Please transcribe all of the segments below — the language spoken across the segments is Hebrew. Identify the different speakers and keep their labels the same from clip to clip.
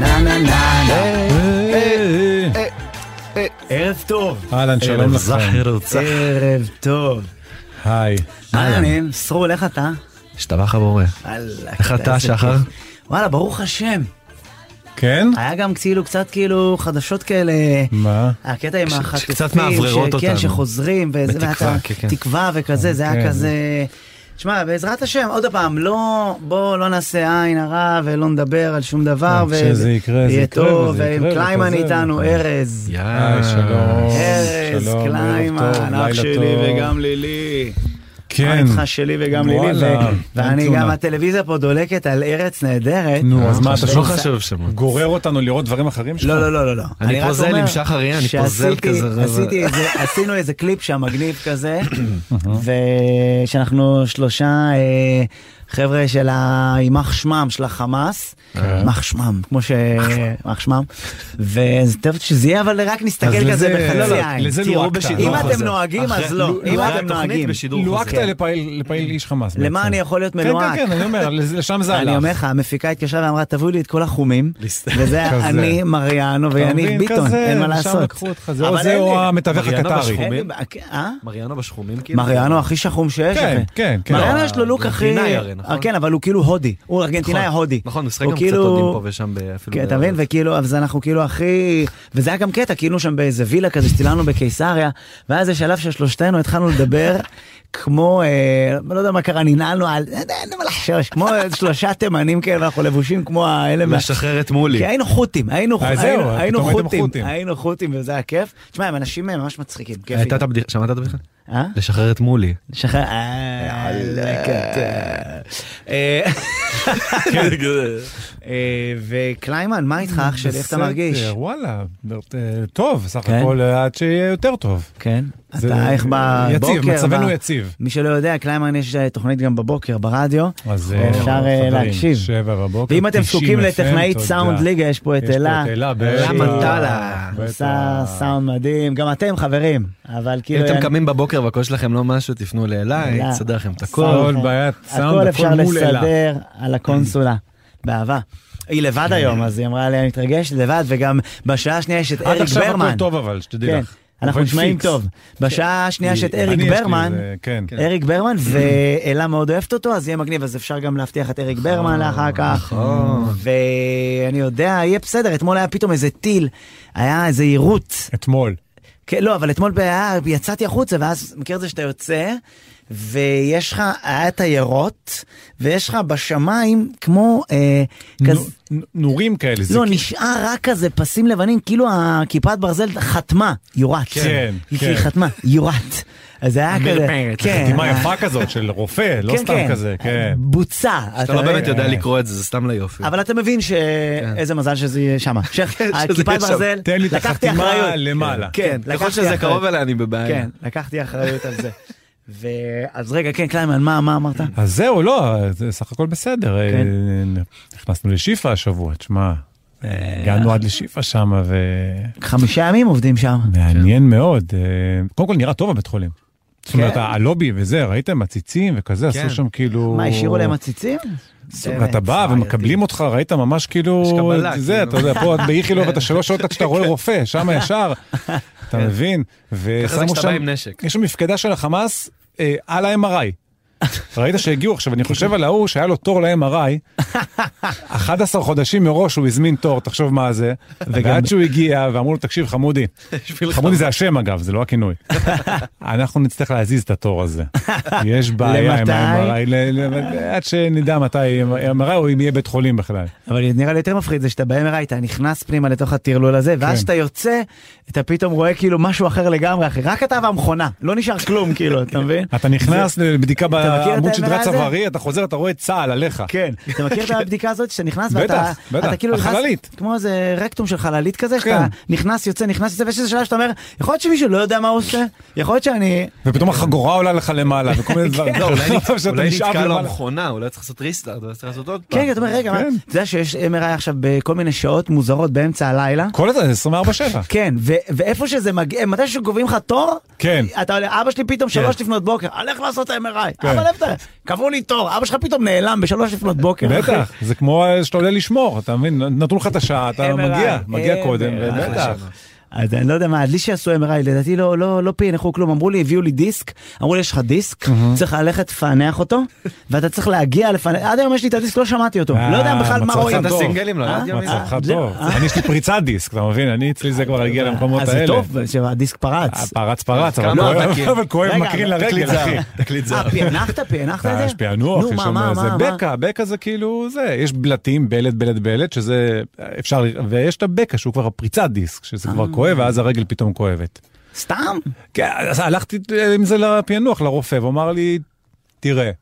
Speaker 1: נה נה נה נה.
Speaker 2: ערב טוב.
Speaker 3: אהלן, שלום
Speaker 2: ערב
Speaker 3: לכם.
Speaker 2: זכר וצח. ערב טוב.
Speaker 3: היי.
Speaker 2: מה
Speaker 1: מה
Speaker 2: העניינים?
Speaker 1: העניינים? סרול, איך אתה?
Speaker 2: השתבח הבורא.
Speaker 1: וואלה.
Speaker 2: איך אתה,
Speaker 1: איזה
Speaker 2: שחר?
Speaker 1: כיף. וואלה, ברוך השם.
Speaker 3: כן?
Speaker 1: היה גם כאילו קצת כאילו חדשות כאלה.
Speaker 3: מה?
Speaker 1: הקטע עם
Speaker 2: ש-
Speaker 1: החטופים,
Speaker 2: שקצת מאווררות
Speaker 1: שכן,
Speaker 2: אותנו.
Speaker 1: שחוזרים, וזה,
Speaker 2: בתקווה,
Speaker 1: ואתה-
Speaker 2: כן, כן.
Speaker 1: תקווה וכזה, זה היה
Speaker 3: כן.
Speaker 1: כזה... שמע, בעזרת השם, עוד פעם, לא, בוא לא נעשה עין הרע ולא נדבר על שום דבר.
Speaker 3: כן, כשזה יקרה, זה
Speaker 1: ויהיה
Speaker 3: יקרה,
Speaker 1: טוב,
Speaker 3: וזה
Speaker 1: ועם
Speaker 3: יקרה,
Speaker 1: קליימן
Speaker 3: וכזה,
Speaker 1: איתנו,
Speaker 2: נכון.
Speaker 3: וכן.
Speaker 1: ארז.
Speaker 2: אה,
Speaker 3: היי, שלום.
Speaker 1: ארז,
Speaker 3: שלום, ערב טוב,
Speaker 1: קליימן, אח
Speaker 3: לילה
Speaker 1: שלי
Speaker 3: טוב.
Speaker 1: וגם לילי. מה
Speaker 3: כן.
Speaker 1: איתך שלי וגם לילי?
Speaker 3: וואלה,
Speaker 1: ו-
Speaker 3: אין
Speaker 1: ואני
Speaker 3: תלונה.
Speaker 1: גם, הטלוויזיה פה דולקת על ארץ נהדרת.
Speaker 3: נו, אז מה, אתה
Speaker 2: לא
Speaker 3: שוב
Speaker 2: חשוב שמות.
Speaker 3: גורר אותנו לראות דברים אחרים שלך?
Speaker 1: לא, לא, לא, לא, לא.
Speaker 2: אני
Speaker 1: רק
Speaker 2: פוזל
Speaker 1: אומר
Speaker 2: עם שחר איה, אני פוזל
Speaker 1: שעשיתי-
Speaker 2: כזה,
Speaker 1: עשיתי איזה- עשינו איזה קליפ שם מגניב כזה, ושאנחנו שלושה אה, חבר'ה של ה... יימח שמם של החמאס.
Speaker 3: כן.
Speaker 1: יימח שמם, כמו ש... יימח שמם. וזה טוב שזה יהיה, אבל רק
Speaker 3: אז
Speaker 1: נסתכל
Speaker 3: לזה-
Speaker 1: כזה
Speaker 3: לא,
Speaker 1: בחצי
Speaker 3: לא,
Speaker 1: עין.
Speaker 3: לזה
Speaker 2: תראו
Speaker 3: לוהקת.
Speaker 2: בשידור
Speaker 1: אם
Speaker 3: לא,
Speaker 1: אתם
Speaker 2: חוזר.
Speaker 1: נוהגים,
Speaker 2: אחרי-
Speaker 1: אז לא.
Speaker 2: לו-
Speaker 1: אם
Speaker 2: לא,
Speaker 1: אתם
Speaker 2: התוכנית
Speaker 1: נוהגים.
Speaker 2: בשידור
Speaker 3: לוהקת
Speaker 2: חוזר.
Speaker 3: לפעיל לפעיל איש חמאס.
Speaker 1: למה
Speaker 3: בעצם.
Speaker 1: אני יכול להיות מלוהק?
Speaker 3: כן, כן, כן, אני אומר, לזה- לשם זה הלך.
Speaker 1: אני אומר לך, המפיקה התקשרה ואמרה, תביאו לי את כל החומים, וזה היה
Speaker 3: כזה.
Speaker 1: אני, מריאנו
Speaker 3: אתה
Speaker 1: ויניב
Speaker 3: מבין?
Speaker 1: ביטון,
Speaker 3: כזה,
Speaker 1: אין מה
Speaker 3: לשם
Speaker 1: לעשות.
Speaker 3: לקחו אותך, זה או
Speaker 1: אבל
Speaker 3: זה
Speaker 1: אין
Speaker 3: או
Speaker 1: לי-
Speaker 3: המתווך
Speaker 2: מריאנה
Speaker 3: הקטרי.
Speaker 2: בשכונה.
Speaker 1: אין לי-
Speaker 2: חומים?
Speaker 1: אה?
Speaker 2: מריאנו בשחומים כאילו?
Speaker 1: מריאנו הכי שחום שיש,
Speaker 3: כן,
Speaker 1: אחי.
Speaker 3: כן, כן.
Speaker 1: מריאנו
Speaker 2: לא,
Speaker 1: יש לו לוק הכי...
Speaker 2: ארגנטינאי הרי, נכון?
Speaker 1: אה, כן, אבל הוא כאילו הודי. הוא ארגנטינאי
Speaker 2: נכון,
Speaker 1: הודי.
Speaker 2: נכון, הוא משחק
Speaker 1: הוא
Speaker 2: גם קצת
Speaker 1: כאילו-
Speaker 2: הודים פה ושם ב- אפילו.
Speaker 3: כאילו,
Speaker 1: כן,
Speaker 2: ב-
Speaker 1: אתה מבין? וכאילו, אז אנחנו כאילו הכי... וזה היה גם קטע, כאילו שם באיזה וילה כזה שצילנו בקיסריה, ואז יש שלב ששלושתנו התחלנו לדבר כמו, אה, לא יודע מה קרה, ננעלנו על... אין מה לחשוש, כמו שלושה תימנים כאלה, ואנחנו לבושים כמו האלה... מה- כן,
Speaker 2: משחרר את מולי.
Speaker 1: כי היינו חות'ים, היינו
Speaker 3: אה, זהו,
Speaker 1: היינו-
Speaker 3: פתאום
Speaker 1: היינו
Speaker 3: הייתם
Speaker 1: חות'ים,
Speaker 3: חות'ים. אה,
Speaker 1: היינו חות'ים וזה היה כיף. תשמע, הם אנשים ממש מצחיקים, כיפים.
Speaker 2: הייתה את הבדיחה, שמעת את הבדיחה?
Speaker 1: אה?
Speaker 2: לשחרר את מולי.
Speaker 1: שחר... אה, יאללה, קטע. אה,
Speaker 2: כן.
Speaker 1: אה, וקליימן, מה איתך אח שלי? איך אתה
Speaker 3: בסדר,
Speaker 1: מרגיש?
Speaker 3: וואלה, אה, טוב, סך
Speaker 1: כן?
Speaker 3: הכל אה, עד שיהיה יותר טוב.
Speaker 1: כן.
Speaker 3: זה
Speaker 1: אתה איך בבוקר?
Speaker 3: יציב, מצבנו
Speaker 1: ב-
Speaker 3: יציב.
Speaker 1: מי שלא יודע, קליימן יש אה, תוכנית גם בבוקר ברדיו.
Speaker 3: אז
Speaker 1: אפשר,
Speaker 3: אה,
Speaker 1: אה,
Speaker 3: חברים,
Speaker 1: להקשיב.
Speaker 3: שבע בבוקר,
Speaker 1: ואם אתם
Speaker 3: 90
Speaker 1: זקוקים
Speaker 3: FM,
Speaker 1: לטכנאית
Speaker 3: תודה.
Speaker 1: סאונד ליגה, יש פה את
Speaker 3: יש פה
Speaker 1: אלה.
Speaker 3: את אלה, בטח.
Speaker 1: שהיא
Speaker 2: אלה מטלה.
Speaker 1: עושה
Speaker 3: בטח.
Speaker 1: סאונד מדהים. גם אתם חברים, אבל
Speaker 2: אם
Speaker 1: כאילו...
Speaker 2: אתם
Speaker 1: אני-
Speaker 2: קמים בבוקר והקול שלכם לא משהו, תפנו לאליי,
Speaker 1: אלה.
Speaker 2: תסדר לכם את הכל.
Speaker 3: כל בעיית סאונד,
Speaker 1: הכל אפשר
Speaker 3: מול אלה.
Speaker 1: לסדר על הקונסולה, באהבה. היא לבד
Speaker 3: כן.
Speaker 1: היום, אז היא אמרה לי, אני מתרגשת לבד, וגם בשעה השנייה יש את
Speaker 3: עד
Speaker 1: אריק
Speaker 3: אה, עכשיו
Speaker 1: ברמן.
Speaker 3: הכל טוב אבל, שתדעי
Speaker 1: כן,
Speaker 3: לך.
Speaker 1: אנחנו
Speaker 3: עובד
Speaker 1: נשמעים
Speaker 3: פיקס. כן.
Speaker 1: טוב. בשעה השנייה יש את
Speaker 3: אני,
Speaker 1: אריק
Speaker 3: יש לי
Speaker 1: ברמן,
Speaker 3: איזה- כן.
Speaker 1: אריק ברמן, ואלה מאוד אוהבת אותו, אז יהיה מגניב, אז אפשר גם להבטיח את אריק ברמן
Speaker 3: אה,
Speaker 1: לאחר כך.
Speaker 3: נכון.
Speaker 1: ואני יודע, יהיה בסדר, אתמול היה פתאום איזה טיל, היה איזה יירוט.
Speaker 3: אתמול.
Speaker 1: כן, לא, אבל אתמול ב- יצאתי החוצה, ואז מכיר את זה שאתה יוצא, ויש לך, היה את הירות, ויש לך בשמיים כמו, אה, כזה,
Speaker 3: נו- נו- נורים כאלה. זה
Speaker 1: לא,
Speaker 3: כאילו-
Speaker 1: נשאר רק כזה פסים לבנים, כאילו הכיפת ברזל חתמה, יורת.
Speaker 3: כן,
Speaker 1: היא כאילו
Speaker 3: כן.
Speaker 1: חתמה, יורת. אז זה היה כזה,
Speaker 2: מרפרת,
Speaker 1: כן.
Speaker 3: חתימה
Speaker 1: ה-
Speaker 3: יפה כזאת של רופא, לא
Speaker 1: כן,
Speaker 3: סתם
Speaker 1: כן.
Speaker 3: כזה, כן.
Speaker 1: בוצע.
Speaker 2: אתה לא
Speaker 1: רואה?
Speaker 2: באמת יודע לקרוא את זה, זה סתם ליופי.
Speaker 1: אה, אבל אתה מבין ש- איזה מזל שזה יהיה שם.
Speaker 2: כן. שזה
Speaker 1: הכיפת
Speaker 2: יהיה שם.
Speaker 1: ברזל,
Speaker 3: תן לי את
Speaker 1: לקחתי
Speaker 3: החתימה
Speaker 1: אחריות.
Speaker 3: למעלה.
Speaker 1: כן,
Speaker 2: ככל
Speaker 1: לקחתי
Speaker 2: שזה
Speaker 1: אחריות.
Speaker 2: קרוב אליי, אני בבעיה.
Speaker 1: כן, לקחתי אחריות על זה. ו... אז רגע, כן, קליימן, מה, מה אמרת?
Speaker 3: אז זהו, לא, זה סך הכל בסדר. אה,
Speaker 1: כן.
Speaker 3: נכנסנו לשיפה השבוע, תשמע.
Speaker 1: אה,
Speaker 3: הגענו עד לשיפה שם,
Speaker 1: חמישה ימים עובדים שם.
Speaker 3: ומעניין מאוד. אה, קודם כל נראה טוב הבית חולים. זאת אומרת,
Speaker 1: כן.
Speaker 3: הלובי וזה, ראיתם? עציצים וכזה,
Speaker 2: כן.
Speaker 3: עשו שם כאילו...
Speaker 1: מה, השאירו להם עציצים? אה,
Speaker 3: ואתה בא ומקבלים אותך, ראית ממש כאילו,
Speaker 2: יש קבלה,
Speaker 3: זה,
Speaker 2: כאילו. כן.
Speaker 3: אתה יודע, פה באיכילוב אתה שלוש שעות עד שאתה רואה רופא, שם ישר, אתה מבין?
Speaker 2: ככה זה
Speaker 3: ושמו
Speaker 2: כשאתה בא
Speaker 3: שם,
Speaker 2: עם נשק.
Speaker 3: יש שם מפקדה של החמאס אה, על ה-MRI. ראית שהגיעו עכשיו, אני חושב על ההוא שהיה לו תור ל-MRI, 11 חודשים מראש הוא הזמין תור, תחשוב מה זה, ועד שהוא הגיע ואמרו לו, תקשיב חמודי,
Speaker 2: בשביל
Speaker 3: חמודי זה השם אגב, זה לא הכינוי, אנחנו נצטרך להזיז את התור הזה, יש בעיה עם
Speaker 1: למתי?
Speaker 3: ה-MRI, ל- ל- עד שנדע מתי MRI או אם יהיה בית חולים בכלל.
Speaker 1: אבל נראה לי יותר מפחיד זה שאתה ב-MRI, אתה נכנס פנימה לתוך הטרלול הזה, ואז
Speaker 3: כן.
Speaker 1: כשאתה יוצא, אתה פתאום רואה כאילו משהו אחר לגמרי, אחי. רק אתה והמכונה, לא נשאר כלום, כאילו, אתה מבין?
Speaker 3: אתה נכנס לבדיקה
Speaker 1: מכיר את
Speaker 3: בעמוד
Speaker 1: ה-MRI
Speaker 3: שדרה
Speaker 1: הזה?
Speaker 3: צווארי, אתה חוזר, אתה רואה את צה"ל עליך.
Speaker 1: כן, אתה מכיר את הבדיקה הזאת שאתה נכנס
Speaker 3: בטח,
Speaker 1: ואתה
Speaker 3: בטח,
Speaker 1: אתה כאילו נכנס,
Speaker 3: החללית.
Speaker 1: כמו איזה רקטום של חללית כזה,
Speaker 3: כן.
Speaker 1: שאתה נכנס, יוצא, נכנס, יוצא, ויש איזה שלב שאתה אומר, יכול להיות שמישהו לא יודע מה הוא עושה, יכול להיות שאני,
Speaker 3: ופתאום החגורה עולה לך למעלה, וכל
Speaker 1: כן.
Speaker 3: מיני דברים.
Speaker 2: לא, אולי נתק-
Speaker 3: שאתה
Speaker 2: אולי
Speaker 3: נשאב
Speaker 2: נתקע לו
Speaker 3: למעלה.
Speaker 2: המכונה, אולי צריך לעשות ריסטארט, אולי צריך לעשות עוד פעם.
Speaker 1: כן, אתה אומר, רגע, מה,
Speaker 3: כן.
Speaker 1: אתה יודע שיש MRI עכשיו בכל מיני שעות מוזרות באמצע הלילה?
Speaker 3: כל הזמן, 24-7.
Speaker 1: כן, ו- ואיפה שזה מגיע, מתישהו גובים לך תור,
Speaker 3: כן.
Speaker 1: אתה עולה, אבא שלי פתאום שלוש לפנות בוקר, הלך לעשות MRI.
Speaker 3: כן.
Speaker 1: אבל איפה אתה? קבעו לי תור, אבא שלך פתאום נעלם בשלוש לפנות בוקר.
Speaker 3: בטח, זה כמו שאתה עולה לשמור, אתה מבין? נתנו לך את השעה, אתה
Speaker 1: MRI,
Speaker 3: מגיע, מגיע קודם,
Speaker 1: MRI.
Speaker 3: בטח.
Speaker 1: אז אני לא יודע מה, לי שעשו MRI, לדעתי לא, לא, לא פענחו כלום, אמרו לי, הביאו לי דיסק, אמרו לי, יש לך
Speaker 3: Mhm.
Speaker 1: דיסק, צריך ללכת לפענח אותו, ואתה צריך להגיע לפענח, עד היום יש לי את הדיסק, לא שמעתי אותו, לא יודע בכלל מה
Speaker 3: מצבך
Speaker 1: רואים.
Speaker 2: את
Speaker 3: אה, טוב.
Speaker 2: הסינגלים, לא
Speaker 1: אה?
Speaker 2: ידעתי מזה.
Speaker 3: מצבך
Speaker 1: אה,
Speaker 3: טוב. אני יש לי פריצת דיסק, אתה מבין? אני אצלי זה כבר הגיע למקומות
Speaker 1: אז
Speaker 3: האלה. אה,
Speaker 1: זה טוב שהדיסק פרץ.
Speaker 3: פרץ פרץ, אבל
Speaker 2: כמה
Speaker 3: כואב-
Speaker 2: עותקים?
Speaker 3: אבל כואב
Speaker 1: רגע,
Speaker 3: מקרין
Speaker 1: אבל
Speaker 3: לרגל, אחי.
Speaker 2: תקליט זר.
Speaker 1: אה, פענחת? פענחת את זה?
Speaker 3: אה, יש פענוח,
Speaker 1: נו,
Speaker 3: יש
Speaker 1: מה,
Speaker 3: שם
Speaker 1: מה,
Speaker 3: איזה
Speaker 1: מה, מה?
Speaker 3: בקע, בקע זה כאילו זה, יש בלטים, בלט, בלט, בלט, שזה אפשר, ויש את הבקע שהוא כבר הפריצת דיסק, שזה כבר
Speaker 1: אה.
Speaker 3: כואב, ואז הרגל פתאום כואבת.
Speaker 1: סתם?
Speaker 3: כן, אז הלכתי אה, עם זה לפענוח, לרופא, והוא אמר לי, תראה.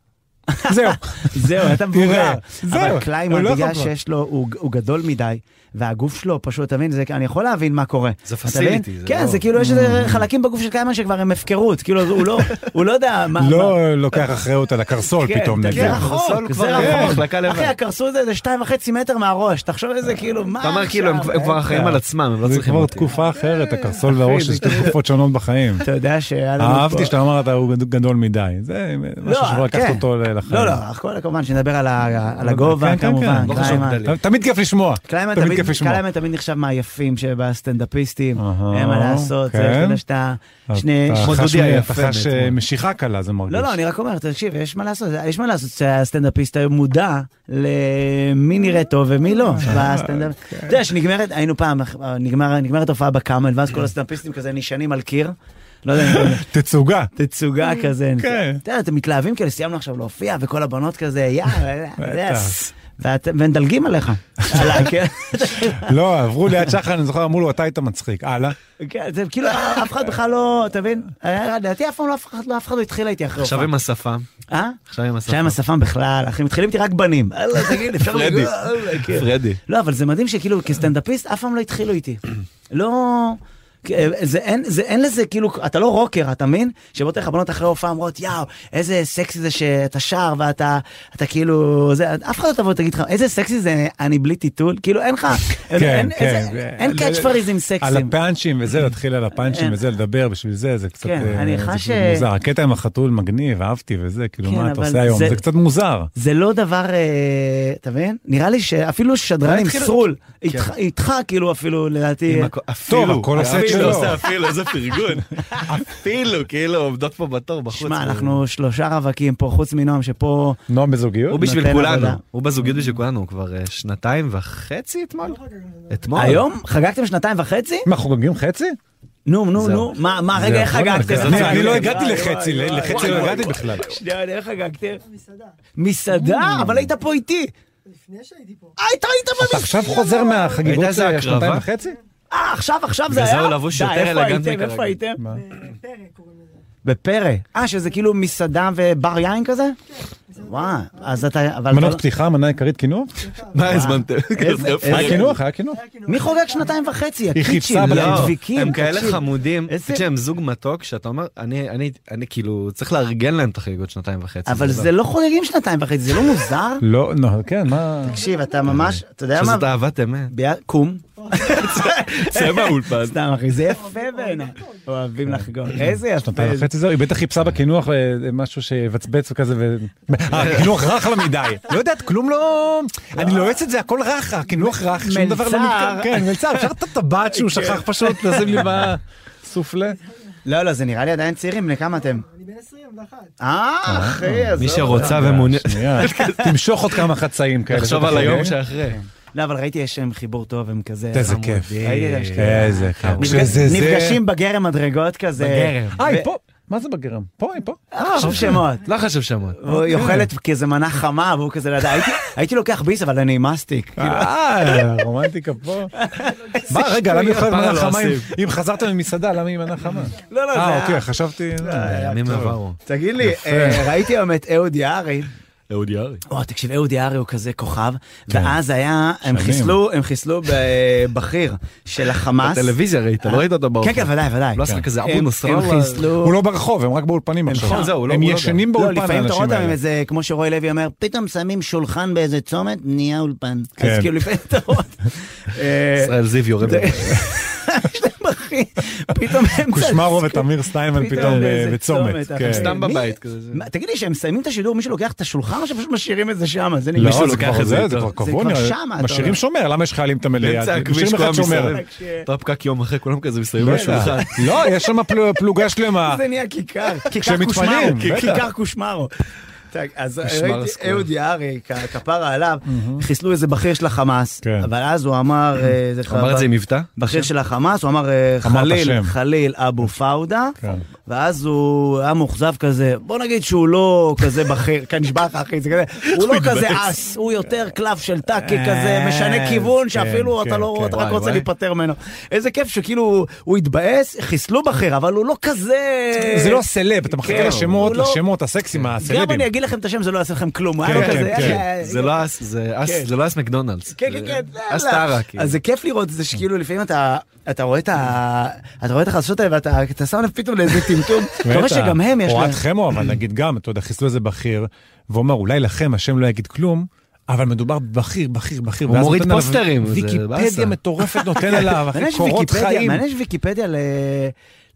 Speaker 3: זהו.
Speaker 1: זהו, אתה מבוגר.
Speaker 3: תראה,
Speaker 1: אבל
Speaker 3: זהו,
Speaker 1: קליימן,
Speaker 3: הוא לא
Speaker 1: בגלל
Speaker 3: יכול כבר.
Speaker 1: שיש לו, הוא הוא גדול מדי, והגוף שלו פשוט, אתה מבין, זה- אני יכול להבין מה קורה.
Speaker 2: זה
Speaker 1: אתה מבין?
Speaker 2: facility, זה
Speaker 1: כן,
Speaker 2: לא-
Speaker 1: זה כאילו, יש
Speaker 3: Mm.
Speaker 1: איזה חלקים בגוף של קליימן שכבר הם הפקרות, כאילו, הוא לא- הוא לא יודע מה... מה-
Speaker 3: לא לוקח אחריות על הקרסול
Speaker 1: כן,
Speaker 3: פתאום,
Speaker 1: אתה-
Speaker 3: נגיד.
Speaker 1: זה
Speaker 2: כן, הסול
Speaker 1: רחוק,
Speaker 2: כבר-
Speaker 1: זה
Speaker 2: כן,
Speaker 1: רחוק.
Speaker 2: מחלקה לבד.
Speaker 1: אחי, הקרסול זה- זה שתיים וחצי מטר מהראש, תחשוב איזה כאילו, מה
Speaker 2: אתה
Speaker 1: עכשיו? אה, כן.
Speaker 2: אומר כאילו, הם הם כבר אחראים על עצמם, הם לא
Speaker 3: זה
Speaker 2: צריכים
Speaker 3: כבר
Speaker 2: אותי.
Speaker 3: תקופה אחרת, הקרסול והראש זה שתי תקופות שונות בחיים.
Speaker 1: אתה יודע שהיה לנו פה-
Speaker 3: אהבתי שאתה אמרת, הוא גדול מדי. זה משהו שאפשר לקחת
Speaker 1: כן.
Speaker 3: אותו לחיים.
Speaker 1: לא, לא, הכל כמובן שנדבר על ה- על הגובה,
Speaker 3: כן, כן,
Speaker 1: כמובן,
Speaker 3: כן. לא
Speaker 2: חשוב
Speaker 1: קליימן.
Speaker 2: גדלים.
Speaker 3: ת- תמיד כיף לשמוע.
Speaker 1: קליימן
Speaker 3: תמיד
Speaker 1: תמיד-
Speaker 3: כיף לשמוע.
Speaker 1: קליימן תמיד נחשב מהיפים שבסטנדאפיסטים,
Speaker 3: אהה,
Speaker 1: אין מה לעשות, זה,
Speaker 3: כן.
Speaker 1: אתה יודע שאתה שני...
Speaker 3: אתה
Speaker 1: שני-
Speaker 2: כמו
Speaker 3: חש-
Speaker 2: דודי
Speaker 3: אתה
Speaker 2: היפה
Speaker 3: חש
Speaker 2: בעצם.
Speaker 3: אה, משיכה קלה, זה מרגיש.
Speaker 1: לא, לא, אני רק אומר, תקשיב, יש מה לעשות, יש מה לעשות שהסטנדאפיסט היום מודע למי נראה טוב ומי
Speaker 3: אה,
Speaker 1: לא. בסטנדאפ-
Speaker 3: כן.
Speaker 1: אתה יודע שנגמרת, היינו פעם, נגמר- נגמרת הופעה בקאמל, ואז
Speaker 3: כן.
Speaker 1: כל הסטנדאפיסטים כזה נשענים על קיר. לא יודע,
Speaker 3: תצוגה.
Speaker 1: תצוגה כזה.
Speaker 3: כן.
Speaker 1: אתה יודע, אתם מתלהבים כאלה, סיימנו עכשיו להופיע, וכל הבנות כזה, יא,
Speaker 3: בטח.
Speaker 1: יס. ואת- ומדלגים עליך. על כן. הקיר.
Speaker 3: לא, עברו ליד שחר, אני זוכר, אמרו לו, אתה היית מצחיק. הלאה.
Speaker 1: כן, זה כאילו אף אחד בכלל לא, אתה מבין? היה- לדעתי אף פעם לא אף אחד לא אף אחד לא התחיל איתי אחרי
Speaker 2: עכשיו
Speaker 1: הופעה.
Speaker 2: עם השפם.
Speaker 1: אה?
Speaker 2: עכשיו עם
Speaker 1: עכשיו עם
Speaker 2: השפם.
Speaker 1: השפם בכלל, אחי, מתחילים איתי רק בנים. אללה, תגיד, אפשר
Speaker 2: פרדי.
Speaker 1: לגוע, אללה, כן.
Speaker 2: פרדי.
Speaker 1: לא, אבל זה מדהים שכאילו כסטנדאפיסט אף פעם לא התחילו איתי. לא... זה אין, זה אין לזה כאילו, אתה לא רוקר, אתה מבין? שבאות לך בנות אחרי הופעה אומרות, יאו, איזה סקסי זה שאתה שר ואתה אתה כאילו, זה, אף אחד לא תבוא ותגיד לך, איזה סקסי זה אני בלי טיטול? כאילו אין לך, אין-
Speaker 3: כן,
Speaker 1: אין-
Speaker 3: כן.
Speaker 1: איזה- אין קאץ' פריזים סקסיים.
Speaker 3: על הפאנצ'ים וזה, להתחיל על הפאנצ'ים
Speaker 1: אין.
Speaker 3: וזה, לדבר בשביל זה, זה קצת
Speaker 1: כן,
Speaker 3: אה,
Speaker 1: אני
Speaker 3: זה
Speaker 1: חש
Speaker 3: קצת
Speaker 1: ש-
Speaker 3: מוזר. הקטע עם החתול מגניב, אהבתי וזה, כאילו,
Speaker 1: כן,
Speaker 3: מה אתה
Speaker 1: אבל
Speaker 3: עושה היום?
Speaker 1: זה-
Speaker 3: זה קצת מוזר.
Speaker 1: זה לא דבר, אה, אתה מבין? נראה לי שאפילו שדרנים,
Speaker 2: התחילו-
Speaker 1: סרול,
Speaker 2: כן.
Speaker 1: איתך- איתך כאילו אפילו לדעתי,
Speaker 2: עם הכ- אפילו,
Speaker 3: כן. טוב, הכל הסט
Speaker 2: אפילו,
Speaker 3: שלו.
Speaker 2: זה אפילו, איזה פרגון. אפילו, כאילו, עומדות פה בתור בחוץ. כאילו.
Speaker 1: שמע, אנחנו שלושה רווקים פה, חוץ מנועם שפה,
Speaker 3: נועם בזוגיות?
Speaker 2: הוא בשביל
Speaker 1: נותן
Speaker 2: כולנו,
Speaker 1: עבודה.
Speaker 2: הוא בזוגיות בשביל כולנו, הוא כבר אה, שנתיים וחצי אתמול? אתמול.
Speaker 1: היום? חגגתם שנתיים וחצי?
Speaker 3: מה, חוגגים חצי?
Speaker 1: נו, נו,
Speaker 2: זהו.
Speaker 1: נו, מה, מה, רגע, איך
Speaker 3: זה יכול
Speaker 1: חגגתם?
Speaker 3: להיות.
Speaker 2: זה-
Speaker 3: אני- אני לא
Speaker 2: וואי,
Speaker 3: הגעתי
Speaker 1: וואי,
Speaker 3: לחצי,
Speaker 1: וואי,
Speaker 3: לחצי
Speaker 1: וואי,
Speaker 3: לא
Speaker 1: וואי.
Speaker 3: הגעתי בכלל.
Speaker 1: שנייה, איך חגגתם?
Speaker 4: מסעדה.
Speaker 1: מסעדה,
Speaker 2: Mm.
Speaker 1: אבל היית פה איתי.
Speaker 4: לפני שהייתי פה.
Speaker 1: אה, היית, היית
Speaker 3: אתה
Speaker 1: במסעדה.
Speaker 3: עכשיו חוזר מהחגיגות
Speaker 2: הייתה איזה
Speaker 3: של
Speaker 2: הקרבה?
Speaker 3: שנתיים וחצי?
Speaker 1: אה, עכשיו, עכשיו זה
Speaker 2: בגלל
Speaker 1: היה?
Speaker 2: זה הוא לבוש
Speaker 1: די,
Speaker 2: יותר
Speaker 1: איפה
Speaker 2: אלגנטי
Speaker 1: הייתם?
Speaker 2: כרגע.
Speaker 1: איפה הייתם?
Speaker 3: מה?
Speaker 4: פרק קוראים לזה.
Speaker 1: בפרא. אה, שזה כאילו מסעדה ובר יין כזה? וואי, אז אתה... אבל אתה לא-
Speaker 3: מנות פתיחה, מנה עיקרית קינוח?
Speaker 2: מה הזמנתם?
Speaker 1: אה,
Speaker 2: כן,
Speaker 1: איזה-
Speaker 3: היה קינוח, היה קינוח.
Speaker 4: היה כאילו...
Speaker 1: מי חוגג שנתיים וחצי?
Speaker 3: היא
Speaker 1: הקיצ'ים,
Speaker 3: חיפשה
Speaker 1: הם
Speaker 2: לא,
Speaker 1: דביקים.
Speaker 2: הם כאלה
Speaker 1: תקשיב.
Speaker 2: חמודים,
Speaker 1: איזה-
Speaker 2: תקשיב, הם זוג מתוק שאתה אומר, אני, אני, אני כאילו, צריך לארגן להם את החגיגות שנתיים וחצי.
Speaker 1: אבל זה לא חוגגים שנתיים וחצי, זה לא מוזר?
Speaker 3: לא, נו, כן, מה...
Speaker 1: תקשיב, אתה ממש,
Speaker 3: אה,
Speaker 1: אתה יודע מה?
Speaker 2: שזאת אהבת אמת.
Speaker 1: ב- קום.
Speaker 2: צא מהאולפן.
Speaker 1: סתם אחי, זה יפה בעיניי. אוהבים לחגוג. איזה יפה.
Speaker 3: אה. שנתיים וחצי זהו, היא בטח חיפשה בקינוח אה, משהו שיבצבץ וכזה ו... אה, קינוח רך לה מדי. לא יודעת, כלום לא... אני לועץ את זה, הכל רך, הקינוח רך, שום דבר לא
Speaker 1: מלצר.
Speaker 3: מתקרב. כן, מלצר, אפשר את הטבעת שהוא שכח פשוט לשים לי בסופלה.
Speaker 1: לא, לא, זה נראה לי עדיין צעירים, בני כמה אתם?
Speaker 4: אני בן 21.
Speaker 1: אה, אחי, עזוב.
Speaker 2: מי
Speaker 1: כן,
Speaker 2: שרוצה ומעוניינת,
Speaker 3: אה, שנייה, תמשוך עוד כמה חצאים כאלה.
Speaker 2: תחשוב על היום שאחרי.
Speaker 1: לא, אבל ראיתי יש להם חיבור טוב, הם כזה...
Speaker 3: איזה
Speaker 1: חמודים.
Speaker 3: כיף.
Speaker 1: ראיתי את השטויות.
Speaker 3: איזה כיף.
Speaker 1: אה, נפגש-
Speaker 3: כשזה זה-
Speaker 1: נפגשים בגרם מדרגות כזה.
Speaker 2: בגרם.
Speaker 3: אה, היא
Speaker 1: ו-
Speaker 3: פה. מה זה בגרם? פה, היא פה.
Speaker 1: אה, חשוב שמות.
Speaker 2: לא חשוב שמות.
Speaker 1: והוא היא אוכלת כאיזה מנה חמה, והוא כזה לידה. הייתי- הייתי לוקח ביס, אבל אני מסטיק.
Speaker 3: אה, רומנטיקה פה. מה, רגע, למה היא יכולה
Speaker 2: הפרה
Speaker 3: מנה
Speaker 2: לא
Speaker 3: חמה? אם-
Speaker 2: אוסיף.
Speaker 3: אם חזרתם ממסעדה, למה היא מנה חמה?
Speaker 1: לא, לא,
Speaker 3: אה,
Speaker 1: זה-
Speaker 3: אוקיי, חשבתי...
Speaker 2: אה, ימים עברו.
Speaker 1: תגיד לי, אה, ראיתי היום את אהוד יערי.
Speaker 2: אהוד יערי.
Speaker 1: או, תקשיב, אהוד יערי הוא כזה כוכב, ואז היה, הם חיסלו, הם חיסלו בבכיר של החמאס.
Speaker 2: בטלוויזיה ראית, לא ראית אותו
Speaker 1: כן,
Speaker 2: באופן.
Speaker 1: כן, ודאי, ודאי.
Speaker 2: לא עשו לך כזה
Speaker 1: הם-
Speaker 2: אבו
Speaker 1: הם
Speaker 2: נסראללה.
Speaker 1: חיסלו...
Speaker 3: הוא לא ברחוב, הם רק באולפנים
Speaker 2: נכון,
Speaker 3: עכשיו.
Speaker 2: זהו, הוא לא-
Speaker 3: הם
Speaker 2: הוא לא
Speaker 3: ישנים
Speaker 1: לא,
Speaker 3: באולפן,
Speaker 1: לפעמים אתה רואה
Speaker 3: האנשים
Speaker 1: אותם עם
Speaker 3: האלה.
Speaker 1: איזה, כמו שרוי לוי אומר, פתאום שמים שולחן באיזה צומת, נהיה אולפן. אז
Speaker 3: כן.
Speaker 1: כאילו לפעמים אתה רואה... אה,
Speaker 2: ישראל זיו יורד.
Speaker 1: זה- יש להם אחי, פתאום הם...
Speaker 3: קושמרו ותמיר סטיינמן פתאום
Speaker 1: באיזה
Speaker 3: ב- בצומת.
Speaker 1: צומת, אחי.
Speaker 3: כן.
Speaker 2: סתם
Speaker 1: מי-
Speaker 2: בבית כזה.
Speaker 1: מה, תגיד לי, כשהם מסיימים את השידור, מישהו לוקח את השולחן או שפשוט משאירים את זה שם? זה נגמר.
Speaker 3: לא,
Speaker 2: מישהו
Speaker 3: זה
Speaker 2: לוקח
Speaker 3: כבר
Speaker 2: את זה
Speaker 3: זה,
Speaker 2: איתו.
Speaker 3: זה כבר
Speaker 1: זה
Speaker 3: קבוע
Speaker 1: כבר
Speaker 3: נראה.
Speaker 1: שמה, אתה
Speaker 3: משאירים
Speaker 1: אומר.
Speaker 3: שומר, למה יש חיילים תמיד ליד?
Speaker 2: באמצע הכביש
Speaker 3: משאירים
Speaker 2: כולם
Speaker 3: אחד שומר.
Speaker 2: מסתובב.
Speaker 1: כש-
Speaker 2: בפקק יום אחרי כולם כזה מסתובבים
Speaker 1: כן.
Speaker 3: בטח.
Speaker 2: בשולחן.
Speaker 3: לא, יש שם פל- פלוגה שלמה.
Speaker 1: זה נהיה כיכר, כיכר
Speaker 3: כשהם
Speaker 1: קושמרו, כן,
Speaker 3: מתפנים, בטח.
Speaker 1: כיכר קושמרו. טק, אז
Speaker 2: קושמר
Speaker 1: ראיתי
Speaker 2: סקול.
Speaker 1: אהוד יערי, כ- כפרה עליו, חיסלו איזה בכיר של החמאס,
Speaker 3: כן.
Speaker 1: אבל אז הוא אמר, אה, זה
Speaker 2: אמר את זה עם מבטא?
Speaker 1: בכיר של החמאס, הוא אמר אה,
Speaker 3: אמר את
Speaker 1: חליל,
Speaker 3: השם.
Speaker 1: חליל אבו פאודה,
Speaker 3: כן.
Speaker 1: ואז הוא היה מאוכזב כזה, בוא נגיד שהוא לא כזה בכיר, כן נשבע לך אחי, זה כזה, הוא לא כזה אס, הוא יותר קלף של טאקי
Speaker 3: אה,
Speaker 1: כזה, משנה כיוון,
Speaker 3: כן,
Speaker 1: שאפילו אתה
Speaker 3: כן,
Speaker 1: לא רואה, אתה רק
Speaker 3: כן.
Speaker 2: וואי,
Speaker 1: רוצה
Speaker 2: וואי.
Speaker 1: להיפטר ממנו. איזה כיף שכאילו, הוא התבאס, חיסלו בכיר, אבל הוא לא כזה...
Speaker 3: זה לא סלב,
Speaker 1: כן,
Speaker 3: אתה מחכה לשמות,
Speaker 1: הוא לא-
Speaker 3: לשמות הסקסים,
Speaker 1: גם
Speaker 3: הסלבים.
Speaker 1: אני אגיד לכם את השם, זה לא יעשה לכם כלום, הוא היה
Speaker 3: כן,
Speaker 1: לו כזה...
Speaker 3: כן, כן.
Speaker 1: אה,
Speaker 2: זה לא אס, זה אס,
Speaker 1: כן.
Speaker 2: זה לא אס מקדונלדס.
Speaker 1: כן, כן, כן,
Speaker 2: זה אס טרה, אה, כאילו.
Speaker 1: אז זה כיף לראות את זה שכאילו לפעמים אתה אתה רואה את ה... אתה רואה את החדשות האלה ואתה אתה שם לב פתאום לאיזה טמטום, אתה רואה
Speaker 3: בטח.
Speaker 1: שגם הם יש להם...
Speaker 3: אוהד חמו, אבל נגיד גם, אתה יודע, חיסלו איזה בכיר, והוא אומר, אולי לכם השם לא יגיד כלום. אבל מדובר בכיר, בכיר, בכיר.
Speaker 2: הוא
Speaker 3: ואז
Speaker 2: מוריד
Speaker 3: נותן עליו
Speaker 2: פוסטרים, זה באסה.
Speaker 3: ויקיפדיה מטורפת נותן עליו,
Speaker 1: מעניין
Speaker 3: אחי,
Speaker 1: יש
Speaker 3: קורות
Speaker 1: ויקיפדיה-
Speaker 3: חיים.
Speaker 1: מעניין יש ויקיפדיה ל-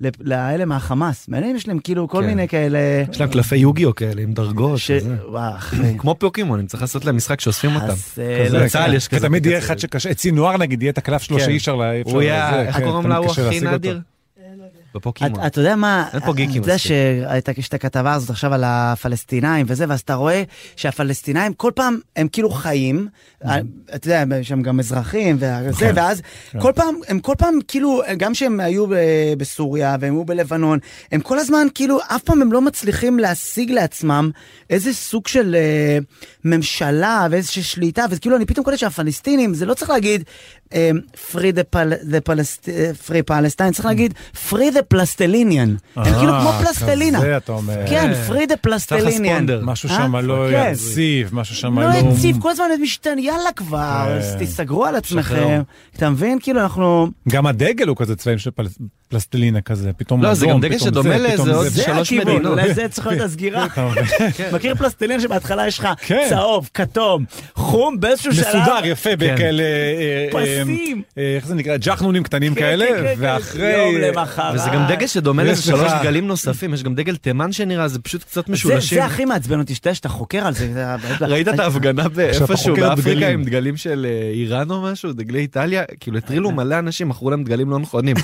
Speaker 1: ל- לאלה מהחמאס, מעניין אם יש להם כאילו כל
Speaker 2: כן.
Speaker 1: מיני כאלה...
Speaker 2: יש להם קלפי יוגיו כאלה עם דרגות.
Speaker 1: ש-
Speaker 2: וזה.
Speaker 1: וואו, אחי.
Speaker 2: כמו פיוקימון, אני צריך לעשות להם משחק שאוספים אותם.
Speaker 1: אז, אה,
Speaker 2: כזה,
Speaker 1: לא,
Speaker 2: לצה"ל
Speaker 3: כן.
Speaker 2: יש כזה.
Speaker 3: ותמיד יהיה
Speaker 2: כזה.
Speaker 3: אחד שקשה, אצלי נוער נגיד, יהיה את הקלף שלו
Speaker 2: כן.
Speaker 3: שאי אפשר לה- אי אפשר
Speaker 2: הוא
Speaker 3: לזה,
Speaker 2: היה, איך
Speaker 3: כן,
Speaker 2: קוראים
Speaker 3: תמיד
Speaker 2: להוא
Speaker 3: קשה
Speaker 2: הכי
Speaker 3: להשיג אותו.
Speaker 2: נדיר?
Speaker 4: אה, לא יודע.
Speaker 2: בפוקימון.
Speaker 1: אתה- אתה יודע מה,
Speaker 2: אין פה גיקים
Speaker 1: אתה יודע
Speaker 2: מספיק.
Speaker 1: שהייתה יש את הכתבה הזאת עכשיו על הפלסטינאים וזה, ואז אתה רואה שהפלסטינאים כל פעם הם כאילו חיים, אה, אתה יודע, יש שם גם אזרחים וזה, ואז כל פעם, הם כל פעם כאילו, גם כשהם היו ב- בסוריה והם היו בלבנון, הם כל הזמן כאילו, אף פעם הם לא מצליחים להשיג לעצמם איזה סוג של אה, ממשלה ואיזושהי שליטה, וכאילו אני פתאום קולט שהפלסטינים, זה לא צריך להגיד אה, free the, Pal- the Palest- אה, free Palestine, צריך להגיד free the פלסטליניאן. הם
Speaker 3: אה,
Speaker 1: כאילו כמו פלסטלינה.
Speaker 3: כזה אתה אומר.
Speaker 1: כן, free the
Speaker 2: צריך
Speaker 1: פלסטליניאן.
Speaker 2: לספונדר.
Speaker 3: משהו
Speaker 1: אה?
Speaker 3: שם לא
Speaker 1: כן.
Speaker 3: יציב, משהו שם
Speaker 1: לא הציב, כל הזמן משתנה, יאללה כבר,
Speaker 3: כן.
Speaker 1: אז תיסגרו על עצמכם.
Speaker 2: שחררו.
Speaker 1: אתה מבין? כאילו אנחנו...
Speaker 3: גם הדגל הוא כזה צבעים של פל- פלסטלינה כזה, פתאום
Speaker 2: לא,
Speaker 3: אדום,
Speaker 2: זה גם דגל
Speaker 3: פתאום
Speaker 2: שדומה
Speaker 3: זה,
Speaker 2: לאיזה
Speaker 3: פתאום
Speaker 2: עוד
Speaker 3: זה.
Speaker 1: זה
Speaker 2: שלוש
Speaker 1: הכיוון,
Speaker 2: מדינות.
Speaker 1: אולי זה צריכה להיות הסגירה.
Speaker 3: אתה מבין?
Speaker 1: מכיר פלסטלין שבהתחלה יש לך
Speaker 3: כן.
Speaker 1: צהוב, כתום, חום, באיזשהו שלב...
Speaker 3: מסודר, יפה,
Speaker 2: כן.
Speaker 3: בכאלה... אה, אה,
Speaker 1: פסים.
Speaker 3: אה, איך זה נקרא? ג'חנונים קטנים
Speaker 1: כן, כן,
Speaker 3: כאלה,
Speaker 1: כן, כן.
Speaker 3: ואחרי...
Speaker 1: יום למחרת.
Speaker 2: וזה גם דגל שדומה
Speaker 3: יש
Speaker 2: לשלוש
Speaker 3: לך-
Speaker 2: דגלים נוספים, יש גם דגל תימן שנראה, זה פשוט קצת
Speaker 1: זה,
Speaker 2: משולשים.
Speaker 1: זה הכי מעצבן אותי, שאתה שאתה חוקר על זה. זה-
Speaker 2: ראית את ההפגנה באיפשהו
Speaker 3: חוקר
Speaker 2: באפריקה
Speaker 3: דגלים.
Speaker 2: עם דגלים של אה, איראן או משהו, דגלי איטליה? כאילו הטרילו
Speaker 1: אה,
Speaker 2: מלא אנשים, מכרו להם דגלים לא נכונים.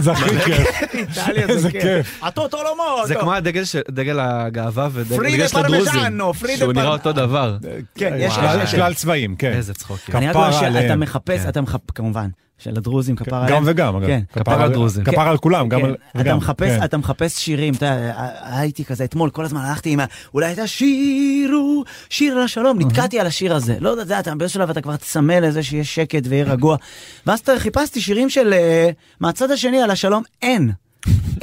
Speaker 3: זה הכי כיף.
Speaker 1: איטליה
Speaker 3: איזה
Speaker 1: זה
Speaker 3: כיף.
Speaker 1: כיף. הטוטו לא מוטו.
Speaker 2: זה כמו הדגל של- דגל הגאווה ודגל
Speaker 1: פרידה
Speaker 2: דגל של הדרוזים,
Speaker 1: פרמיז'אנו, פרידה
Speaker 2: שהוא נראה
Speaker 1: פר-
Speaker 2: אותו דבר.
Speaker 1: כן, יש-
Speaker 3: שלל-
Speaker 1: יש-
Speaker 3: שלל צבעים, כן.
Speaker 2: איזה צחוקים.
Speaker 1: אני רק
Speaker 3: כפרה
Speaker 1: אומר שאתה
Speaker 3: עליהם.
Speaker 1: מחפש,
Speaker 2: כן.
Speaker 1: אתה מחפש, כמובן, של הדרוזים, כפרה עליהם.
Speaker 3: גם וגם, אגב.
Speaker 1: כן.
Speaker 3: כפרה
Speaker 2: כפרה על דרוזים.
Speaker 3: כפרה על כולם, גם
Speaker 1: כן,
Speaker 3: על...
Speaker 1: אתה
Speaker 3: וגם,
Speaker 1: מחפש,
Speaker 3: כן.
Speaker 1: אתה מחפש שירים, אתה יודע, אה, הייתי כזה אתמול, כל הזמן הלכתי עם ה... אולי הייתה שירו, שיר לשלום, נתקעתי על השיר הזה. לא יודע, זה אתה באיזשהו שלב אתה כבר צמא לזה שיש שקט ויהיה רגוע. ואז אתה- חיפשתי שירים של... אה, מהצד השני על השלום, אין.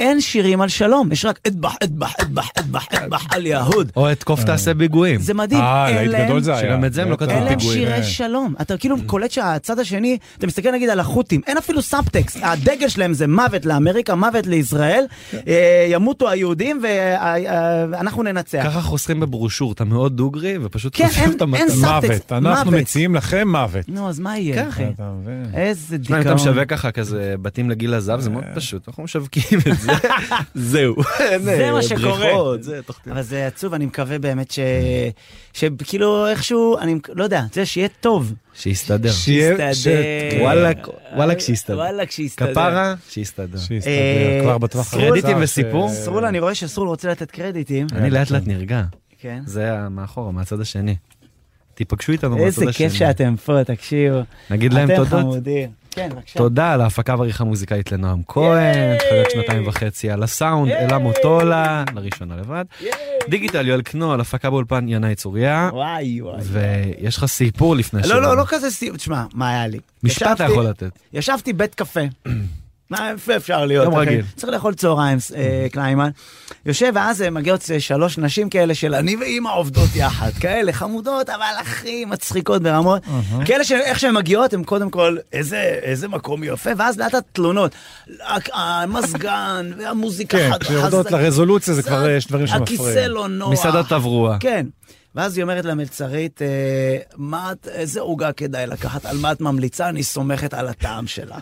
Speaker 1: אין שירים על שלום, יש רק אטבח, אטבח, אטבח, אטבח, אטבח על יהוד.
Speaker 2: או את קוף תעשה פיגועים.
Speaker 1: זה מדהים,
Speaker 3: אה,
Speaker 1: אין
Speaker 3: להיט
Speaker 1: להם
Speaker 3: גדול זה היה.
Speaker 2: שגם את זה הם לא כתבו
Speaker 1: אין להם
Speaker 2: פיגועים. Mm.
Speaker 1: שירי
Speaker 3: כן.
Speaker 1: שלום. אתה כאילו קולט שהצד השני, אתה מסתכל נגיד על החות'ים, אין אפילו סאבטקסט. הדגל שלהם זה מוות לאמריקה, מוות לישראל,
Speaker 2: כן.
Speaker 1: אה, ימותו היהודים ואנחנו ננצח.
Speaker 2: ככה חוסכים בברושור, אתה מאוד דוגרי ופשוט
Speaker 1: אה. כן,
Speaker 2: חושף
Speaker 1: אין-
Speaker 2: את המטרה.
Speaker 1: אין ספק.
Speaker 3: מוות, אנחנו
Speaker 1: מוות. כן.
Speaker 3: מציעים לכם מוות.
Speaker 1: נו, אז מה יהיה, אחי?
Speaker 3: אתה מבין?
Speaker 1: איזה
Speaker 2: תשמע, אם אתה
Speaker 1: דיכאון.
Speaker 2: משווק ככה כזה בתים לגיל הזהב, זה מאוד פשוט, אנחנו משווקים את זה. זהו. אין,
Speaker 1: זה מה
Speaker 2: אה,
Speaker 1: שקורה.
Speaker 2: בריכות, זה, תחתית.
Speaker 1: אבל זה עצוב, אני מקווה באמת ש... שכאילו איכשהו, אני לא יודע, אתה יודע, שיהיה טוב.
Speaker 2: שיסתדר.
Speaker 3: שיהיה-
Speaker 1: שיסתדר.
Speaker 2: וואלה, וואלה, כשיסתדר.
Speaker 1: וואלה, כשיסתדר.
Speaker 2: כפרה, שיסתדר.
Speaker 1: אה,
Speaker 3: שיסתדר כבר בטווח אה,
Speaker 1: סרול-
Speaker 3: הקצר
Speaker 2: קרדיטים
Speaker 3: ש-
Speaker 2: וסיפור?
Speaker 1: סרול, אני רואה שסרול רוצה לתת קרדיטים.
Speaker 2: אני לאט לאט נרגע.
Speaker 1: כן.
Speaker 2: זה ה- מאחורה, מהצד השני. תיפגשו איתנו מהצד
Speaker 1: איזה
Speaker 2: השני.
Speaker 1: כיף שאתם פה, תקשיבו.
Speaker 2: נגיד להם
Speaker 1: אתם
Speaker 2: תודות.
Speaker 1: חמודים. כן, בבקשה.
Speaker 2: תודה על ההפקה והעריכה המוזיקלית לנועם כהן, חיות שנתיים וחצי, על הסאונד, אלה מוטולה, לראשונה לבד. דיגיטל יואל קנו, על הפקה באולפן ינאי צוריה.
Speaker 1: וואי וואי.
Speaker 2: ויש לך סיפור לפני
Speaker 1: לא, לא,
Speaker 2: שלנו.
Speaker 1: לא כזה סיום, תשמע, מה היה לי?
Speaker 2: משפט אתה
Speaker 1: ישבתי-
Speaker 2: יכול לתת.
Speaker 1: ישבתי בית קפה. מה איפה אפשר להיות,
Speaker 2: יום
Speaker 1: אחי?
Speaker 2: רגיל.
Speaker 1: צריך לאכול צהריים, אה, קליימן. יושב, ואז אה, מגיעות אה, שלוש נשים כאלה של אני ואימא עובדות יחד. כאלה חמודות, אבל הכי מצחיקות ברמות. כאלה שאיך שהן מגיעות, הן קודם כל, "איזה- איזה מקום יפה, ואז לאט לאט תלונות. המזגן, והמוזיקה
Speaker 3: כן,
Speaker 1: חז-
Speaker 3: כשיורדות
Speaker 1: חזקה.
Speaker 3: לרזולוציה זה כבר, אה, יש דברים שמפריעים.
Speaker 1: הכיסא לא נוח.
Speaker 2: מסעדת תברואה.
Speaker 1: כן. ואז היא אומרת למלצרית, אה, מה את, איזה עוגה כדאי לקחת, על מה את ממליצה, אני סומכת על הטעם שלך.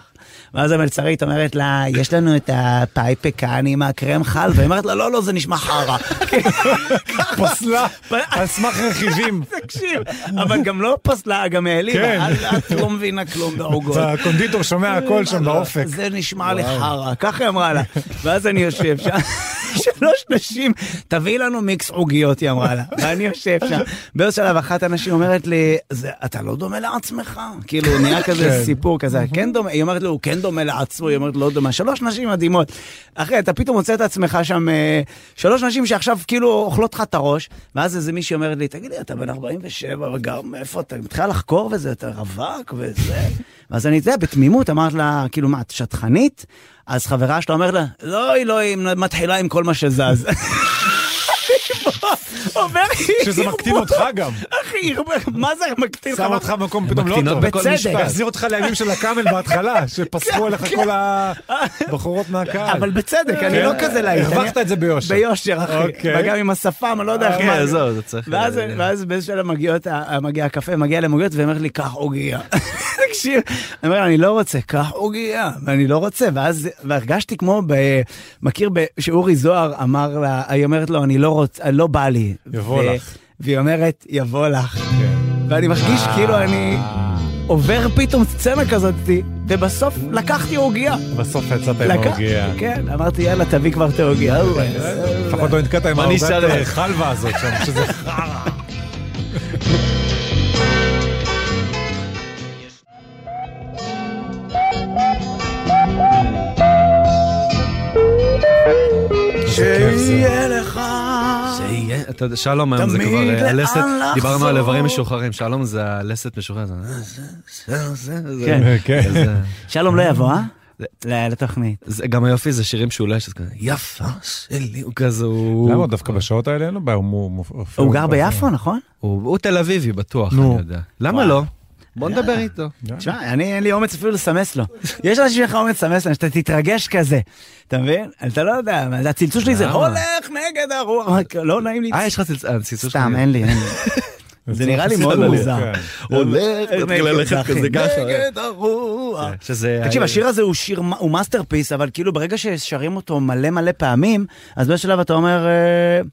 Speaker 1: ואז המלצרית אומרת לה, יש לנו את הפאי פקן עם הקרם חלבה, היא אומרת לה, לא, לא, זה נשמע חרא.
Speaker 3: פסלה על סמך רכיבים.
Speaker 1: תקשיב, אבל גם לא פסלה, גם
Speaker 3: כן.
Speaker 1: העלימה, את- את לא מבינה כלום בעוגות.
Speaker 3: הקונדיטור שומע הכל שם באופק.
Speaker 1: אה, לא, זה נשמע לי חרא, ככה היא אמרה לה. ואז אני יושב שם, שלוש נשים, תביאי לנו מיקס עוגיות, היא אמרה לה. ואני יושב שם. באיזה שלב אחת הנשים אומרת לי, "זה- אתה לא דומה לעצמך. כאילו, נהיה כזה
Speaker 3: כן.
Speaker 1: סיפור כזה, כן דומה, היא אומרת לו, הוא כן דומה לעצמו, היא אומרת, לא דומה. שלוש נשים מדהימות. אחי, אתה פתאום מוצא את עצמך שם, אה, שלוש נשים שעכשיו כאילו אוכלות לך את הראש, ואז איזה מישהי אומרת לי, תגיד לי, אתה בן 47 וגר מאיפה אתה, מתחילה לחקור וזה, אתה רווק וזה. ואז אני, אתה יודע, בתמימות אמרת לה, כאילו, מה, את שטחנית? אז חברה שלה אומרת לה, לא, היא לא, היא מתחילה עם כל מה שזז. אומר לי,
Speaker 3: שזה מקטין אותך גם.
Speaker 1: אחי, מה זה מקטין?
Speaker 3: שם אותך במקום פתאום לא
Speaker 2: מקטינות
Speaker 3: טוב.
Speaker 2: בכל
Speaker 1: בצדק. כן. משפט.
Speaker 3: להחזיר אותך לימים של הקאמל בהתחלה, שפסחו עליך כל הבחורות מהקהל.
Speaker 1: אבל בצדק, אני
Speaker 3: כן.
Speaker 1: לא כזה להיט. אני-
Speaker 3: הרווחת את זה ביושר.
Speaker 1: ביושר, אחי.
Speaker 3: אוקיי.
Speaker 1: וגם עם השפם, אני לא יודע איך
Speaker 2: אוקיי,
Speaker 1: מה.
Speaker 2: עזוב, זה צריך-
Speaker 1: ואז- ואז באיזשהו שלב מגיעות ה- מגיע הקפה, מגיע למוגיות, ואומרת לי, קח עוגייה. תקשיב, אני אומר, לה, אני לא רוצה, קח עוגייה, ואני לא רוצה, ואז, והרגשתי כמו, ב- מכיר ב- שאורי זוהר אמר לה, היא אומרת לו, אני לא רוצה, לא בא לי.
Speaker 3: יבוא
Speaker 1: ו-
Speaker 3: לך.
Speaker 1: והיא אומרת, יבוא לך.
Speaker 3: כן.
Speaker 1: ואני מרגיש כאילו אני עובר פתאום סצנה כזאת, ובסוף לקחתי עוגייה.
Speaker 3: בסוף יצאת עם
Speaker 1: לקח-
Speaker 3: העוגיה.
Speaker 1: כן, אמרתי, יאללה, תביא כבר את העוגיה.
Speaker 3: לפחות לא נתקעת עם
Speaker 2: מה נשאר
Speaker 3: העוגת
Speaker 2: לך?
Speaker 3: חלבה הזאת שם, שזה חרא. איזה כיף זה.
Speaker 1: שיהיה לך...
Speaker 2: שיהיה, אתה יודע, שלום היום זה
Speaker 1: תמיד
Speaker 2: כבר אה,
Speaker 1: לאן
Speaker 2: הלסת, דיברנו
Speaker 1: לחזור.
Speaker 2: על איברים משוחררים, שלום זה הלסת משוחררת, זה, אה, זה, זה, זה, זה.
Speaker 1: כן.
Speaker 3: כן.
Speaker 2: זה-
Speaker 1: שלום לא יבוא, אה?
Speaker 2: זה-
Speaker 1: ל- לתוכנית.
Speaker 2: זה גם היופי זה שירים שהוא לא יש, אז כזה, יפה שלי, הוא כזה, הוא...
Speaker 3: למה דווקא בשעות האלה אין לו בעיה? הוא מופיע-
Speaker 1: הוא גר ביפו, נכון?
Speaker 2: הוא הוא תל אביבי בטוח,
Speaker 3: נו.
Speaker 2: אני יודע. למה לא? בוא
Speaker 1: אה.
Speaker 2: נדבר איתו.
Speaker 1: תשמע, אני אין לי אומץ אפילו לסמס לו. יש אנשים שאין לך אומץ לסמס להם, שאתה תתרגש כזה. אתה מבין? אתה לא יודע, מה זה, הצלצול שלי זה
Speaker 2: למה?
Speaker 1: הולך נגד הרוח, רק לא נעים לי.
Speaker 2: אה, יש לך צלצ- אה, צלצול
Speaker 1: סתם, אין לי, אין לי. זה נראה לי מאוד
Speaker 2: צלצול.
Speaker 1: מוזר.
Speaker 3: כן.
Speaker 2: הולך, מתחיל ללכת כזה ככה. אה,
Speaker 1: נגד הרוח.
Speaker 2: שזה...
Speaker 1: תקשיב, השיר הזה הוא שיר, הוא מאסטרפיס, אבל כאילו ברגע ששרים אותו מלא מלא פעמים, אז באיזשהו שלב אתה אומר, אה,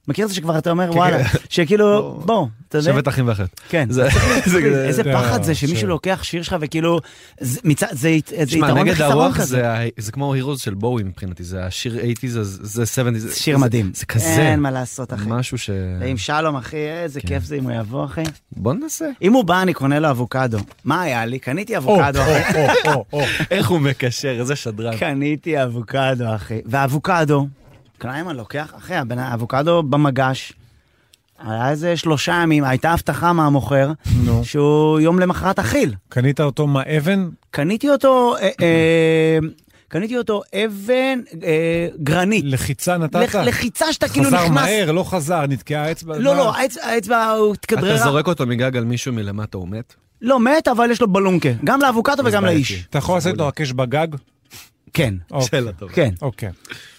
Speaker 1: מכיר את זה שכבר אתה אומר
Speaker 2: כן.
Speaker 1: וואלה, שכאילו, בוא, אתה יודע,
Speaker 2: שבת אחים ואחת.
Speaker 1: כן.
Speaker 2: זה- זה כזה- אה,
Speaker 1: איזה
Speaker 3: זה-
Speaker 1: פחד זה
Speaker 3: זה-
Speaker 1: שמישהו לוקח שיר שלך וכאילו, זה מצד- זה הת- זה
Speaker 2: תשמע,
Speaker 1: יתרון
Speaker 2: נגד
Speaker 1: וחיסרון
Speaker 2: הרוח
Speaker 1: כזה.
Speaker 2: זה ה- זה כמו הירוז של בואי מבחינתי, זה השיר 80's, זה- זה 70's.
Speaker 1: זה שיר
Speaker 2: זה-
Speaker 1: מדהים.
Speaker 2: זה כזה. כן.
Speaker 1: אין מה לעשות, אחי.
Speaker 2: משהו ש...
Speaker 1: ועם שלום אחי, איזה כיף זה אם הוא יבוא אחי.
Speaker 2: בוא ננסה.
Speaker 1: אם הוא בא אני קונה לו אבוקדו. מה היה לי? קניתי
Speaker 3: או,
Speaker 1: אבוקדו
Speaker 3: או,
Speaker 1: אחי.
Speaker 3: או, או, או.
Speaker 2: איך הוא מקשר, איזה שדרן.
Speaker 1: כן, קניתי אבוקדו, אחי. ואבוקדו, קליימן לוקח, אחי, הבן- האבוקדו במגש. היה איזה שלושה ימים, הייתה הבטחה מהמוכר,
Speaker 3: נו.
Speaker 1: שהוא יום למחרת אכיל.
Speaker 3: קנית אותו מהאבן?
Speaker 1: קניתי אותו, אה, אה, קניתי אותו אבן אה, גרנית.
Speaker 3: לחיצה נתת?
Speaker 1: לח- לחיצה שאתה כאילו נכנס...
Speaker 3: חזר מהר, לא חזר, נתקעה האצבע.
Speaker 1: לא, לא,
Speaker 3: מה?
Speaker 1: האצ- האצבע הוא התכדררה.
Speaker 2: אתה זורק אותו מגג על מישהו מלמטה, הוא מת?
Speaker 1: לא, מת, אבל יש לו בלונקה. גם לאבוקדו וגם
Speaker 2: בעייתי.
Speaker 1: לאיש.
Speaker 3: אתה יכול לעשות לו הקש בגג?
Speaker 1: כן,
Speaker 3: אוקיי.
Speaker 2: שאלה טובה.
Speaker 1: כן.
Speaker 3: אוקיי.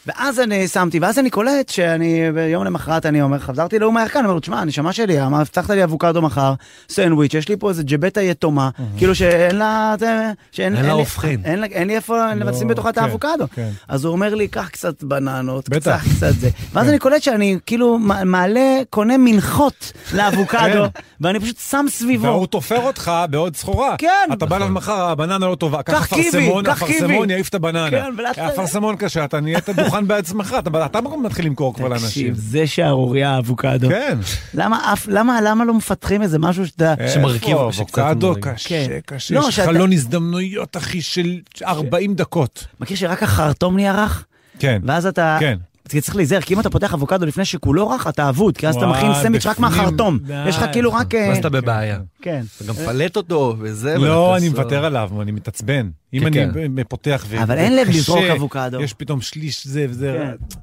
Speaker 1: ואז אני שמתי, ואז אני קולט שאני, ביום למחרת אני אומר, חזרתי לאום הירקן, אני אומר, תשמע, הנשמה שלי, אמר, הבטחת לי אבוקדו מחר, סנדוויץ', יש לי פה איזה ג'בטה יתומה, כאילו שאין לה, זה- שאין
Speaker 2: אין לה
Speaker 1: לי-
Speaker 2: הופכין.
Speaker 1: אין לה- אין לי איפה לבצעים בתוכה את
Speaker 3: כן,
Speaker 1: האבוקדו.
Speaker 3: כן.
Speaker 1: אז הוא אומר לי, קח קצת בננות,
Speaker 3: בטח. כן.
Speaker 1: קח קצת זה. ואז אני קולט שאני כאילו מ- מעלה, קונה מנחות לאבוקדו, ואני פשוט שם סביבו.
Speaker 3: כן. והוא תופר אותך בעוד סחורה.
Speaker 1: כן.
Speaker 3: אתה בא אליו מחר, הבננה לא טובה.
Speaker 1: קח קיבי,
Speaker 3: אפרסמון,
Speaker 1: קח קיבי.
Speaker 3: אפרסמון יעיף את הבננה.
Speaker 1: כן, ולאט-
Speaker 3: אפרסמון קשה, אתה נהיית דוכן בעצמך, אתה- אתה במקום מתחיל למכור כבר לאנשים.
Speaker 1: תקשיב, זה שערורייה האבוקדו.
Speaker 3: כן.
Speaker 1: למה אף, למה, למה לא מפתחים איזה משהו שאתה...
Speaker 2: שמרכיב,
Speaker 3: איפה?
Speaker 2: שקצת
Speaker 3: אבוקדו
Speaker 2: מוריד.
Speaker 1: כן.
Speaker 3: קשה, קשה.
Speaker 1: לא,
Speaker 3: יש
Speaker 1: שאתה-
Speaker 3: חלון הזדמנויות, אחי, של 40 דקות.
Speaker 1: מכיר שרק החרטום נהיה רך?
Speaker 3: כן.
Speaker 1: ואז אתה...
Speaker 3: כן.
Speaker 1: אתה צריך להיזהר, כי אם אתה פותח אבוקדו לפני שכולו רך, אתה אבוד, כי אז אתה
Speaker 3: וואי,
Speaker 1: מכין סנדוויץ' רק
Speaker 3: בפנים,
Speaker 1: מהחרטום.
Speaker 3: די.
Speaker 1: יש לך כאילו רק... אה,
Speaker 2: ואז אתה בבעיה.
Speaker 1: כן.
Speaker 2: אתה גם מפלט אותו וזה.
Speaker 3: לא,
Speaker 2: ואתה
Speaker 3: אני
Speaker 2: עושה-
Speaker 3: מוותר עליו, אני מתעצבן. אם
Speaker 2: כן,
Speaker 3: אני
Speaker 2: כן.
Speaker 3: ב- פותח ו...
Speaker 1: אבל אין לב
Speaker 3: וקשה,
Speaker 1: לזרוק אבוקדו.
Speaker 3: יש פתאום שליש זה וזה.
Speaker 1: כן.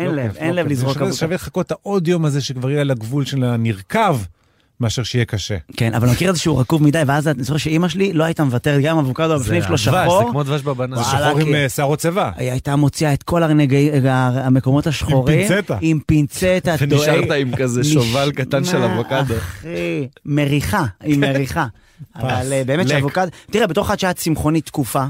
Speaker 1: אין
Speaker 3: לא
Speaker 1: לב,
Speaker 3: כיף,
Speaker 1: אין
Speaker 3: לא
Speaker 1: לב
Speaker 3: כיף.
Speaker 1: לזרוק
Speaker 3: שווה-
Speaker 1: אבוקדו.
Speaker 3: שווה לחכות את העוד יום הזה שכבר יהיה על הגבול של הנרקב, מאשר שיהיה קשה.
Speaker 1: כן, אבל אני מכיר את זה שהוא רקוב מדי, ואז אני זוכר שאימא שלי לא הייתה מוותרת, גם אם אבוקדו בפנים שלו
Speaker 2: הדבש, זה
Speaker 1: שחור,
Speaker 2: כמו דבש בבנה.
Speaker 1: וואלה, כן.
Speaker 3: שחור עם
Speaker 1: כי-
Speaker 3: אה, שערות שיבה.
Speaker 1: היא הייתה מוציאה את כל הנגעים, המקומות השחורים,
Speaker 3: פינצטה.
Speaker 1: עם פינצטה,
Speaker 2: ונשארת עם כזה שובל קטן של
Speaker 1: נשמע,
Speaker 2: אבוקדו.
Speaker 1: אחי, מריחה, עם מריחה. אבל אה, באמת
Speaker 2: לק.
Speaker 1: שאבוקדו, תראה, בתוך עד שאת צמחונית תקופה,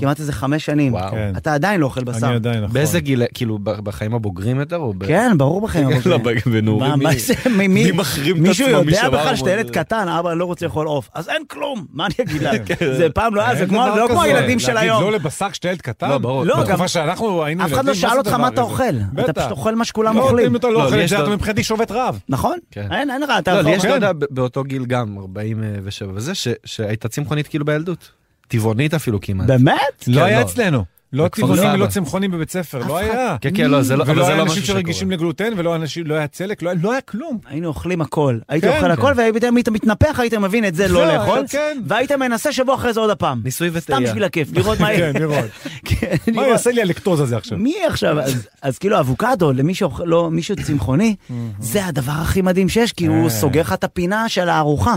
Speaker 1: כמעט איזה חמש שנים,
Speaker 2: וואו.
Speaker 3: כן.
Speaker 1: אתה עדיין לא אוכל בשר.
Speaker 3: אני עדיין, נכון.
Speaker 2: באיזה גיל, כאילו, ב- בחיים הבוגרים יותר או ב...
Speaker 1: כן, ברור בחיים. אבל-
Speaker 2: לא, ב- בנעורים,
Speaker 1: מה-
Speaker 2: מי-
Speaker 1: מה זה, מי- מי-
Speaker 2: מי מחרים את
Speaker 1: מישהו
Speaker 2: עצמו
Speaker 1: יודע
Speaker 2: משאר
Speaker 1: בכלל שאתה ילד
Speaker 2: המודל?
Speaker 1: קטן, אבא אני לא רוצה לאכול עוף, אז אין כלום, מה אני אגיד להם? זה פעם לא היה, זה
Speaker 3: כן. אין
Speaker 1: כמו-
Speaker 3: דבר
Speaker 1: לא כמו
Speaker 3: כזה.
Speaker 1: הילדים של
Speaker 3: להגיד
Speaker 1: היום.
Speaker 3: לא לבשר כשאתה ילד קטן?
Speaker 2: לא, ברור.
Speaker 1: לא, גם-
Speaker 3: בתקופה שאנחנו היינו
Speaker 1: אף אחד לא
Speaker 3: ילדים,
Speaker 1: שאל
Speaker 3: זה
Speaker 1: אותך מה
Speaker 3: הדבר
Speaker 1: אתה
Speaker 3: הזה?
Speaker 1: אוכל, אתה
Speaker 3: בטח.
Speaker 1: פשוט אוכל מה שכולם
Speaker 3: לא,
Speaker 1: אוכלים.
Speaker 3: אם אתה
Speaker 2: לא,
Speaker 3: לא אוכל את
Speaker 2: יש
Speaker 3: זה,
Speaker 2: לו-
Speaker 3: אתה מבחינתי שובת רעב.
Speaker 1: נכון?
Speaker 2: כן.
Speaker 1: אין, אין רע, אתה
Speaker 2: לא, לי
Speaker 1: יכול-
Speaker 2: יש,
Speaker 1: כן.
Speaker 2: אתה יודע, ב- באותו גיל גם, 47 וזה, ש- שהייתה צמחונית כאילו בילדות. טבעונית אפילו כמעט.
Speaker 1: באמת?
Speaker 3: לא
Speaker 2: כן,
Speaker 3: היה
Speaker 2: לא.
Speaker 3: אצלנו. לא
Speaker 2: בכפר
Speaker 3: טבעונים
Speaker 2: סבא.
Speaker 3: ולא צמחונים בבית ספר, לא היה.
Speaker 2: כן, כן, לא, זה לא, אבל
Speaker 3: ולא
Speaker 2: זה
Speaker 3: היה
Speaker 2: לא
Speaker 3: אנשים
Speaker 2: משהו שקורה.
Speaker 3: שרגישים לגלוטן, ולא אנשים- לא היה צלק, לא היה- לא היה כלום.
Speaker 1: היינו אוכלים הכל, היית
Speaker 3: כן,
Speaker 1: אוכל
Speaker 3: כן.
Speaker 1: הכל, והיית מתנפח, היית מבין את זה לא
Speaker 3: כן,
Speaker 1: לאכול,
Speaker 3: כן.
Speaker 1: והיית מנסה שבוע אחרי זה עוד הפעם.
Speaker 2: ניסוי
Speaker 1: סתם
Speaker 2: וטעייה.
Speaker 1: בשביל הכיף, לראות מה יהיה.
Speaker 3: כן, לראות.
Speaker 1: כן,
Speaker 3: מה
Speaker 1: לראות.
Speaker 3: יעשה לי הלקטוז הזה עכשיו?
Speaker 1: מי עכשיו, אז- אז כאילו אבוקדו, למי שאוכל- לא, מישהו צמחוני, זה הדבר הכי מדהים שיש, כי הוא
Speaker 3: כן.
Speaker 1: סוגר לך את הפינה של הארוחה.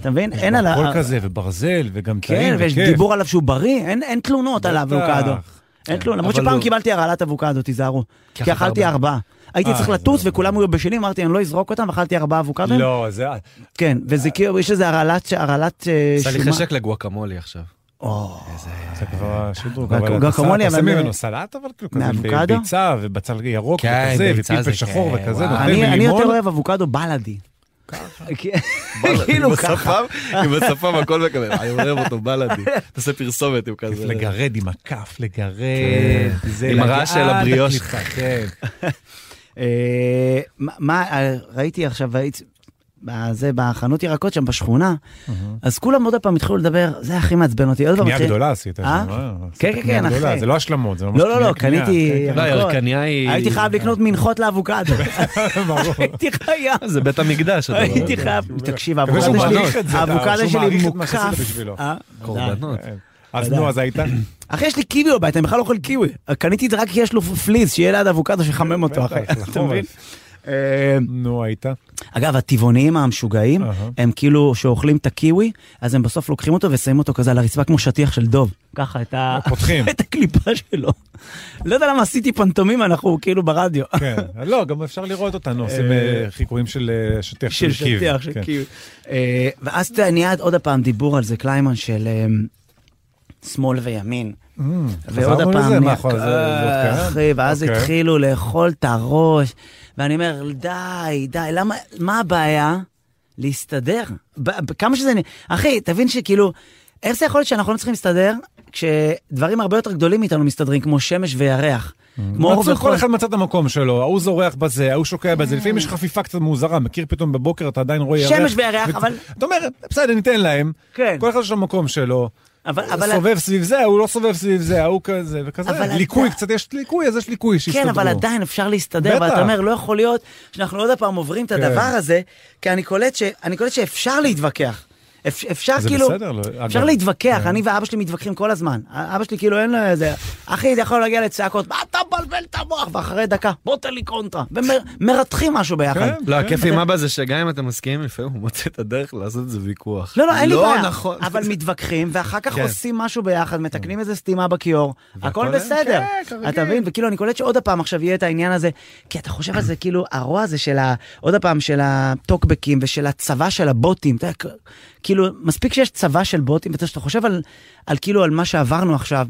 Speaker 1: אתה מבין? אין עליו...
Speaker 3: הכל כזה, וברזל, וגם
Speaker 1: כן,
Speaker 3: טעים,
Speaker 1: ויש
Speaker 3: וכיף.
Speaker 1: דיבור עליו שהוא בריא, אין אין תלונות על האבוקדו. אין תלונות, למרות
Speaker 2: אבל
Speaker 1: שפעם
Speaker 2: הוא-
Speaker 1: קיבלתי הרעלת אבוקדו, תיזהרו.
Speaker 2: כי
Speaker 1: כי
Speaker 2: אכלת
Speaker 1: אכלתי
Speaker 2: הרבה.
Speaker 1: ארבעה. הייתי
Speaker 3: אה,
Speaker 1: צריך
Speaker 3: זה
Speaker 1: לטוס וכולם היו בשלים, אמרתי אני לא אזרוק אותם, אכלתי ארבעה אבוקדו.
Speaker 3: לא, זה...
Speaker 1: כן, וזה כאילו, יש איזה הרעלת הרעלת, אה,
Speaker 2: עשה לי
Speaker 1: שומן.
Speaker 2: חשק לגואקמולי עכשיו.
Speaker 1: או,
Speaker 3: זה כבר שדרוג.
Speaker 1: אבל
Speaker 3: אבל
Speaker 1: גם
Speaker 3: אתה שם-
Speaker 1: כמוני,
Speaker 3: אתה
Speaker 1: אבל-
Speaker 3: שם ממנו סלט, אבל כאילו כזה,
Speaker 1: מאבוקדו?
Speaker 3: ביצה ובצל ירוק
Speaker 2: כן,
Speaker 3: וכזה,
Speaker 2: ביצה
Speaker 3: ופלפל
Speaker 2: זה
Speaker 3: שחור
Speaker 2: כן,
Speaker 3: וכזה,
Speaker 2: וואו.
Speaker 3: נותן
Speaker 1: אני אני יותר
Speaker 3: בלימון.
Speaker 1: אוהב אבוקדו בלאדי. כן, כאילו ככה.
Speaker 2: עם השפם הכל מקבל. אני אוהב אותו, בלאדי. אתה עושה פרסומת עם כזה.
Speaker 3: לגרד עם הכף, לגרד, זה
Speaker 2: כן. עם הרעש
Speaker 3: לגעת,
Speaker 2: של הבריאוש.
Speaker 3: הכניסה, כן.
Speaker 1: אה, מה- מה, אה, ראיתי עכשיו, הייתי- בזה, בחנות ירקות שם בשכונה, אז כולם עוד פעם התחילו לדבר, זה הכי מעצבן אותי. עוד פעם
Speaker 3: קנייה
Speaker 1: התחיל-
Speaker 3: גדולה עשית.
Speaker 1: לא, אה?
Speaker 3: מה?
Speaker 1: כן,
Speaker 3: עשית
Speaker 1: כן,
Speaker 3: קנייה
Speaker 1: כן,
Speaker 3: גדולה,
Speaker 1: אחי.
Speaker 3: זה לא השלמות, זה ממש
Speaker 1: לא, לא, לא,
Speaker 3: קנייה,
Speaker 1: קניתי
Speaker 3: כן,
Speaker 2: לא,
Speaker 1: ירקות.
Speaker 2: ירקניה היא...
Speaker 1: הייתי חייב לקנות מנחות לאבוקדו.
Speaker 3: כן, ברור.
Speaker 1: הייתי חייב.
Speaker 2: זה בית המקדש. הדבר
Speaker 1: הייתי
Speaker 2: הזה.
Speaker 1: חייב, תקשיב,
Speaker 3: מקווה
Speaker 1: האבוקדו
Speaker 3: שהוא מעריך את
Speaker 1: שלי,
Speaker 3: זה,
Speaker 1: האבוקדו
Speaker 3: שהוא
Speaker 1: שלי
Speaker 3: מעריך את מה
Speaker 1: מוקף.
Speaker 3: שעשית בשבילו.
Speaker 1: אה?
Speaker 2: קורבנות.
Speaker 3: כן. אז
Speaker 1: ודאי.
Speaker 3: נו, אז היית?
Speaker 1: אחי, יש לי קיווי בבית, אני בכלל לא אוכל קיווי. קניתי את זה רק כי יש לו פליז, שיהיה ליד אבוקדו שיחמם אותו אחי.
Speaker 3: בטח, נכון.
Speaker 1: אתה מבין?
Speaker 3: אה, נו, היית?
Speaker 1: אגב, הטבעוניים המשוגעים,
Speaker 3: אהה.
Speaker 1: הם כאילו, שאוכלים את הקיווי, אז הם בסוף לוקחים אותו ושמים אותו כזה על הרצפה כמו שטיח של דוב. ככה, את ה-
Speaker 3: פותחים.
Speaker 1: את הקליפה שלו. לא יודע למה עשיתי פנטומים, אנחנו כאילו ברדיו.
Speaker 3: כן. לא, גם אפשר לראות אותנו, עושים
Speaker 1: אה,
Speaker 3: אה, חיקויים של אה, שטיח
Speaker 1: של
Speaker 3: קיב.
Speaker 1: שטיח, של
Speaker 3: כן.
Speaker 1: קיב. אה, ואז אתה יודע, נהיה עוד הפעם דיבור על זה, קליימן, של אה, שמאל וימין. ועוד
Speaker 3: Mm, חזרנו לזה?
Speaker 1: הפעם,
Speaker 3: מה,
Speaker 1: נהיה-
Speaker 3: יכול- זה- זה עוד
Speaker 1: אה,
Speaker 3: קיים?
Speaker 1: אחי, ואז
Speaker 3: אוקיי.
Speaker 1: התחילו לאכול את הראש, ואני אומר, די, די, למה, מה הבעיה? להסתדר. ב- ב- כמה שזה... נ- אחי, תבין שכאילו, איך זה יכול להיות שאנחנו לא צריכים להסתדר כשדברים הרבה יותר גדולים מאיתנו מסתדרים, כמו שמש וירח? כמו אור
Speaker 3: Mm. מצאו
Speaker 1: וחול.
Speaker 3: כל אחד מצא את המקום שלו, ההוא זורח בזה, ההוא שוקע בזה, לפעמים יש חפיפה קצת מוזרה, מכיר פתאום בבוקר, אתה עדיין רואה ירח.
Speaker 1: שמש וירח, אבל-
Speaker 3: אתה אומר, בסדר, ניתן להם.
Speaker 1: כן.
Speaker 3: כל אחד יש לו המקום שלו.
Speaker 1: אבל-
Speaker 3: הוא
Speaker 1: אבל-
Speaker 3: סובב סביב זה, ההוא לא סובב סביב זה, ההוא כזה וכזה.
Speaker 1: אבל
Speaker 3: ליקוי,
Speaker 1: אתה-
Speaker 3: קצת יש ליקוי, אז יש ליקוי
Speaker 1: כן,
Speaker 3: שיסתדרו.
Speaker 1: אבל עדיין אפשר להסתדר,
Speaker 3: בטח. כן.
Speaker 1: ואתה אומר, לא יכול להיות שאנחנו עוד הפעם עוברים את הדבר הזה, כי אני קולט, ש... אני קולט שאפשר להתווכח. אפ... אפשר
Speaker 3: זה
Speaker 1: כאילו,
Speaker 3: בסדר, לא- אגב,
Speaker 1: אפשר להתווכח,
Speaker 3: כן.
Speaker 1: אני ואבא שלי מתווכחים כל הזמן. אבא שלי כאילו אין לו איזה, אחי, זה יכול להגיע לצעקות, מה אתה מבלבל את המוח? ואחרי דקה, בוא תן לי קונטרה. ומרתחים משהו ביחד.
Speaker 3: כן.
Speaker 2: לא, הכיף עם אבא זה שגם אם אתם מסכימים, לפעמים הוא מוצא את הדרך לעשות את זה ויכוח.
Speaker 1: לא, לא, אין לי בעיה.
Speaker 2: לא נכון.
Speaker 1: אבל מתווכחים, ואחר כך
Speaker 2: כן.
Speaker 1: עושים משהו ביחד, מתקנים איזה סתימה בכיור, הכל
Speaker 2: והכל-
Speaker 1: בסדר.
Speaker 2: כן, כרגיל.
Speaker 1: אתה מבין? וכאילו, אני קולט שעוד הפעם עכשיו יהיה את העניין הזה, כי אתה חושב על זה, כאילו, הרוע הזה של ה... עוד הפעם, של הטוקבקים ושל הצבא של הבוטים. אתה יודע, כ- כאילו, מספיק שיש צבא של בוטים, ואתה שאתה חושב על, על כאילו, על מה שעברנו עכשיו.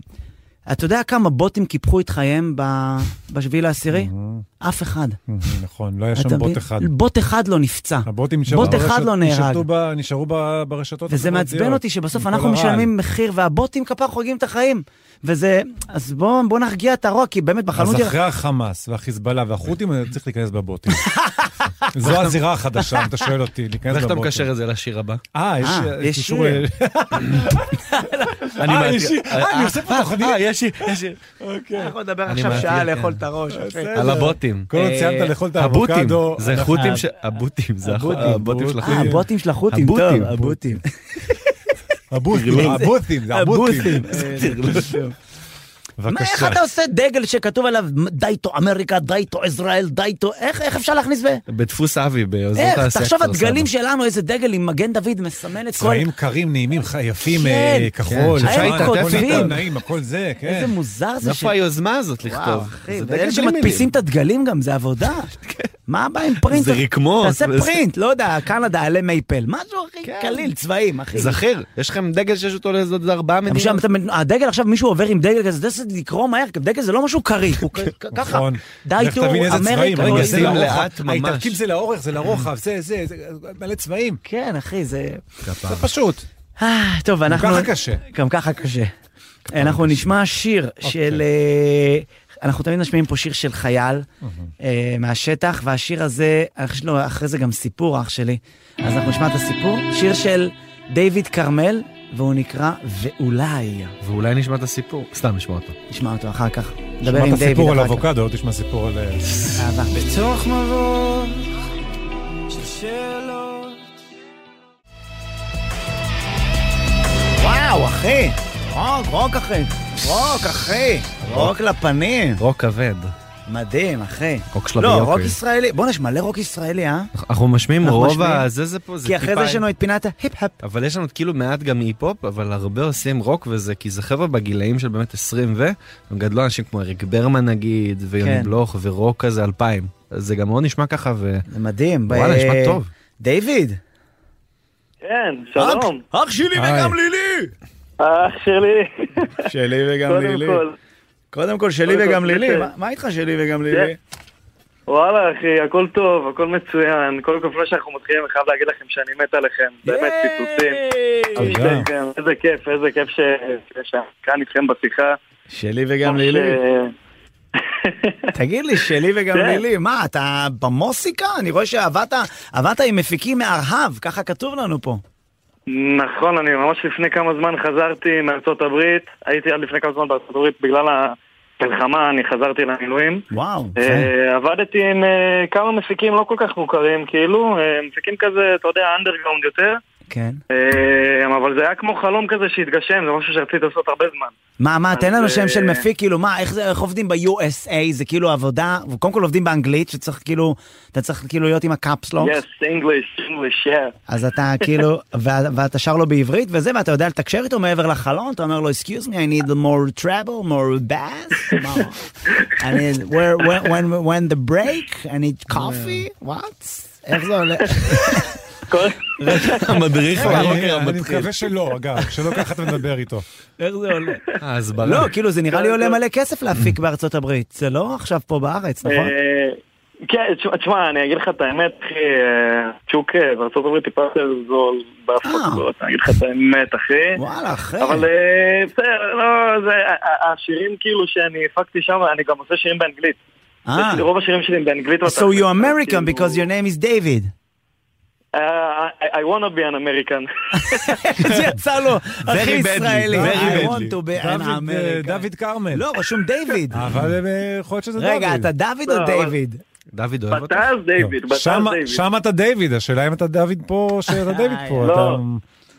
Speaker 1: אתה יודע כמה בוטים קיפחו את חייהם ב- בשביל העשירי?
Speaker 2: אה.
Speaker 1: אף אחד.
Speaker 3: נכון, לא היה
Speaker 1: אתה
Speaker 3: שם בוט
Speaker 1: מבין?
Speaker 3: אחד.
Speaker 1: בוט אחד לא נפצע.
Speaker 3: הבוטים נשארו
Speaker 1: בוט אחד
Speaker 3: ברשת-
Speaker 1: לא נהרג.
Speaker 3: נשלטו ב- נשארו ב- ברשתות.
Speaker 1: וזה מעצבן
Speaker 3: החברתיות.
Speaker 1: אותי שבסוף
Speaker 3: עם
Speaker 1: אנחנו
Speaker 3: כל הרעל.
Speaker 1: משלמים מחיר והבוטים כפר חוגגים את החיים. וזה, אז בואו בוא נרגיע את הרוע, כי באמת בחנות...
Speaker 3: אז
Speaker 1: ירק-
Speaker 3: אחרי החמאס והחיזבאללה והחות'ים, אני צריך להיכנס בבוטים. זו הזירה החדשה, אם אתה שואל אותי, להיכנס
Speaker 2: ואיך
Speaker 3: בבוטים.
Speaker 2: אתה מקשר את זה לשיר הבא?
Speaker 3: אה, יש
Speaker 1: אה,
Speaker 3: אה,
Speaker 1: יש
Speaker 3: קישור...
Speaker 1: שיר.
Speaker 2: אני מעט-
Speaker 3: יש שיר. אה, אני עושה פה תוכנית.
Speaker 2: אה, יש שיר, יש שיר.
Speaker 1: אנחנו נדבר
Speaker 2: אני מעדיף, כן.
Speaker 1: את הראש. אחי.
Speaker 3: בסדר.
Speaker 2: על הבוטים. אה,
Speaker 3: כל
Speaker 1: אה,
Speaker 3: עוד ציינת לאכול את
Speaker 2: הבוטים,
Speaker 3: האבוקדו.
Speaker 2: זה
Speaker 3: אנחנו-
Speaker 2: חות'ים של... הבוטים, זה הח-
Speaker 3: הבוטים,
Speaker 2: הבוטים של
Speaker 1: אה,
Speaker 2: החות'ים.
Speaker 1: הבוטים של החות'ים, טוב,
Speaker 2: הבוטים.
Speaker 1: הבוטים.
Speaker 3: הבוטים, הבוטים, זה הבוטים.
Speaker 1: הבוטים. אה, טוב. מה, איך
Speaker 3: בבקשה.
Speaker 1: אתה עושה דגל שכתוב עליו דייטו אמריקה, דייטו ישראל, דייטו, איך איך אפשר להכניס ב...
Speaker 2: בדפוס אבי, באוזנות
Speaker 1: איך?
Speaker 2: הסקטור.
Speaker 1: תחשוב הדגלים
Speaker 2: סבא.
Speaker 1: שלנו, איזה דגל עם מגן דוד מסמן את כל...
Speaker 3: צבעים קרים, נעימים, ח- יפים,
Speaker 1: כן.
Speaker 3: אה, כחול,
Speaker 2: כן,
Speaker 3: לבן,
Speaker 2: האם
Speaker 3: הכל
Speaker 1: כותבים?
Speaker 3: נתן נעים, הכל זה,
Speaker 1: איזה
Speaker 3: כן.
Speaker 1: מוזר זה ש...
Speaker 2: איפה היוזמה הזאת
Speaker 1: וואו,
Speaker 2: לכתוב?
Speaker 1: אחי,
Speaker 2: זה
Speaker 1: ואלה
Speaker 2: דגל בלי
Speaker 1: שמדפיסים
Speaker 2: מילים. כן.
Speaker 1: את הדגלים גם, זה עבודה. מה הבעיה עם פרינט?
Speaker 2: זה רקמות,
Speaker 1: תעשה
Speaker 2: וזה-
Speaker 1: פרינט, לא יודע, קנדה, עלי מייפל. משהו הכי
Speaker 2: כן.
Speaker 1: קליל, צבעים, אחי.
Speaker 2: זכיר, יש לכם דגל שיש אותו לאיזה עוד ארבעה
Speaker 1: גם
Speaker 2: מדינות?
Speaker 1: שם, אתה- הדגל עכשיו, מישהו עובר עם דגל כזה, זה לקרוא מהר, כי דגל זה לא משהו קריא, הוא כ- כ- ככה.
Speaker 3: נכון.
Speaker 1: די
Speaker 3: לך
Speaker 1: טו,
Speaker 3: תבין איזה צבעים,
Speaker 1: אמריקה.
Speaker 3: רגע,
Speaker 1: לא
Speaker 3: זה
Speaker 2: שים
Speaker 1: יודע.
Speaker 2: לב.
Speaker 3: לרוחב,
Speaker 2: לאט ממש.
Speaker 3: האיטלקים זה לאורך, זה לרוחב, זה, זה, זה, מלא צבעים.
Speaker 1: כן, אחי, זה...
Speaker 3: זה פשוט.
Speaker 1: אה, טוב, אנחנו...
Speaker 3: ככה קשה. אוקיי.
Speaker 1: גם ככה קשה. אנחנו נשמע שיר של... אה, אנחנו תמיד משמיעים פה שיר של חייל אה, מהשטח, והשיר הזה, אח שלו, אחרי זה גם סיפור, אח שלי. אז אנחנו נשמע את הסיפור. שיר של דיוויד כרמל, והוא נקרא "ואולי".
Speaker 2: ואולי נשמע את הסיפור. סתם נשמע אותו.
Speaker 1: נשמע אותו אחר כך. נדבר עם
Speaker 3: שמעת
Speaker 1: דיוויד
Speaker 3: סיפור על
Speaker 1: אחר כך.
Speaker 3: אבוקדו, לא תשמע סיפור על... אה,
Speaker 1: אהבה.
Speaker 5: בתוך מבוך של שאלות.
Speaker 1: וואו, אחי! רוק, רוק, אחי! רוק, אחי! רוק לפנים!
Speaker 2: רוק כבד.
Speaker 1: מדהים, אחי.
Speaker 2: רוק אוקיי. של
Speaker 1: לא,
Speaker 2: הביוקר.
Speaker 1: רוק ישראלי. בוא'נה, יש מלא רוק ישראלי, אה?
Speaker 2: אנחנו משמיעים
Speaker 1: אנחנו
Speaker 2: רוב
Speaker 1: משמיעים.
Speaker 2: ה... זה זה פה, זה
Speaker 1: כי אחרי זה
Speaker 2: טיפה-
Speaker 1: יש לנו את פינת ההיפ-הפ.
Speaker 2: אבל יש לנו כאילו מעט גם היפ-הופ, אבל הרבה עושים רוק וזה, כי זה חבר'ה בגילאים של באמת 20 ו... הם גדלו אנשים כמו אריק ברמן נגיד, ויוני
Speaker 1: כן.
Speaker 2: בלוך, ורוק כזה 2000. אז זה גם מאוד נשמע ככה, ו...
Speaker 1: זה מדהים. ב-
Speaker 2: וואלה, נשמע טוב.
Speaker 1: דיוויד.
Speaker 6: כן, שלום.
Speaker 1: אח אח שלי
Speaker 3: היי.
Speaker 1: וגם לילי!
Speaker 6: אח שלי,
Speaker 1: שלי וגם
Speaker 6: קודם כל.
Speaker 1: קודם כל, שלי
Speaker 6: קודם כל,
Speaker 1: וגם לילי.
Speaker 6: בסדר.
Speaker 1: מה- מה איתך שלי וגם
Speaker 6: זה-
Speaker 1: לילי?
Speaker 6: וואלה אחי, הכל טוב, הכל מצוין. קודם כל, לפני שאנחנו מתחילים, אני חייב להגיד לכם שאני מת עליכם. באמת, פיצוצים.
Speaker 3: תודה.
Speaker 6: איזה כיף, איזה כיף ש- שאני כאן איתכם בשיחה.
Speaker 1: שלי וגם
Speaker 6: ממש,
Speaker 1: לילי.
Speaker 6: אה,
Speaker 1: תגיד לי, שלי וגם
Speaker 6: כן.
Speaker 1: לילי, מה, אתה במוסיקה? אני רואה שעבדת עבדת עם מפיקים מארהב, ככה כתוב לנו פה.
Speaker 6: נכון, אני ממש לפני כמה זמן חזרתי מארצות הברית. הייתי עד לפני כמה זמן בארצות הברית בגלל המלחמה, אני חזרתי למילואים.
Speaker 1: וואו. כן,
Speaker 6: אה, עבדתי עם אה, כמה מפיקים לא כל כך מוכרים, כאילו, אה, מפיקים כזה, אתה יודע, אנדרגאונד יותר.
Speaker 1: כן.
Speaker 6: אה, אבל זה היה כמו חלום כזה שהתגשם, זה משהו שרציתי לעשות הרבה זמן.
Speaker 1: מה, מה, תן
Speaker 6: אז,
Speaker 1: לנו
Speaker 6: אה,
Speaker 1: שם של מפיק, כאילו, מה, איך זה, איך עובדים ב-USA, זה כאילו עבודה, קודם כל עובדים באנגלית, שצריך כאילו, אתה צריך כאילו להיות עם הקאפסלוק,
Speaker 6: Yes, English, English, yeah.
Speaker 1: אז אתה כאילו, ו- ואתה שר לו בעברית וזה, ואתה יודע לתקשר איתו מעבר לחלון, אתה אומר לו, excuse me, I need more trouble, more bass, מה? I need, where, when, when, when the break, I need coffee, what? איך זה הולך?
Speaker 6: כל-
Speaker 2: המדריך
Speaker 3: אה, אני אני מקווה שלא, אגב, שלא ככה אתה מדבר איתו.
Speaker 1: איך זה הולך?
Speaker 2: ההסברה.
Speaker 1: לא, כאילו, זה נראה לי עולה מלא כסף להפיק בארצות הברית, זה לא עכשיו פה בארץ, נכון?
Speaker 6: אה, כן, תשמע- תשמע, אני אגיד לך את האמת, אחי, אה, שוק אה, בארצות הברית טיפה יותר זול בהפקות,
Speaker 1: אה.
Speaker 6: אני אגיד לך את האמת, אחי.
Speaker 1: וואלה, אחי.
Speaker 6: אבל אה, בסדר, לא, זה, ה- ה- השירים כאילו שאני הפקתי שם, אני גם עושה שירים באנגלית.
Speaker 1: אה.
Speaker 6: יש לי- כאילו רוב השירים שלי הם באנגלית. ואתה-
Speaker 1: So you're American
Speaker 6: כאילו-
Speaker 1: because your name is David.
Speaker 6: אה, I- I wanna be an American.
Speaker 1: זה יצא לו, הכי
Speaker 2: badly,
Speaker 1: ישראלי.
Speaker 2: very
Speaker 1: I
Speaker 2: badly.
Speaker 1: want to be an
Speaker 3: דוד, אה,
Speaker 1: American.
Speaker 3: דוד כרמל.
Speaker 1: לא, רשום דיוויד.
Speaker 3: אבל אה, יכול להיות שזה דוד.
Speaker 1: רגע, אתה דוד או
Speaker 6: לא, אבל-
Speaker 1: דיוויד?
Speaker 2: דוד אוהב אותך?
Speaker 1: לא.
Speaker 6: בטז דיוויד, בטז
Speaker 3: שם-
Speaker 6: דיוויד.
Speaker 3: שם אתה דיוויד, השאלה אם אתה דוד פה,
Speaker 1: אה,
Speaker 3: שאתה דיוויד פה.
Speaker 6: לא.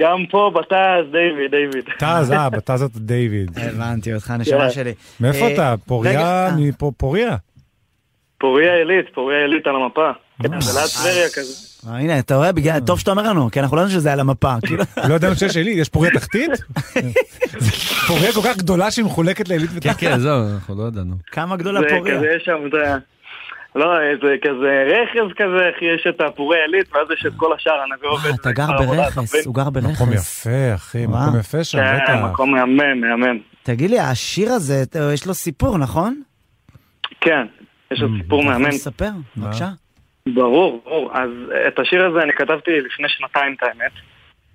Speaker 6: גם פה בטז דיוויד, דיוויד.
Speaker 3: אתה, תז, אה, בתז אתה דיוויד.
Speaker 1: הבנתי אותך, נשמה
Speaker 6: כן.
Speaker 1: שלי.
Speaker 3: מאיפה
Speaker 1: אה,
Speaker 3: אתה?
Speaker 1: רגע,
Speaker 3: פוריה?
Speaker 1: אה,
Speaker 3: מפה פוריה?
Speaker 6: פוריה עילית, פוריה עילית על המפה. כן, זה ליד טבריה כזה.
Speaker 1: אה, הנה, אתה רואה, בגלל, טוב שאתה אומר לנו, כי אנחנו לא יודעים שזה על המפה. כאילו,
Speaker 3: לא ידענו שיש עילית, יש פוריה תחתית? זה פוריה כל כך גדולה שהיא מחולקת לעילית
Speaker 2: כן,
Speaker 3: ותחתית.
Speaker 2: כן, זהו, אנחנו לא ידענו.
Speaker 1: כמה גדולה
Speaker 6: זה
Speaker 1: פוריה.
Speaker 6: כזה, יש שם את ה... לא, זה כזה רכס כזה, אחי, יש את הפוריה עילית, ואז יש את כל השאר, הנביא
Speaker 1: וואו,
Speaker 6: עובד.
Speaker 1: אה, אתה גר
Speaker 6: בכפר עבודה, אתה
Speaker 1: ברכס,
Speaker 6: מבין?
Speaker 1: הוא גר
Speaker 3: מקום
Speaker 1: ברכס.
Speaker 3: יפה, אחי,
Speaker 1: וואו.
Speaker 3: מקום יפה שם,
Speaker 6: כן,
Speaker 3: בטח.
Speaker 6: מקום מהמם, מהמם.
Speaker 1: תגיד לי, השיר הזה, אתה- יש לו סיפור, נכון?
Speaker 6: כן, יש
Speaker 1: אה,
Speaker 6: עוד סיפור
Speaker 1: אתה יכול
Speaker 6: מהמם.
Speaker 1: לספר, בבקשה.
Speaker 6: ברור, ברור. אז אה, את השיר הזה אני כתבתי לפני שנתיים, את האמת.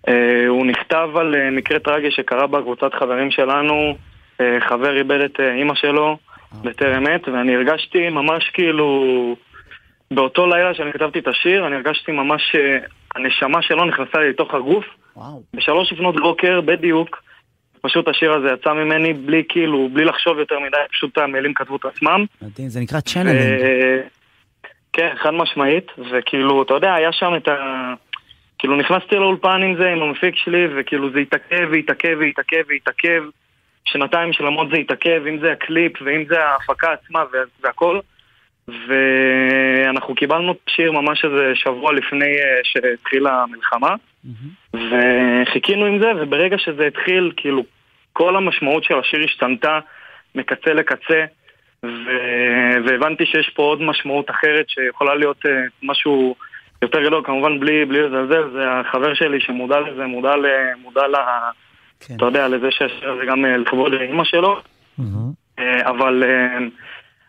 Speaker 6: אה, הוא נכתב על אה, מקרה טרגי שקרה בקבוצת חברים שלנו. אה, חבר איבד את אה, אימא שלו בטרם עת, ואני הרגשתי ממש כאילו... באותו לילה שאני כתבתי את השיר, אני הרגשתי ממש שהנשמה שלו נכנסה לי לתוך הגוף.
Speaker 1: וואו.
Speaker 6: בשלוש לפנות בוקר, בדיוק, פשוט השיר הזה יצא ממני בלי כאילו, בלי לחשוב יותר מדי, פשוט המילים כתבו את עצמם.
Speaker 1: מדהים, זה נקרא צ'אנלינג.
Speaker 6: אה, כן, חד משמעית, וכאילו, אתה יודע, היה שם את ה... כאילו נכנסתי לאולפן עם זה, עם המפיק שלי, וכאילו זה התעכב והתעכב והתעכב והתעכב, שנתיים שלמות זה התעכב, אם זה הקליפ ואם זה ההפקה עצמה וה- והכל. ואנחנו קיבלנו שיר ממש איזה שבוע לפני אה, שהתחילה המלחמה. וחיכינו עם זה, וברגע שזה התחיל, כאילו, כל המשמעות של השיר השתנתה מקצה לקצה, ו... והבנתי שיש פה עוד משמעות אחרת שיכולה להיות אה, משהו יותר גדול, כמובן בלי, בלי לזלזל, זה החבר שלי שמודע לזה, מודע, ל... מודע ל...
Speaker 1: כן.
Speaker 6: אתה יודע, לזה שהשיר הזה גם אה, לכבוד אימא שלו,
Speaker 1: מהמם.
Speaker 6: אה, אבל אה,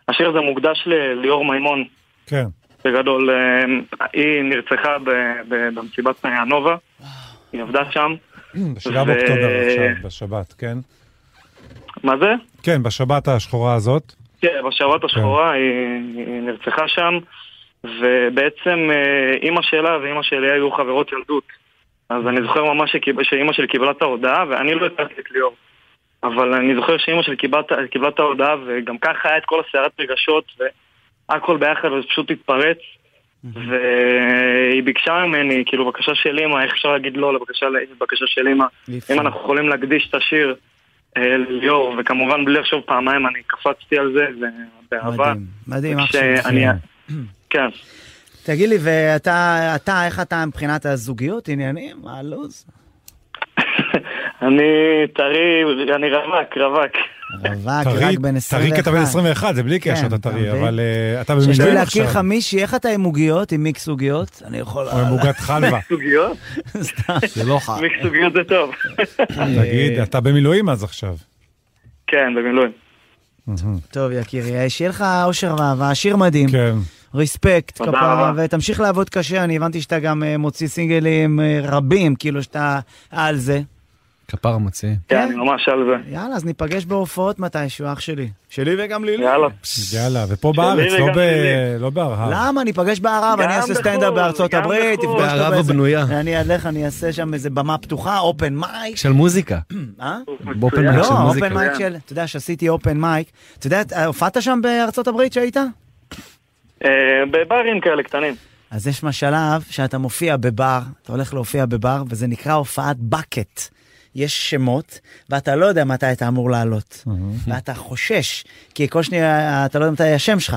Speaker 6: השיר הזה מוקדש ל- ליאור מימון,
Speaker 3: כן.
Speaker 6: בגדול, אה, היא נרצחה ב- ב- במסיבת הנובה, היא עבדה שם.
Speaker 3: בשבעה
Speaker 6: ו-
Speaker 3: באוקטובר עכשיו, בשבת, כן?
Speaker 6: מה זה?
Speaker 3: כן, בשבת השחורה הזאת.
Speaker 1: אה,
Speaker 6: כן, בשבת השחורה היא, היא נרצחה שם, ובעצם אה, אימא שלה ואימא שלי היו חברות ילדות. אז אני זוכר ממש שקיב... שאימא שלי קיבלה את ההודעה, ואני לא הכרתי את ליאור. אבל אני זוכר שאימא שלי קיבלה, את- קיבלה את ההודעה, וגם ככה היה את כל הסערת רגשות, והכל ביחד, וזה פשוט התפרץ. והיא ביקשה ממני, כאילו, בקשה של אימא, איך אפשר להגיד לא לבקשה, לבקשה של אימא?
Speaker 1: אי אפשר.
Speaker 6: אם אנחנו יכולים להקדיש את השיר אה, לליאור, וכמובן בלי לחשוב פעמיים, אני קפצתי על זה, ובאהבה.
Speaker 1: מדהים, מדהים, אח שלי.
Speaker 6: כשאני... כן.
Speaker 1: תגיד לי, ואתה, אתה, איך אתה מבחינת הזוגיות, עניינים, מה הלו"ז?
Speaker 6: אני טרי, אני רווק, רווק.
Speaker 1: רווק,
Speaker 3: טרי,
Speaker 1: רק בן 21.
Speaker 3: טרי כי אתה בן 21, זה בלי קשר,
Speaker 1: כן,
Speaker 3: אתה
Speaker 1: אתה
Speaker 3: טרי,
Speaker 1: מבין?
Speaker 3: אבל אה, אתה
Speaker 1: כשאני
Speaker 3: במשקעים
Speaker 1: להכיר לך
Speaker 3: עכשיו. אה,
Speaker 1: מישהי, איך אתה עם עוגיות, עם מיקס עוגיות? אני יכול...
Speaker 3: או עם עוגת חלבה.
Speaker 6: סוגיות?
Speaker 1: זה לא חם.
Speaker 6: מיקס סוגיות זה טוב.
Speaker 1: אה,
Speaker 3: תגיד, אתה במילואים אז עכשיו.
Speaker 6: כן, במילואים.
Speaker 1: אה, טוב, יקירי, אה, שיהיה לך אושר ואהבה, שיר מדהים.
Speaker 3: כן.
Speaker 1: ריספקט,
Speaker 6: תודה
Speaker 1: כפרה,
Speaker 6: רבה.
Speaker 1: ותמשיך לעבוד קשה, אני הבנתי שאתה גם אה, מוציא סינגלים אה, רבים, כאילו שאתה על זה.
Speaker 2: כפר מוציא.
Speaker 6: כן, אני ממש על זה.
Speaker 1: יאללה, אז ניפגש בהופעות מתישהו, אח שלי. שלי וגם לילי.
Speaker 6: יאללה.
Speaker 3: יאללה, ופה בארץ, לא
Speaker 6: וגם
Speaker 3: ב-
Speaker 6: שלי.
Speaker 3: לא בהר.
Speaker 1: למה? ניפגש בערב, אני
Speaker 6: גם
Speaker 1: אעשה
Speaker 6: בחו"ל,
Speaker 1: סטנדאפ בארצות
Speaker 6: גם
Speaker 1: הברית,
Speaker 6: בחו"ל.
Speaker 1: תפגוש אותו
Speaker 2: בערב
Speaker 1: באיזה-
Speaker 2: הבנויה.
Speaker 1: אני אלך, אני אעשה שם איזה במה פתוחה, אופן מייק.
Speaker 2: של מוזיקה.
Speaker 1: אה?
Speaker 2: באופן
Speaker 6: מצוין.
Speaker 2: מייק כן, של
Speaker 1: לא,
Speaker 2: מוזיקה.
Speaker 1: אופן
Speaker 7: כן.
Speaker 1: מייק של, אתה יודע שעשיתי אופן מייק. אתה יודע, אה, הופעת שם בארצות הברית שהיית?
Speaker 6: אה, בברים כאלה קטנים.
Speaker 1: אז יש משלב שאתה מופיע בבר, אתה הולך להופיע בבר, וזה נקרא הופעת bucket. יש שמות, ואתה לא יודע מתי אתה אמור לעלות. ואתה חושש, כי כל שנייה אתה לא יודע מתי השם שלך.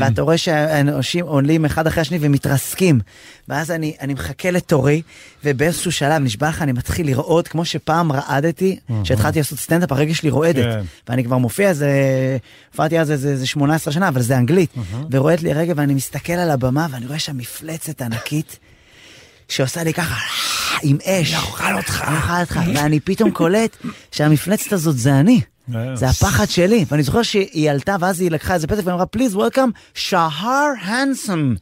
Speaker 1: ואתה רואה שהאנשים עולים אחד אחרי השני ומתרסקים. ואז אני, אני מחכה לתורי, ובאיזשהו שלב, נשבע לך, אני מתחיל לרעוד, כמו שפעם רעדתי, כשהתחלתי לעשות סטנדאפ, הרגל שלי רועדת.
Speaker 3: כן.
Speaker 1: ואני כבר מופיע, איזה, הופעתי אז איזה איזה 18 שנה, אבל זה אנגלית. ורועדת לי רגע, ואני מסתכל על הבמה, ואני רואה שם מפלצת ענקית, שעושה לי ככה, עם אש. אני אוכל אותך. אני אוכל אותך. ואני פתאום קולט שהמפלצת הזאת זה אני.
Speaker 3: אה.
Speaker 1: זה הפחד שלי. ואני זוכר שהיא עלתה, ואז היא לקחה איזה פתק ואמרה, פליז, וולקאם, שהר הנסון.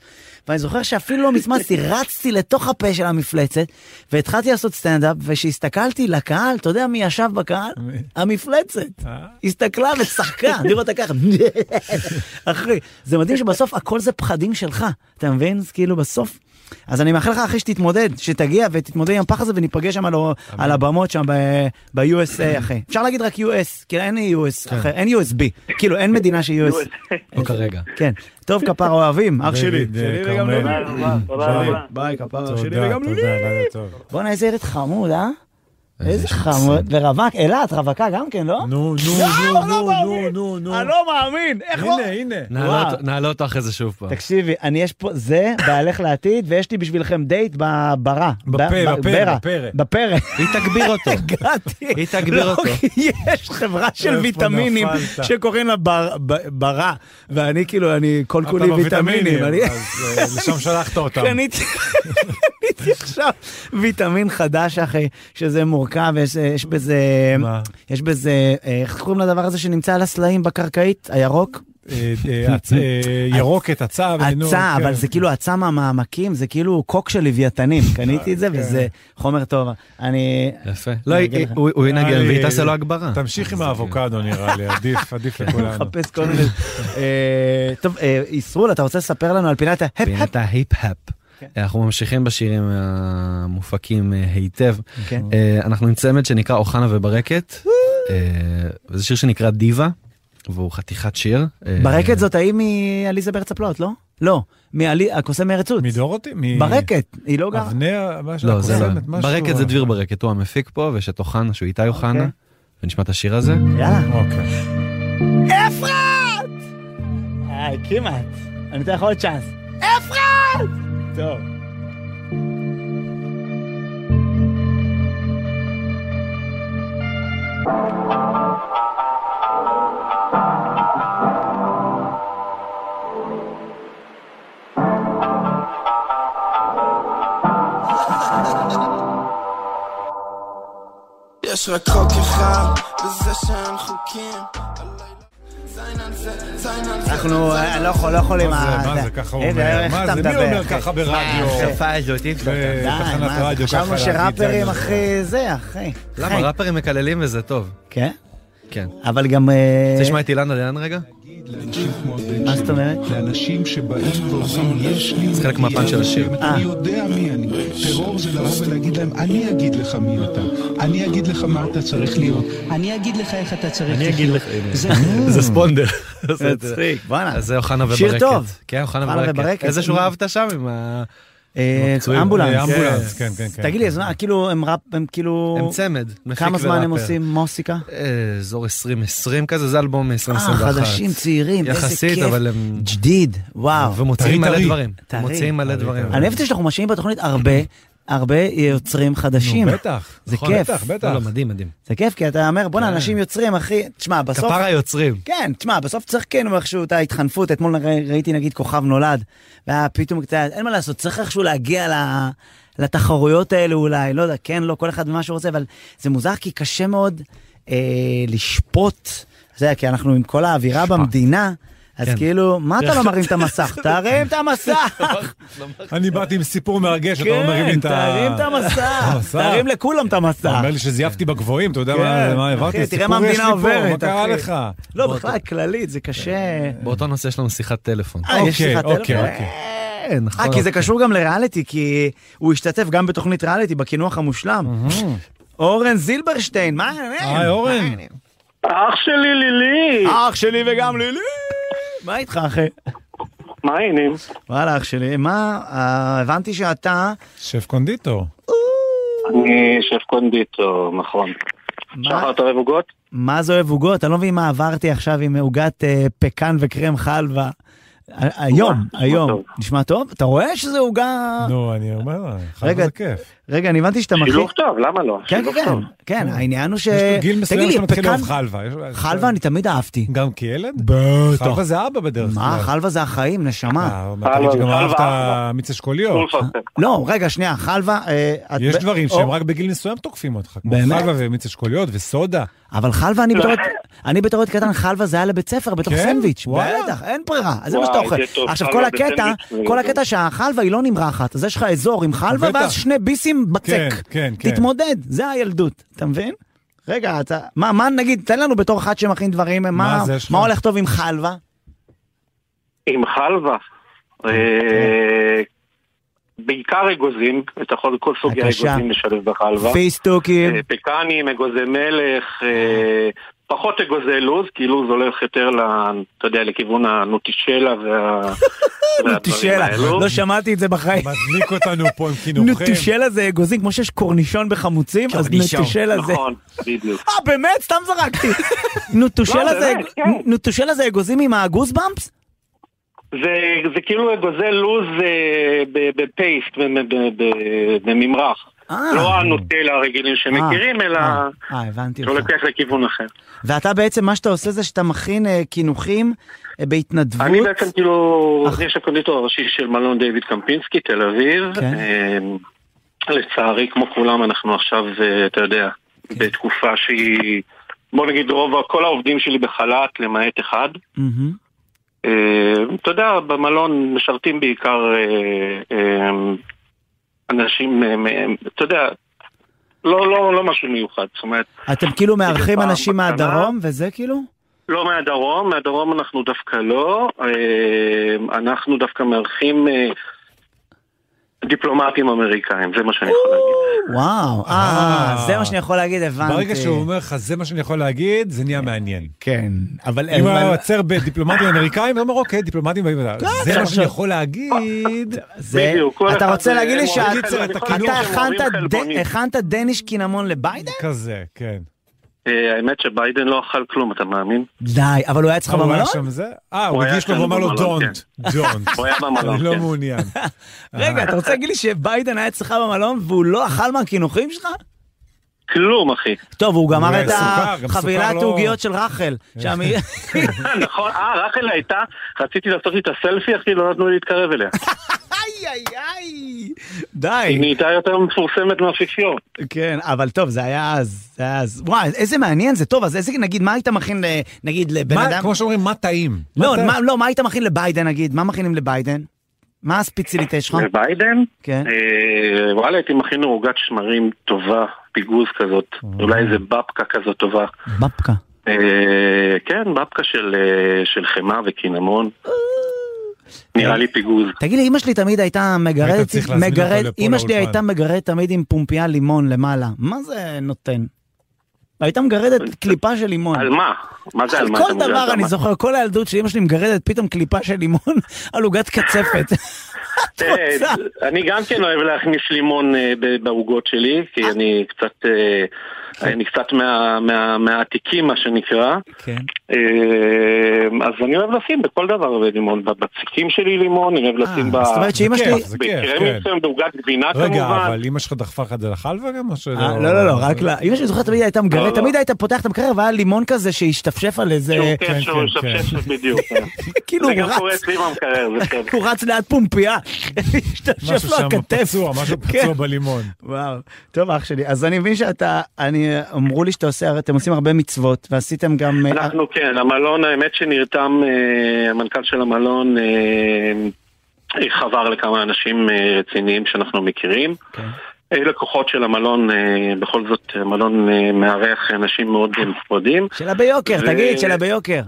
Speaker 1: ואני זוכר שאפילו לא מצמצתי, רצתי לתוך הפה של המפלצת, והתחלתי לעשות סטנדאפ, וכשהסתכלתי לקהל, אתה יודע מי ישב בקהל? המפלצת. הסתכלה וצחקה, אני רואה אותה ככה. אחי, זה מדהים שבסוף הכל זה פחדים שלך, אתה מבין? אז כאילו בסוף. אז אני מאחל לך אחי שתתמודד, שתגיע ותתמודד עם הפחד הזה וניפגש שם על, ה- על הבמות שם ב- ב-USA אחי. אפשר להגיד רק US, כי אין US,
Speaker 3: כן.
Speaker 1: אחי, אין USB, כאילו אין מדינה שהיא US.
Speaker 2: לא כרגע.
Speaker 1: כן, טוב כפרה אוהבים, אח שלי.
Speaker 3: דוד, אה, כרמל.
Speaker 6: תודה רבה, תודה רבה.
Speaker 1: ביי כפרה
Speaker 3: תודה,
Speaker 1: שלי
Speaker 3: תודה,
Speaker 1: וגם לולי.
Speaker 3: לילה טוב.
Speaker 1: בואנה איזה ילד חמוד, אה? איזה
Speaker 2: איזה
Speaker 1: חמוד, ורווק, אילת רווקה גם כן, לא?
Speaker 3: נו, נו,
Speaker 1: לא, לא
Speaker 3: נו, נו,
Speaker 1: מאמין.
Speaker 3: נו, נו,
Speaker 1: אני
Speaker 3: נו.
Speaker 1: לא מאמין, איך לא?
Speaker 3: הנה, הנה.
Speaker 2: נעלה אותו- נעלה אותו אחרי זה שוב פעם.
Speaker 1: תקשיבי, אני יש פה, זה בעלך לעתיד, ויש לי בשבילכם דייט בברע.
Speaker 3: בפה,
Speaker 1: ב-
Speaker 3: בפה,
Speaker 1: ברע,
Speaker 3: בפרא.
Speaker 1: בפרא.
Speaker 2: היא תגביר אותו.
Speaker 1: הגעתי.
Speaker 2: היא תגביר
Speaker 1: לא,
Speaker 2: אותו.
Speaker 1: כי יש חברה של
Speaker 3: איפה
Speaker 1: ויטמינים
Speaker 3: נפלת?
Speaker 1: שקוראים לה בר- ב- ברע, ואני כאילו, אני כל כולי ויטמינים. אני-
Speaker 3: לא אז אה, לשם שלחת אותם.
Speaker 1: קניתי קניתי עכשיו ויטמין חדש, אחי, שזה מורכב, יש- יש בזה,
Speaker 3: מה?
Speaker 1: יש בזה, אה, איך קוראים לדבר הזה שנמצא על הסלעים בקרקעית, הירוק?
Speaker 3: אה, אה, הצ- אה, ירוקת, הצה. ונו,
Speaker 1: עצה,
Speaker 3: כן.
Speaker 1: אבל זה כאילו עצה מהמעמקים, זה כאילו קוק של לוויתנים. קניתי את זה,
Speaker 3: כן.
Speaker 1: וזה חומר טוב. אני...
Speaker 2: יפה. לא,
Speaker 1: אני אגיד
Speaker 2: היא-
Speaker 1: לך.
Speaker 2: הוא הוא ינגן
Speaker 3: נראה לי-
Speaker 2: והיא תעשה לו לא הגברה.
Speaker 3: תמשיך
Speaker 1: אה,
Speaker 3: עם האבוקדו נראה לי, עדיף, עדיף לכולנו.
Speaker 1: כן. מחפש כל מיני... אה, טוב, אה, ישרול, אתה רוצה לספר לנו על פינת ההפ-הפ?
Speaker 2: פינת ההיפ-הפ.
Speaker 1: כן.
Speaker 2: אנחנו ממשיכים בשירים המופקים אה, היטב.
Speaker 1: כן.
Speaker 2: אה, אנחנו עם צמד שנקרא אוחנה וברקת. אה, וזה שיר שנקרא דיווה, והוא חתיכת שיר. אה,
Speaker 1: ברקת זאת ההיא מעליזה בארץ הפלאות, לא? לא, מעלי- הקוסם מארץ עוץ.
Speaker 3: מדורותי? מ-
Speaker 1: ברקת, היא לא גרה.
Speaker 3: אבנר, משהו,
Speaker 2: לא, זה לא.
Speaker 3: הקוסמת, משהו.
Speaker 1: אוקיי.
Speaker 2: ברקת זה דביר ברקת, הוא המפיק פה, ויש את אוחנה, שהוא איתי אוחנה. ונשמע את השיר הזה.
Speaker 1: יאללה.
Speaker 3: אוקיי.
Speaker 1: אפרת! היי, אה, כמעט. אני אתן לך עוד צ'אנס. אפרת! טוב.
Speaker 8: יש רק חוק אחד, וזה שאין חוקים. זין על זה, זין על זה.
Speaker 1: אנחנו, אני לא יכול, לא יכול עם
Speaker 3: מה
Speaker 1: ה...
Speaker 3: זה, מה זה, ככה הוא אומר? מה זה, מי אומר ככה ברדיו?
Speaker 1: השפה הזאת, אי
Speaker 3: אפשר. בתחנת אה, רדיו
Speaker 1: חשבנו
Speaker 3: ככה להגיד
Speaker 1: שראפרים
Speaker 3: זין על
Speaker 1: אחרי זה, אחי.
Speaker 2: למה? ראפרים מקללים וזה טוב.
Speaker 1: כן?
Speaker 2: כן.
Speaker 1: אבל גם... אה,
Speaker 2: רוצה לשמוע את אילנה דיין רגע?
Speaker 1: מה זאת אומרת?
Speaker 9: לאנשים שבאים ואומרים, יש לי...
Speaker 2: זה חלק
Speaker 1: אה,
Speaker 2: מהפן של השיר.
Speaker 9: אני יודע מי אני. טרור זה לבוא ולהגיד להם, אני אגיד לך מי אתה. אני אגיד לך מה אתה צריך להיות.
Speaker 10: אני אגיד לך איך אתה צריך לחיות. אני אגיד לך, זה
Speaker 2: זה ספונדר.
Speaker 1: Mm. מצחיק, בואנה.
Speaker 2: אז זה אוחנה וברקת.
Speaker 1: שיר טוב.
Speaker 2: כן,
Speaker 1: אוחנה
Speaker 2: אוחנה וברקת.
Speaker 1: וברקת.
Speaker 2: איזה שורה אהבת שם עם ה...
Speaker 1: אה,
Speaker 2: הפצועים.
Speaker 3: אה,
Speaker 1: אמבולנס.
Speaker 3: אמבולנס, כן, כן, כן.
Speaker 1: תגיד לי, אז מה, כאילו, הם ראפ, הם כאילו...
Speaker 2: הם צמד. מפיק
Speaker 1: כמה זמן הם
Speaker 2: וראפר.
Speaker 1: עושים מוסיקה?
Speaker 2: אה, אזור 2020 כזה, זה אלבום מ-2021.
Speaker 1: אה, חדשים, צעירים, איזה כיף.
Speaker 2: יחסית, אבל הם...
Speaker 1: ג'דיד, וואו.
Speaker 2: ומוציאים
Speaker 3: טרי,
Speaker 2: מלא
Speaker 3: טרי.
Speaker 2: דברים.
Speaker 1: טרי.
Speaker 2: מוציאים מלא דברים.
Speaker 1: אני אוהבת שאנחנו משמיעים בתוכנית הרבה, הרבה יוצרים חדשים.
Speaker 3: נו, בטח.
Speaker 1: זה
Speaker 2: נכון,
Speaker 1: כיף.
Speaker 3: בטח, בטח.
Speaker 2: לא, לא, מדהים, מדהים.
Speaker 1: זה כיף, כי אתה אומר, בואנה, אנשים יוצרים, אחי, תשמע, בסוף...
Speaker 2: כפרה יוצרים.
Speaker 1: כן, תשמע, בסוף צריך כן איכשהו את ההתחנפות, אתמול ר- ראיתי נגיד כוכב נולד, והיה פתאום קצת, אין מה לעשות, צריך איכשהו להגיע ל- לתחרויות האלה אולי, לא יודע, כן, לא, כל אחד ומה שהוא רוצה, אבל זה מוזר כי קשה מאוד אה, לשפוט, זה היה כי אנחנו עם כל האווירה במדינה, אז
Speaker 2: כן.
Speaker 1: כאילו, מה אתה לא מרים את המסך? תרים את המסך!
Speaker 3: אני באתי עם סיפור מרגש, אתה לא מרים לי
Speaker 1: כן,
Speaker 3: את ה...
Speaker 1: תרים את המסך!
Speaker 3: המסך.
Speaker 1: תרים לכולם את
Speaker 3: אתה
Speaker 1: המסך!
Speaker 3: אומר לי שזייפתי בגבוהים, אתה יודע
Speaker 1: כן,
Speaker 3: מה-
Speaker 1: אחי,
Speaker 3: מה העברתי?
Speaker 1: תראה מה
Speaker 3: סיפור יש
Speaker 1: המדינה
Speaker 3: לי פה,
Speaker 1: עוברת,
Speaker 3: מה קרה
Speaker 1: אחי.
Speaker 3: לך?
Speaker 1: לא, בכלל, כללית, זה
Speaker 3: אה,
Speaker 1: קשה.
Speaker 2: באותו נושא יש לנו שיחת טלפון.
Speaker 1: אה, יש
Speaker 3: אוקיי,
Speaker 1: לך
Speaker 3: אוקיי,
Speaker 1: טלפון?
Speaker 3: אוקיי.
Speaker 1: אה, נכון. אה, כי זה קשור גם לריאליטי, כי הוא השתתף גם בתוכנית ריאליטי, בקינוח המושלם. אורן זילברשטיין, מה העניינים?
Speaker 3: היי אורן,
Speaker 7: אח שלי לילי!
Speaker 1: אח שלי וגם לילי! מה איתך, אחי?
Speaker 7: מה העניינים?
Speaker 1: וואלה, אח שלי, מה, אה, הבנתי שאתה...
Speaker 3: שף קונדיטור.
Speaker 7: אני שף קונדיטור, נכון.
Speaker 1: מה-
Speaker 7: אתה אוהב עוגות?
Speaker 1: מה זה אוהב עוגות? אני לא מבין מה עברתי עכשיו עם עוגת אה, פקן וקרם חלבה. ה- היום,
Speaker 7: נשמע
Speaker 1: היום.
Speaker 7: טוב.
Speaker 1: נשמע טוב? אתה רואה שזה עוגה...
Speaker 3: נו, אני אומר לך, חלק
Speaker 1: אה. רגע,
Speaker 3: זה כיף.
Speaker 1: רגע, אני הבנתי שאתה מכין...
Speaker 7: שילוב טוב, למה לא?
Speaker 1: כן,
Speaker 7: שילוב
Speaker 1: כן, כן,
Speaker 7: טוב.
Speaker 1: כן, העניין הוא ש...
Speaker 3: יש לו גיל
Speaker 1: תגיד
Speaker 3: מסוים
Speaker 1: לי,
Speaker 3: שאתה מתחיל
Speaker 1: פקן-
Speaker 3: לאהוב חלבה. יש-
Speaker 1: חלבה אני תמיד אהבתי.
Speaker 3: גם כילד?
Speaker 1: בטח.
Speaker 3: חלבה זה אבא בדרך כלל.
Speaker 1: מה, חלבה זה החיים, נשמה.
Speaker 3: אה, מה, תגיד שגם
Speaker 7: חלבה,
Speaker 3: אהבת
Speaker 7: חלבה.
Speaker 3: מיץ
Speaker 7: לא
Speaker 3: אשכוליות.
Speaker 7: לפרסם.
Speaker 1: לא, רגע, שנייה, חלבה... אה, את
Speaker 3: יש
Speaker 1: ב-
Speaker 3: דברים
Speaker 1: או-
Speaker 3: שהם רק בגיל מסוים תוקפים אותך, כמו
Speaker 1: באמת?
Speaker 3: חלבה ומיץ אשכוליות וסודה.
Speaker 1: אבל חלבה,
Speaker 7: לא.
Speaker 1: אני בתור... אני בתור ילד קטן, חלבה זה היה לבית ספר, בתוך
Speaker 3: כן?
Speaker 1: סנדוויץ'.
Speaker 3: וואלה.
Speaker 1: בטח, אין ברירה, אז זה מה
Speaker 7: וואי,
Speaker 1: שאתה אוכל.
Speaker 7: זה טוב,
Speaker 1: עכשיו, כל
Speaker 7: חלבה
Speaker 1: הקטע,
Speaker 7: בסנדוויץ',
Speaker 1: כל
Speaker 7: זה
Speaker 1: הקטע שהחלבה היא לא נמרחת, אז יש לך אזור עם חלבה,
Speaker 3: בטח.
Speaker 1: ואז שני ביסים
Speaker 3: כן,
Speaker 1: בצק.
Speaker 3: כן, כן.
Speaker 1: תתמודד, זה הילדות, אתה מבין? רגע, אתה... מה, מה, נגיד, תן לנו בתור אחד שמכין דברים, מה
Speaker 3: זה יש
Speaker 1: מה
Speaker 3: לך?
Speaker 1: הולך טוב עם חלבה?
Speaker 7: עם חלבה.
Speaker 1: אוקיי.
Speaker 7: אה, בעיקר אגוזים, אתה יכול כל סוגי
Speaker 1: בבקשה.
Speaker 7: האגוזים לשלב בחלבה.
Speaker 1: פיסטוקים.
Speaker 7: אה, פקנים, אגוזי מלך, אה, פחות אגוזי לוז, כי לוז הולך יותר, ל, אתה יודע, לכיוון הנוטישלה וה... והדברים
Speaker 1: נוטישלה,
Speaker 7: האלו.
Speaker 1: לא שמעתי את זה בחיים.
Speaker 3: מדליק אותנו פה עם חינוכים.
Speaker 1: נוטישלה זה אגוזים, כמו שיש קורנישון בחמוצים, אז נוטישלה זה...
Speaker 7: נכון, בדיוק.
Speaker 1: אה, באמת? סתם זרקתי. נוטושלה
Speaker 7: לא,
Speaker 1: זה-
Speaker 7: באמת, כן.
Speaker 1: נוטושלה זה אגוזים עם הגוסבאמפס?
Speaker 7: זה, זה כאילו אגוזי לוז אה, ב- בפייסט, ב- ב- ב- ב- בממרח.
Speaker 1: אה.
Speaker 7: לא הנוטלה הרגילים שמכירים,
Speaker 1: אה,
Speaker 7: אלא
Speaker 1: אה, אה, הבנתי
Speaker 7: זה
Speaker 1: אותך.
Speaker 7: לוקח לכיוון אחר.
Speaker 1: ואתה בעצם, מה שאתה עושה זה שאתה מכין אה, קינוחים אה, בהתנדבות.
Speaker 7: אני בעצם כאילו,
Speaker 1: אך-
Speaker 7: אני עכשיו קונדיטור הראשי של מלון דיוויד קמפינסקי, תל אביב.
Speaker 1: כן.
Speaker 7: אה, לצערי, כמו כולם, אנחנו עכשיו, אה, אתה יודע,
Speaker 1: כן.
Speaker 7: בתקופה שהיא, בוא נגיד, רוב, כל העובדים שלי בחל"ת, למעט אחד.
Speaker 1: מהמם.
Speaker 7: אה, אתה יודע, במלון משרתים בעיקר אה, אה, אנשים, אה, מ- אתה יודע, לא, לא, לא משהו מיוחד, זאת אומרת,
Speaker 1: אתם כאילו מארחים
Speaker 7: פעם
Speaker 1: אנשים
Speaker 7: בקטנה.
Speaker 1: מהדרום וזה כאילו?
Speaker 7: לא מהדרום, מהדרום אנחנו דווקא לא. אה, אנחנו דווקא מארחים אה, דיפלומטים אמריקאים, זה מה שאני יכול להגיד.
Speaker 1: וואו, אה,
Speaker 3: אה.
Speaker 1: זה מה שאני יכול להגיד, הבנתי.
Speaker 3: ברגע שהוא אומר לך, זה מה שאני יכול להגיד, זה נהיה מעניין.
Speaker 1: כן, אבל... לא,
Speaker 3: אם הוא היה
Speaker 1: אבל-
Speaker 3: עוצר בדיפלומטים אמריקאים, אתה אומר, אוקיי, דיפלומטים, זה מה שאני יכול להגיד.
Speaker 1: אה, זה,
Speaker 7: בדיוק, כל
Speaker 1: אתה
Speaker 7: אחד
Speaker 1: רוצה
Speaker 7: זה-
Speaker 1: להגיד לי
Speaker 7: הם אוהבים
Speaker 1: שאתה
Speaker 7: חלבונים.
Speaker 1: אתה הכנת
Speaker 7: הם אוהבים
Speaker 1: ד-
Speaker 7: חלבונים.
Speaker 1: הכנת דניש קינמון לביידן?
Speaker 3: כזה, כן.
Speaker 7: אה, האמת שביידן לא אכל כלום, אתה מאמין?
Speaker 1: די, אבל הוא היה אצלך
Speaker 3: הוא היה
Speaker 1: במלון?
Speaker 3: שם זה? אה,
Speaker 7: הוא
Speaker 3: הוא
Speaker 7: היה
Speaker 3: הגיש לו
Speaker 7: שם
Speaker 3: ואמר לו
Speaker 7: במלון, כן.
Speaker 3: don't, don't.
Speaker 7: הוא היה במלון,
Speaker 3: אני לא
Speaker 7: כן.
Speaker 3: מעוניין.
Speaker 1: רגע, אתה רוצה להגיד לי שביידן היה אצלך במלון והוא לא אכל מהקינוחים שלך?
Speaker 7: כלום, אחי.
Speaker 1: טוב, הוא גמר
Speaker 3: אולי
Speaker 1: את
Speaker 3: סוכר, גם
Speaker 1: החבילת
Speaker 3: סוכר לא- כן.
Speaker 1: עוגיות של רחל. שם היא...
Speaker 7: נכון, אה, רחל הייתה, רציתי לעשות איתה סלפי, אחי, לא נתנו לי להתקרב אליה.
Speaker 1: איי, איי, איי.
Speaker 7: היא
Speaker 1: די.
Speaker 7: נהייתה יותר מפורסמת מהאפיפיור.
Speaker 1: כן, אבל טוב, זה היה אז, זה היה אז. וואי, איזה מעניין זה. טוב, אז איזה, נגיד, מה היית מכין, ל- נגיד, לבן
Speaker 3: מה-
Speaker 1: אדם?
Speaker 3: כמו שאומרים, מה טעים?
Speaker 1: לא,
Speaker 3: טעים?
Speaker 1: מה- לא, מה היית מכין לביידן, נגיד? מה מכינים לביידן? מה הספציליטה שלך?
Speaker 7: וביידן?
Speaker 1: אה. כן.
Speaker 7: אה, וואלה, הייתי מכין לו עוגת שמרים טובה, פיגוז כזאת, אולי איזה בבקה כזאת טובה.
Speaker 1: בפקה.
Speaker 7: אה, כן, בבקה של, אה, של חמאה וקינמון. נראה לי פיגוז.
Speaker 1: תגיד לי, אמא שלי תמיד הייתה
Speaker 3: היית
Speaker 1: מגרד,
Speaker 3: צריך להזמין אותו
Speaker 1: מגרד,
Speaker 3: לפה
Speaker 1: אמא שלי
Speaker 3: לאולפן.
Speaker 1: הייתה מגרד תמיד עם פומפייה לימון למעלה. מה זה נותן? הייתה מגרדת קליפה של לימון.
Speaker 7: על מה? מה זה על
Speaker 1: על
Speaker 7: מה?
Speaker 1: כל
Speaker 7: אתה מודע
Speaker 1: דבר
Speaker 7: על
Speaker 1: אני
Speaker 7: מה?
Speaker 1: זוכר, כל הילדות שאימא שלי מגרדת פתאום קליפה של לימון על עוגת קצפת. את
Speaker 7: אה,
Speaker 1: רוצה?
Speaker 7: אני גם כן אוהב להכניס לימון אה, ב- בעוגות שלי, כי אני קצת... אה, אני קצת מה- מה- מהעתיקים מה שנקרא,
Speaker 1: כן.
Speaker 7: אה, אז אני אוהב לשים בכל דבר אה, לימון, בבצקים שלי לימון, אני אוהב לשים
Speaker 1: אה,
Speaker 7: ב-
Speaker 1: זאת אומרת שאימא
Speaker 3: זה
Speaker 1: שלי...
Speaker 3: כיף, זה
Speaker 7: בקרמים
Speaker 3: כן.
Speaker 7: מסוים, בעוגת גבינה
Speaker 3: רגע,
Speaker 7: כמובן.
Speaker 3: אבל אמא שלך דחפה לך את זה לחלבה גם, או שלא?
Speaker 1: אה, לא, לא, לא, רק לה. אמא שלי זוכרת תמיד הייתה
Speaker 7: לא,
Speaker 1: מגרדת,
Speaker 7: לא.
Speaker 1: תמיד הייתה פותחת את המקרר והיה לימון כזה שהשתפשף על איזה...
Speaker 7: שום
Speaker 3: כן,
Speaker 7: כיף שהוא משפשף בדיוק. אה.
Speaker 1: כאילו
Speaker 7: זה
Speaker 1: הוא
Speaker 7: גם קורה
Speaker 1: רץ,
Speaker 7: אצלי במקרר, זה בסדר.
Speaker 1: הוא רץ ליד פומפייה. השתפשף
Speaker 3: משהו
Speaker 1: לו
Speaker 3: שם
Speaker 1: הכתף.
Speaker 3: פצוע, משהו
Speaker 1: כן.
Speaker 3: פצוע בלימון.
Speaker 1: וואו, טוב אח שלי, אז אני מבין שאתה, אני, אמרו לי שאתה עושה, הרי אתם עושים הרבה מצוות, ועשיתם גם, אה,
Speaker 7: אנחנו כן, המלון, האמת שנרתם, אה, המנכ"ל של המלון אה, חבר לכמה אנשים אה, רציניים שאנחנו מכירים.
Speaker 1: כן.
Speaker 7: אה, לקוחות של המלון, אה, בכל זאת המלון אה, מארח אנשים מאוד אה, מכובדים.
Speaker 1: שלה ביוקר,
Speaker 7: ו-
Speaker 1: תגיד, שלה ביוקר.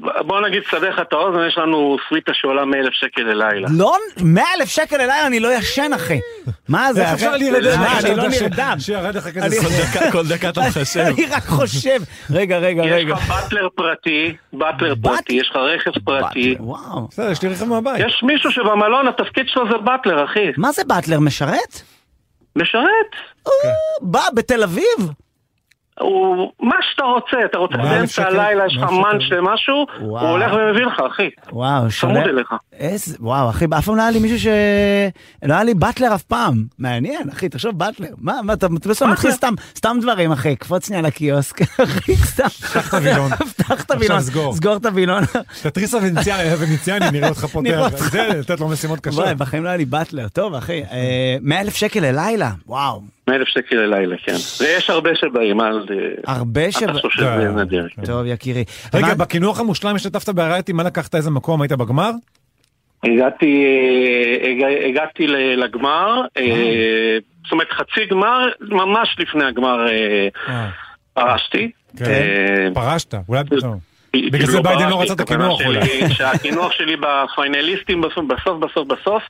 Speaker 7: בוא נגיד, סדר לך את האוזן, יש לנו סוויטה שעולה מאלף שקל ללילה.
Speaker 1: לא, 100 אלף שקל אליי אני לא ישן אחי. מה זה,
Speaker 3: איך אפשר
Speaker 1: אחי?
Speaker 3: להירדם?
Speaker 1: מה,
Speaker 3: איך
Speaker 1: אני לא
Speaker 3: אפשר ש-
Speaker 1: נרדם.
Speaker 3: שירד לך כזה
Speaker 1: אני-
Speaker 3: סוד.
Speaker 2: כל דקה אתה מחשב.
Speaker 1: אני רק חושב, רגע, רגע,
Speaker 7: יש
Speaker 1: רגע.
Speaker 7: לך באטלר פרטי, באטלר פרטי, יש לך רכב פרטי.
Speaker 1: וואו.
Speaker 3: בסדר, יש לי רכב מהבית.
Speaker 7: יש מישהו שבמלון התפקיד שלו זה באטלר, אחי.
Speaker 1: מה זה באטלר משרת?
Speaker 7: משרת.
Speaker 1: בא, בתל אביב?
Speaker 7: הוא מה שאתה רוצה, אתה רוצה
Speaker 3: מה, אלף
Speaker 7: באמצע
Speaker 3: שקל?
Speaker 7: הלילה, יש לך
Speaker 3: מה, אלף
Speaker 7: מאנץ'
Speaker 3: שקל?
Speaker 7: למשהו,
Speaker 1: וואו.
Speaker 7: הוא הולך ומביא לך, אחי.
Speaker 1: וואו,
Speaker 7: צמוד אליך.
Speaker 1: איזה, וואו, אחי, אף פעם לא היה לי מישהו ש... לא היה לי באטלר אף פעם. מעניין, אחי, תחשוב באטלר. מה, מה, אתה אתה בסוף מתחיל סתם, סתם דברים, אחי, קפוץ שנייה לקיוסק, אחי, סתם.
Speaker 3: פתח את הווילון.
Speaker 1: פתח את הווילון,
Speaker 3: סגור.
Speaker 1: סגור את הווילון.
Speaker 3: תתריס הוונציאני, הוונציאני, נראה אותך
Speaker 1: נראה
Speaker 3: פותח.
Speaker 1: אותך.
Speaker 3: זה, לתת לו משימות קשות.
Speaker 1: וואי, בחיים לא היה לי באטלר. טוב, אחי, 100 אלף שקל ללילה, וואו.
Speaker 7: 100,000 שקל ללילה, כן. ויש הרבה שבאים, אל
Speaker 3: אה,
Speaker 7: ת-
Speaker 1: הרבה ש...
Speaker 7: אל תחשוב שזה
Speaker 3: די.
Speaker 7: נדיר.
Speaker 1: טוב, יקירי.
Speaker 3: רגע,
Speaker 1: מה-
Speaker 3: בקינוח המושלם השתתפת בהרייתי, מה לקחת, איזה מקום, היית בגמר?
Speaker 7: הגעתי, אה, הגע- הגעתי ל- לגמר, אה, זאת אומרת חצי גמר, ממש לפני הגמר אה,
Speaker 3: אה,
Speaker 7: פרשתי.
Speaker 3: כן.
Speaker 7: אה,
Speaker 3: פרשת, אולי... לא.
Speaker 7: כאילו
Speaker 3: בגלל זה ביידן לא
Speaker 7: פרשתי,
Speaker 3: רצה את
Speaker 7: הכוונה
Speaker 3: הקינוח,
Speaker 7: שלי
Speaker 3: אולי.
Speaker 7: שהקינוח שלי בפיינליסטים בסוף בסוף בסוף בסוף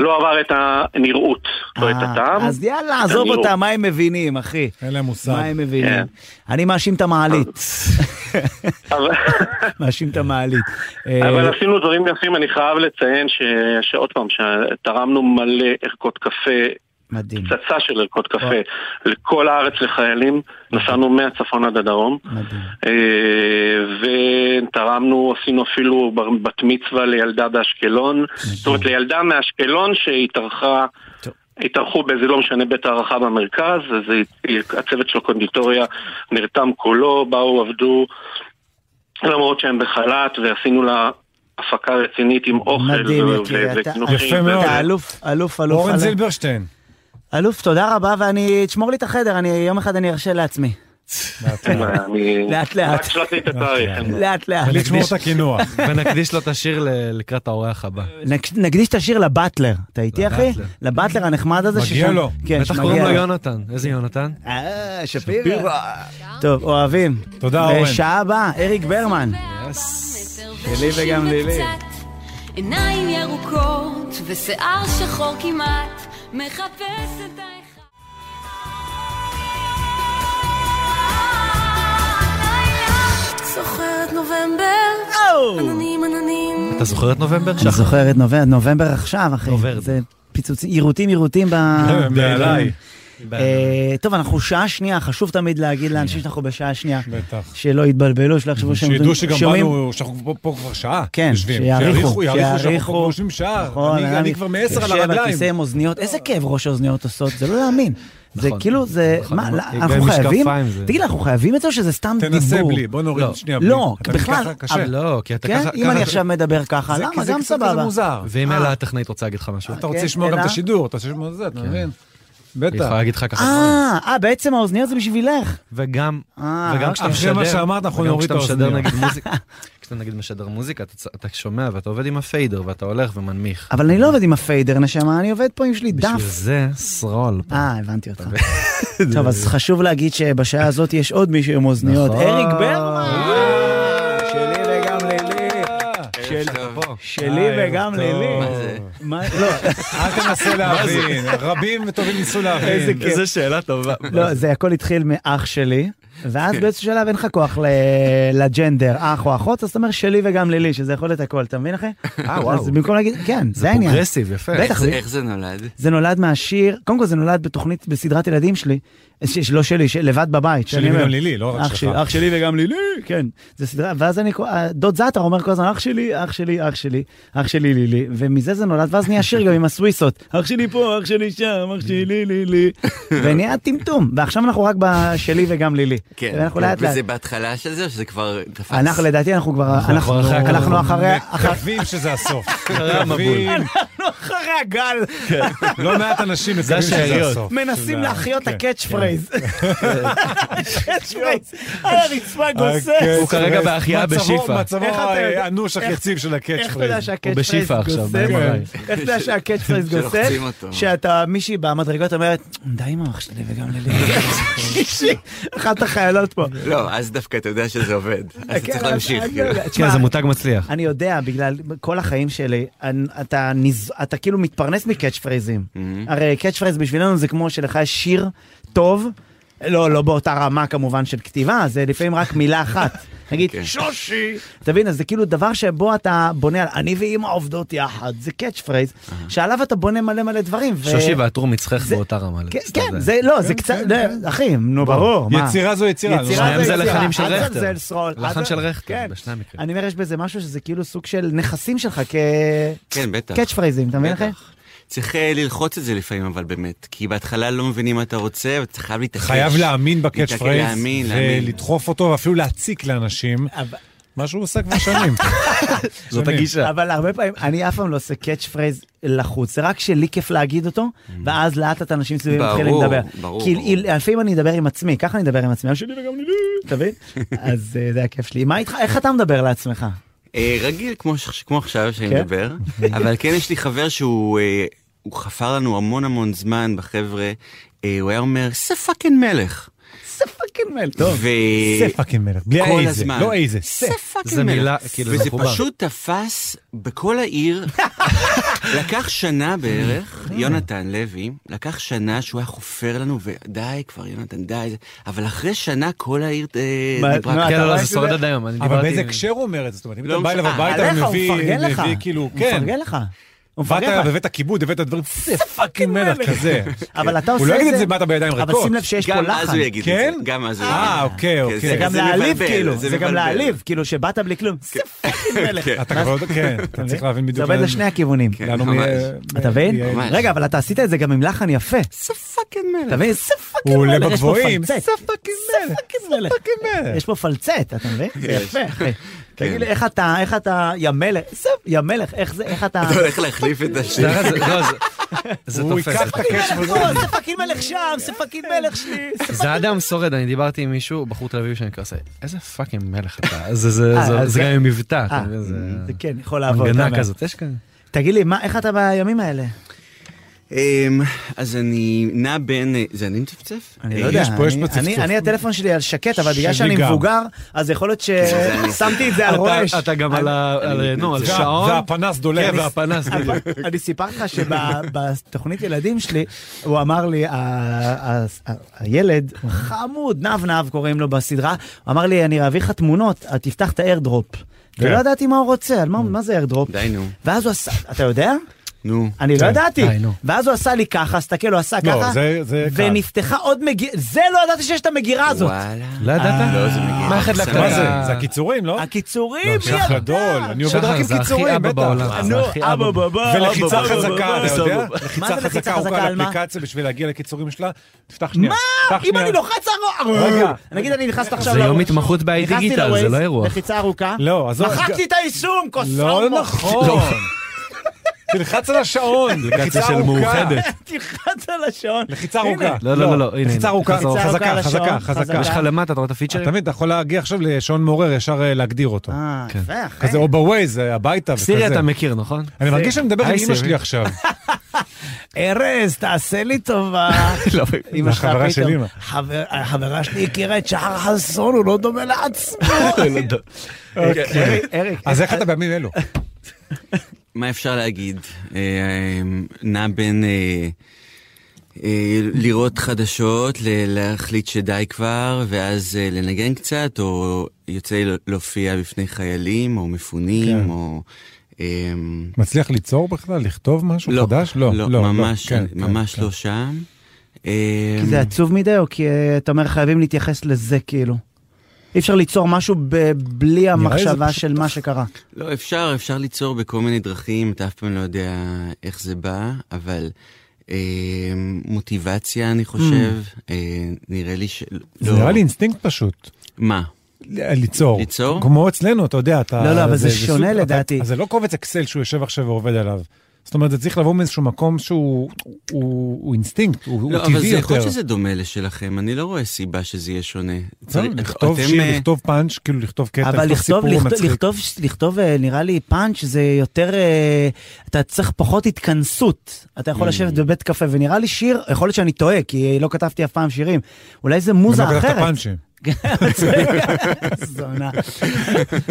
Speaker 7: לא עבר את הנראות, לא את
Speaker 1: אה,
Speaker 7: הטעם.
Speaker 1: אז יאללה, עזוב
Speaker 7: אני לא-
Speaker 1: אותם, מה הם מבינים, אחי?
Speaker 3: אין להם מושג.
Speaker 1: מה הם מבינים?
Speaker 7: כן.
Speaker 1: אני מאשים את המעלית.
Speaker 7: אבל-
Speaker 1: מאשים את המעלית. אה,
Speaker 7: אבל עשינו דברים יפים, אני חייב לציין ש- שעוד פעם, שתרמנו מלא ערכות קפה.
Speaker 1: מדהים,
Speaker 7: פצצה של ערכות קפה לכל הארץ לחיילים, נסענו מהצפון עד הדרום,
Speaker 1: מדהים.
Speaker 7: אה, ותרמנו, עשינו אפילו בר- בת מצווה לילדה באשקלון, זאת אומרת לילדה מאשקלון שהתארחה,
Speaker 1: טוב.
Speaker 7: התארחו באיזה לא משנה בית הערכה במרכז, אז היא- הצוות של הקונדיטוריה נרתם כולו, באו, עבדו, למרות שהם בחל"ת, ועשינו לה... הפקה רצינית עם אוכל
Speaker 1: מדהים,
Speaker 7: ו-
Speaker 1: יקירי,
Speaker 7: ו-
Speaker 1: אתה-
Speaker 7: וקינוחים
Speaker 3: יפה
Speaker 7: ו-
Speaker 3: מאוד.
Speaker 1: אתה אלוף, אלוף, אלוף,
Speaker 3: אורן
Speaker 1: אלוף.
Speaker 3: זילברשטיין.
Speaker 1: אלוף, תודה רבה, ואני, תשמור לי את החדר, אני יום אחד אני ארשה לעצמי.
Speaker 7: אני-
Speaker 1: לאט, לאט.
Speaker 7: רק שלחתי את התאריך. אין בעיה.
Speaker 1: לאט לאט.
Speaker 3: ולשמור את הקינוח.
Speaker 2: ונקדיש לו את השיר ל- לקראת האורח הבא.
Speaker 1: נק- נקדיש את השיר לבטלר, אתה איתי אחי?
Speaker 2: לבטלר.
Speaker 1: לבטלר הנחמד הזה.
Speaker 3: מגיע
Speaker 1: ששם-
Speaker 3: לו.
Speaker 1: כן,
Speaker 2: בטח
Speaker 1: שמגיע
Speaker 2: קוראים לו
Speaker 1: לו.
Speaker 2: יונתן. איזה יונתן?
Speaker 1: אה, שפירא. טוב, אוהבים.
Speaker 3: תודה, אורן.
Speaker 1: בשעה הבאה, אריק ברמן.
Speaker 11: שלי וגם לילי. עיניים ירוקות ושיער שחור כמעט, מחפש את האחד. זוכרת נובמבר,
Speaker 12: Oh!
Speaker 1: אוו!
Speaker 11: עננים עננים.
Speaker 2: אתה זוכר את נובמבר?
Speaker 1: אני זוכר את נובמבר, נובמבר עכשיו, אחי.
Speaker 2: נובמבר.
Speaker 1: אה,
Speaker 3: אה,
Speaker 1: זה פיצוצים, יירוטים יירוטים ב...
Speaker 3: בעיניי.
Speaker 1: אה, טוב, אנחנו שעה שנייה, חשוב תמיד להגיד לאנשים שאנחנו בשעה שנייה. בטח. שלא יתבלבלו, שלא יחשבו שהם
Speaker 3: שידעו שגם
Speaker 1: שומעים-
Speaker 3: באנו, שאנחנו פה- פה כבר שעה.
Speaker 1: כן,
Speaker 3: יושבים.
Speaker 1: שיעריכו,
Speaker 3: שיעריכו שאנחנו פה
Speaker 1: שיעריכו.
Speaker 3: יושבים שעה.
Speaker 1: נכון,
Speaker 3: אני- אני כבר מעשר על
Speaker 1: יושב על כיסא
Speaker 3: הרגליים. נכון.
Speaker 1: עם אוזניות, איזה כאב ראש האוזניות עושות, זה לא להאמין. זה כאילו, זה, מה, לא,
Speaker 2: גם
Speaker 1: אנחנו
Speaker 2: משקפיים
Speaker 1: חייבים,
Speaker 2: זה-
Speaker 1: תגיד, אנחנו חייבים את זה או שזה סתם דיבור?
Speaker 3: תנסה בלי, בוא נוריד
Speaker 1: לא.
Speaker 3: שנייה בלי.
Speaker 1: לא,
Speaker 3: אתה
Speaker 1: בכלל,
Speaker 3: ככה קשה.
Speaker 1: אבל-
Speaker 2: לא, כי אתה
Speaker 1: כן,
Speaker 2: ככה-
Speaker 1: אם
Speaker 2: ככה-
Speaker 1: אני עכשיו מדבר ככה,
Speaker 3: זה-
Speaker 1: למה?
Speaker 3: כי זה
Speaker 1: גם
Speaker 3: קצת כזה
Speaker 1: סבבה.
Speaker 3: מוזר.
Speaker 2: ואם
Speaker 3: אה.
Speaker 2: אלה הטכנאית רוצה להגיד לך משהו.
Speaker 3: אתה רוצה
Speaker 1: כן,
Speaker 3: לשמוע גם את
Speaker 1: אלא? כן.
Speaker 3: השידור, אתה רוצה לשמוע את זה, אתה מבין?
Speaker 2: היא יכולה
Speaker 3: בטח.
Speaker 2: להגיד לך ככה.
Speaker 1: אה, אה, בעצם האוזניות זה בשבילך.
Speaker 2: וגם,
Speaker 1: אה,
Speaker 2: וגם
Speaker 1: רק
Speaker 2: כשאתה משדר,
Speaker 3: אחרי מה שאמרת, אנחנו
Speaker 2: וגם
Speaker 3: נוריד
Speaker 2: כשאתה
Speaker 3: את
Speaker 2: משדר
Speaker 3: האוזניות.
Speaker 2: נגיד מוזיקה, כשאתה נגיד משדר מוזיקה, אתה צ- אתה שומע ואתה עובד עם הפיידר ואתה הולך ומנמיך.
Speaker 1: אבל אני לא עובד עם הפיידר, נשמה, אני עובד פה עם שלי
Speaker 2: בשביל
Speaker 1: דף.
Speaker 2: זה סרול. פה.
Speaker 1: אה, הבנתי אותך. טוב, אז חשוב להגיד שבשעה הזאת יש עוד מישהו עם אוזניות.
Speaker 2: נכון.
Speaker 1: אריק ברמן! אה, שלי וגם לילי.
Speaker 3: אה,
Speaker 1: שלי וגם לילי. מה לא,
Speaker 3: אל תנסה להבין, רבים וטובים ניסו
Speaker 1: איזה
Speaker 3: להבין.
Speaker 1: כיף.
Speaker 2: שאלה טובה.
Speaker 1: לא, זה הכל התחיל מאח שלי, ואז באיזשהו שלב אין לך כוח ל- לג'נדר, אח או אחות, אז אתה אומר שלי וגם לילי, שזה יכול להיות הכל, אתה מבין אחי?
Speaker 2: אה, וואו.
Speaker 1: אז במקום להגיד, כן, זה העניין.
Speaker 2: פרוגרסיב, יפה.
Speaker 1: בטח, זה-
Speaker 13: איך זה נולד?
Speaker 1: זה נולד מהשיר, קודם כל זה נולד בתוכנית, בסדרת ילדים שלי, ש- ש- לא שלי, ש- לבד בבית.
Speaker 3: שלי
Speaker 1: שאני אומר,
Speaker 3: וגם לילי, לא רק
Speaker 1: אח
Speaker 3: שלך.
Speaker 1: שלי- אח שלי וגם לילי, כן. זה סדרה, ואז אני, כל- דוד זאטר אומר כל הזמן, אח שלי, אח שלי, אח שלי, אח שלי לילי, ומזה זה נולד, ואז נהיה שיר גם עם הסוויסות, אח שלי פה, אח שלי שם, אח שלי לילי, ונהיה טמטום, ועכשיו אנחנו רק בשלי וגם לילי.
Speaker 13: כן,
Speaker 1: ואנחנו לאט לאט.
Speaker 13: וזה בהתחלה של זה או שזה כבר תפס?
Speaker 1: אנחנו לדעתי אנחנו כבר, אנחנו
Speaker 2: כבר אחרי הקו.
Speaker 1: אנחנו אחרי, אחרי-
Speaker 3: מקווים שזה הסוף.
Speaker 2: אחרי המבול.
Speaker 3: מקווים.
Speaker 1: אחרי הגל,
Speaker 3: לא מעט אנשים מקווים שזה
Speaker 2: השאריות.
Speaker 3: הסוף.
Speaker 1: מנסים
Speaker 3: תודה.
Speaker 1: להחיות את
Speaker 3: כן.
Speaker 1: הקאץ' פרייז. קאץ' פרייז, על
Speaker 3: אה,
Speaker 1: הרצפה
Speaker 3: הקאץ'
Speaker 1: גוסס.
Speaker 2: הוא כרגע
Speaker 3: פרייז.
Speaker 2: בהחייאה
Speaker 3: כן, מצבו-
Speaker 2: בשיפא.
Speaker 3: מצבו
Speaker 1: איך אתה יודע?
Speaker 3: האנוש
Speaker 1: איך-
Speaker 3: הכי יציב של הקאץ'
Speaker 1: איך אתה יודע
Speaker 3: פרייז.
Speaker 1: שהקאץ'
Speaker 2: הוא
Speaker 1: פרייז
Speaker 2: בשיפה עכשיו,
Speaker 1: גוסס? כן.
Speaker 2: ב-MRI.
Speaker 1: איך אתה יודע שהקאץ' פרייז גוסס?
Speaker 13: שלוחצים אותו.
Speaker 1: שאתה מישהי במדרגות אומרת, די עם המח שלי וגם ללי. אחת החיילות פה.
Speaker 13: לא, אז דווקא אתה יודע שזה עובד. אז אתה
Speaker 1: כן,
Speaker 13: צריך
Speaker 1: אז-
Speaker 13: להמשיך.
Speaker 1: אני
Speaker 13: כאילו.
Speaker 1: יודע.
Speaker 2: כן,
Speaker 1: תשמע,
Speaker 2: זה מותג מצליח.
Speaker 1: אני יודע, בגלל כל החיים שלי, אני- אתה נז- אתה כאילו מתפרנס מקאץ' פרייזים.
Speaker 13: Mm-hmm.
Speaker 1: הרי קאץ' פרייז בשבילנו זה כמו שלך יש שיר טוב, לא, לא באותה רמה כמובן של כתיבה, זה לפעמים רק מילה אחת. נגיד,
Speaker 13: כן.
Speaker 1: שושי! אתה מבין, אז זה כאילו דבר שבו אתה בונה על אני ואימא עובדות יחד, זה קאץ' פרייז, שעליו אתה בונה מלא מלא דברים. ו-
Speaker 2: שושי והטור מצחך
Speaker 1: זה-
Speaker 2: באותה רמה.
Speaker 1: כן,
Speaker 2: לצד
Speaker 1: כן,
Speaker 2: הזה.
Speaker 1: זה לא, זה קצת, לא, אחי, נו ברור, מה?
Speaker 3: יצירה זו יצירה. לא נו,
Speaker 1: יצירה
Speaker 3: מה?
Speaker 2: שניהם זה לחנים של
Speaker 1: אל
Speaker 2: רכטר.
Speaker 1: תזלזל, סרול.
Speaker 2: לחן
Speaker 1: אל ת-
Speaker 2: של רכטר,
Speaker 1: כן.
Speaker 2: בשני המקרים.
Speaker 1: אני אומר, יש בזה משהו שזה כאילו סוג של נכסים שלך, כ...
Speaker 13: כן, בטח.
Speaker 1: קאץ' פרייזים, אתה מבין אחי?
Speaker 13: בטח. צריך אה, ללחוץ את זה לפעמים, אבל באמת, כי בהתחלה לא מבינים מה אתה רוצה, ואתה חייב להתעקש.
Speaker 3: חייב להאמין בקאץ'
Speaker 13: להתעקש,
Speaker 3: פרייז.
Speaker 13: להאמין, להאמין.
Speaker 3: ולדחוף אותו, ואפילו להציק לאנשים. מה שהוא עושה כבר שנים.
Speaker 2: זאת
Speaker 3: שנים.
Speaker 2: הגישה.
Speaker 1: אבל הרבה פעמים, אני אף פעם לא עושה קאץ' פרייז לחוץ, זה רק שלי כיף להגיד אותו, ואז לאט לאט אנשים סביבי
Speaker 13: ברור,
Speaker 1: מתחילים לדבר.
Speaker 13: ברור,
Speaker 1: כי
Speaker 13: ברור.
Speaker 1: לפעמים אני אדבר עם עצמי, ככה אני אדבר עם עצמי, שלי וגם לי, אתה מבין? אז אה, זה הכיף שלי. מה איתך, איך אתה מדבר לעצמך?
Speaker 13: אה, רגיל, כמו ש- כמו עכשיו שאני
Speaker 1: כן?
Speaker 13: מדבר, אבל כן יש לי חבר שהוא אה, הוא חפר לנו המון המון זמן בחבר'ה, אה, הוא היה אומר, זה פאקינג מלך.
Speaker 1: זה פאקינג מל, טוב.
Speaker 13: ו-
Speaker 3: זה פאקינג מלך. בלי
Speaker 13: כל
Speaker 3: האיזה.
Speaker 13: הזמן.
Speaker 3: לא איזה.
Speaker 13: זה פאקינג
Speaker 2: זה
Speaker 13: מלך.
Speaker 2: מילה, כאילו, זה
Speaker 13: וזה
Speaker 2: מחובר.
Speaker 13: פשוט תפס בכל העיר. לקח שנה בערך, יונתן לוי, לקח שנה שהוא היה חופר לנו, ודי כבר, יונתן, די. אבל אחרי שנה כל העיר אה,
Speaker 1: מה,
Speaker 13: דיברה
Speaker 1: נו,
Speaker 13: ככה.
Speaker 2: כן,
Speaker 1: אתה
Speaker 2: לא,
Speaker 1: רואה
Speaker 2: זה
Speaker 1: שזה-
Speaker 2: שורד עד היום. אני
Speaker 3: אבל
Speaker 2: דיברתי
Speaker 3: באיזה
Speaker 2: עם-
Speaker 3: הקשר הוא אומר את זה? זאת אומרת, אם
Speaker 13: לא
Speaker 3: אתה בא אליו
Speaker 13: משנה,
Speaker 3: הביתה,
Speaker 1: עליך,
Speaker 3: הוא
Speaker 1: הוא
Speaker 3: מביא,
Speaker 1: מפרגן לך.
Speaker 3: מביא כאילו,
Speaker 1: הוא
Speaker 3: כן.
Speaker 1: מפרגן לך. הוא
Speaker 3: באת
Speaker 1: מפרגן לך.
Speaker 3: אליו, הבאת כיבוד, הבאת דברים, זה פאקינג מלך כזה.
Speaker 1: אבל אתה עושה את
Speaker 3: הוא
Speaker 1: זה...
Speaker 3: לא יגיד את זה, באת בידיים
Speaker 1: אבל
Speaker 3: ריקות.
Speaker 1: שים לב שיש פה
Speaker 13: גם אז
Speaker 1: לחן.
Speaker 13: הוא יגיד את זה.
Speaker 3: כן?
Speaker 13: גם אז הוא יגיד.
Speaker 3: אה, אוקיי,
Speaker 13: כן,
Speaker 3: אוקיי.
Speaker 1: זה גם
Speaker 13: זה
Speaker 1: להעליב
Speaker 13: מבלבל,
Speaker 1: כאילו, זה גם
Speaker 13: מבלבל.
Speaker 1: להעליב, כאילו שבאת בלי כלום, זה פאקינג מלך.
Speaker 13: כן.
Speaker 3: אתה כבר, כן, אתה צריך להבין
Speaker 1: זה
Speaker 3: בדיוק.
Speaker 1: עובד
Speaker 3: לאן-
Speaker 1: לשני הכיוונים.
Speaker 3: לאן הוא
Speaker 13: ממש.
Speaker 3: מ-
Speaker 1: אתה
Speaker 2: אה,
Speaker 1: מבין?
Speaker 3: מ-
Speaker 13: ממש.
Speaker 1: רגע, אבל אתה עשית את זה גם עם לחן יפה.
Speaker 13: זה פאקינג
Speaker 1: אתה
Speaker 13: מלך.
Speaker 1: מבין? זה פאקינג
Speaker 3: הוא עולה
Speaker 1: מלך. יש פה
Speaker 3: בגבוהים.
Speaker 1: פלצט.
Speaker 3: זה
Speaker 1: פאקינג מלך. זה פאקינג מלך. יש פה פלצט, אתה מבין? זה יפה,
Speaker 13: כן.
Speaker 1: אחי. תגיד לי, איך אתה, איך אתה, יא מלך, זה- יא מלך, איך זה, איך אתה...
Speaker 13: אתה הולך להחליף את השיר.
Speaker 2: זה- זה- לא, זה- זה
Speaker 3: הוא
Speaker 2: תופס.
Speaker 3: ייקח את הקאץ'
Speaker 1: פה, זה פאקינג נכון, מלך שם, זה פאקינג מלך שלי.
Speaker 2: כן. זה אדם שורד, אני דיברתי עם מישהו, בחור תל אביבי שאני כעושה, איזה פאקינג מלך אתה. זה- זה-
Speaker 1: אה,
Speaker 2: זה-
Speaker 1: אז
Speaker 2: זה
Speaker 1: זה-
Speaker 2: גם עם מבטא, אתה
Speaker 1: אה,
Speaker 2: מבין? זה
Speaker 1: זה כן, יכול לעבוד. אתה
Speaker 2: מנגנה
Speaker 1: אומר.
Speaker 2: כזאת, יש כאן.
Speaker 1: תגיד לי, מה- איך אתה בימים האלה?
Speaker 13: אמ, אז אני נע בין... אה, זה אני מצפצף?
Speaker 1: אני
Speaker 13: אה,
Speaker 1: לא יודע,
Speaker 3: יש פה- יש
Speaker 1: אני-
Speaker 3: פה צפצוף.
Speaker 1: אני- אני הטלפון שלי על שקט, אבל בגלל
Speaker 3: שלי
Speaker 1: שאני
Speaker 3: גם.
Speaker 1: מבוגר, אז יכול להיות ששמתי את זה על רועש.
Speaker 2: אתה- אתה גם על ה- על ה- נו, על
Speaker 3: זה-
Speaker 2: שעון.
Speaker 3: והפנס דולק.
Speaker 2: כן, והפנס דולק.
Speaker 1: אבל אני סיפרתי לך שבתוכנית ילדים שלי, הוא אמר לי, ה- ה- ה- הילד, חמוד, נב נב קוראים לו בסדרה, הוא אמר לי, אני אביא לך תמונות, אה, תפתח את האיירדרופ. ולא ידעתי מה הוא רוצה, על מה- מה זה איירדרופ.
Speaker 13: די נו.
Speaker 1: ואז הוא עשה, אתה יודע?
Speaker 13: נו.
Speaker 1: אני לא
Speaker 13: כן,
Speaker 1: ידעתי.
Speaker 13: די, נו.
Speaker 1: ואז הוא עשה לי ככה, הסתכל, הוא עשה
Speaker 13: לא,
Speaker 1: ככה,
Speaker 13: זה- זה קל.
Speaker 1: ונפתחה עוד מגירה, זה לא ידעתי שיש את המגירה הזאת.
Speaker 13: וואלה.
Speaker 2: לא ידעת?
Speaker 13: לא, זה מגיע.
Speaker 2: מה החדלקת?
Speaker 3: מה זה? זה הקיצורים, לא?
Speaker 1: הקיצורים,
Speaker 3: מי ידע? גדול, אני אה, עובד רק עם קיצורים, בטח.
Speaker 1: נו, אבא בבא.
Speaker 3: ולחיצה
Speaker 1: אבא
Speaker 3: חזקה,
Speaker 1: בבא,
Speaker 3: אתה יודע?
Speaker 1: סבבה. מה זה
Speaker 3: לחיצה
Speaker 1: לחיצה
Speaker 3: חזקה ארוכה
Speaker 1: על
Speaker 3: על
Speaker 1: מה?
Speaker 3: אפליקציה בשביל להגיע לקיצורים שלה. תפתח שנייה.
Speaker 1: מה?
Speaker 3: תפתח
Speaker 1: אם
Speaker 3: שנייה.
Speaker 1: אני לא לוחץ ארוך...
Speaker 3: רגע.
Speaker 1: נגיד אני נכנסת עכשיו...
Speaker 3: זה יום
Speaker 1: לערוץ.
Speaker 3: התמחות ב-iDigital,
Speaker 1: נכנסתי
Speaker 3: זה
Speaker 1: ל-Waze,
Speaker 3: לא אירוע.
Speaker 1: לחיצה ארוכה.
Speaker 3: לא, עזוב.
Speaker 1: מחקתי את היישום, כוס
Speaker 3: לא
Speaker 1: פרמו.
Speaker 3: נכון. תלחץ על השעון.
Speaker 2: אפליקציה
Speaker 3: לחיצה
Speaker 1: אוקיי.
Speaker 2: של
Speaker 3: ארוכה.
Speaker 2: מאוחדת.
Speaker 1: תלחץ על השעון.
Speaker 3: לחיצה ארוכה.
Speaker 2: לא, לא, לא, לא, הנה, הנה.
Speaker 3: לחיצה ארוכה,
Speaker 2: לחיצה ארוכה על
Speaker 3: חזקה,
Speaker 2: השעון,
Speaker 3: חזקה,
Speaker 2: חזקה.
Speaker 3: חזקה.
Speaker 2: יש לך למטה, אתה רואה את הפיצ'רים?
Speaker 3: תמיד, אה. אתה יכול להגיע עכשיו לשעון מעורר, ישר אה, להגדיר אותו.
Speaker 1: אה, יפה, אחי.
Speaker 3: כזה, או בווייז, אה, הביתה וכזה.
Speaker 2: סירי אתה מכיר, נכון?
Speaker 3: אני מרגיש שאני מדבר עם
Speaker 2: היי,
Speaker 3: אמא
Speaker 2: סירי.
Speaker 3: שלי עכשיו.
Speaker 1: ארז, תעשה לי טובה.
Speaker 2: לא,
Speaker 1: אמא שלך
Speaker 3: החברה של
Speaker 1: פתאום,
Speaker 3: אמא.
Speaker 1: "חבר- החברה שלי הכירה את שחר חסון, הוא לא דומה לעצמו.
Speaker 3: אוקיי.
Speaker 1: אריק.
Speaker 3: אז איך אתה בימים אלו?
Speaker 13: מה אפשר להגיד? אה, אה, נע בין אה, אה, לראות חדשות, ל- להחליט שדי כבר, ואז אה, לנגן קצת, או יוצא לי להופיע בפני חיילים, או
Speaker 3: כן.
Speaker 13: מפונים, או... אה,
Speaker 3: מצליח ליצור בכלל? לכתוב משהו חדש? לא, לא, לא.
Speaker 13: ממש,
Speaker 3: כן, כן,
Speaker 13: ממש
Speaker 3: כן.
Speaker 13: לא שם. אמ,
Speaker 1: כי זה עצוב מדי, או כי אה, אתה אומר חייבים להתייחס לזה כאילו. אי אפשר ליצור משהו ב- בלי המחשבה של מה שקרה.
Speaker 13: לא, אפשר, אפשר ליצור בכל מיני דרכים, אתה אף פעם לא יודע איך זה בא, אבל אה, מוטיבציה, אני חושב,
Speaker 1: Mm.
Speaker 13: אה, נראה לי ש...
Speaker 3: זה
Speaker 13: לא.
Speaker 3: נראה לי אינסטינקט פשוט.
Speaker 13: מה?
Speaker 3: ל- ליצור.
Speaker 13: ליצור?
Speaker 3: כמו אצלנו, אתה יודע, אתה...
Speaker 1: לא, לא, אבל זה שונה
Speaker 3: סוג-
Speaker 1: לדעתי.
Speaker 3: אתה- אז זה לא קובץ אקסל שהוא יושב עכשיו ועובד עליו. זאת אומרת, זה צריך לבוא מאיזשהו מקום שהוא הוא- הוא אינסטינקט, הוא הוא
Speaker 13: לא,
Speaker 3: טבעי
Speaker 13: אבל זה יכול
Speaker 3: יותר.
Speaker 13: להיות שזה דומה לשלכם, אני לא רואה סיבה שזה יהיה שונה.
Speaker 3: לא,
Speaker 13: צריך-
Speaker 3: לכתוב
Speaker 13: אתם,
Speaker 3: שיר,
Speaker 13: אה,
Speaker 3: לכתוב פאנץ', כאילו לכתוב קטע,
Speaker 1: אבל
Speaker 3: לכתוב
Speaker 1: לכתוב,
Speaker 3: סיפור
Speaker 1: לכתוב,
Speaker 3: מצחיק.
Speaker 1: לכתוב, לכתוב, אה, נראה לי פאנץ' זה יותר, אה, אתה צריך פחות התכנסות. אתה
Speaker 3: Mm.
Speaker 1: יכול לשבת בבית קפה, ונראה לי שיר, יכול להיות שאני טועה, כי לא כתבתי אף פעם שירים. אולי זה מוזה
Speaker 3: גם לא
Speaker 1: אחרת.
Speaker 3: כתבת פאנצ'ים.
Speaker 1: זונה.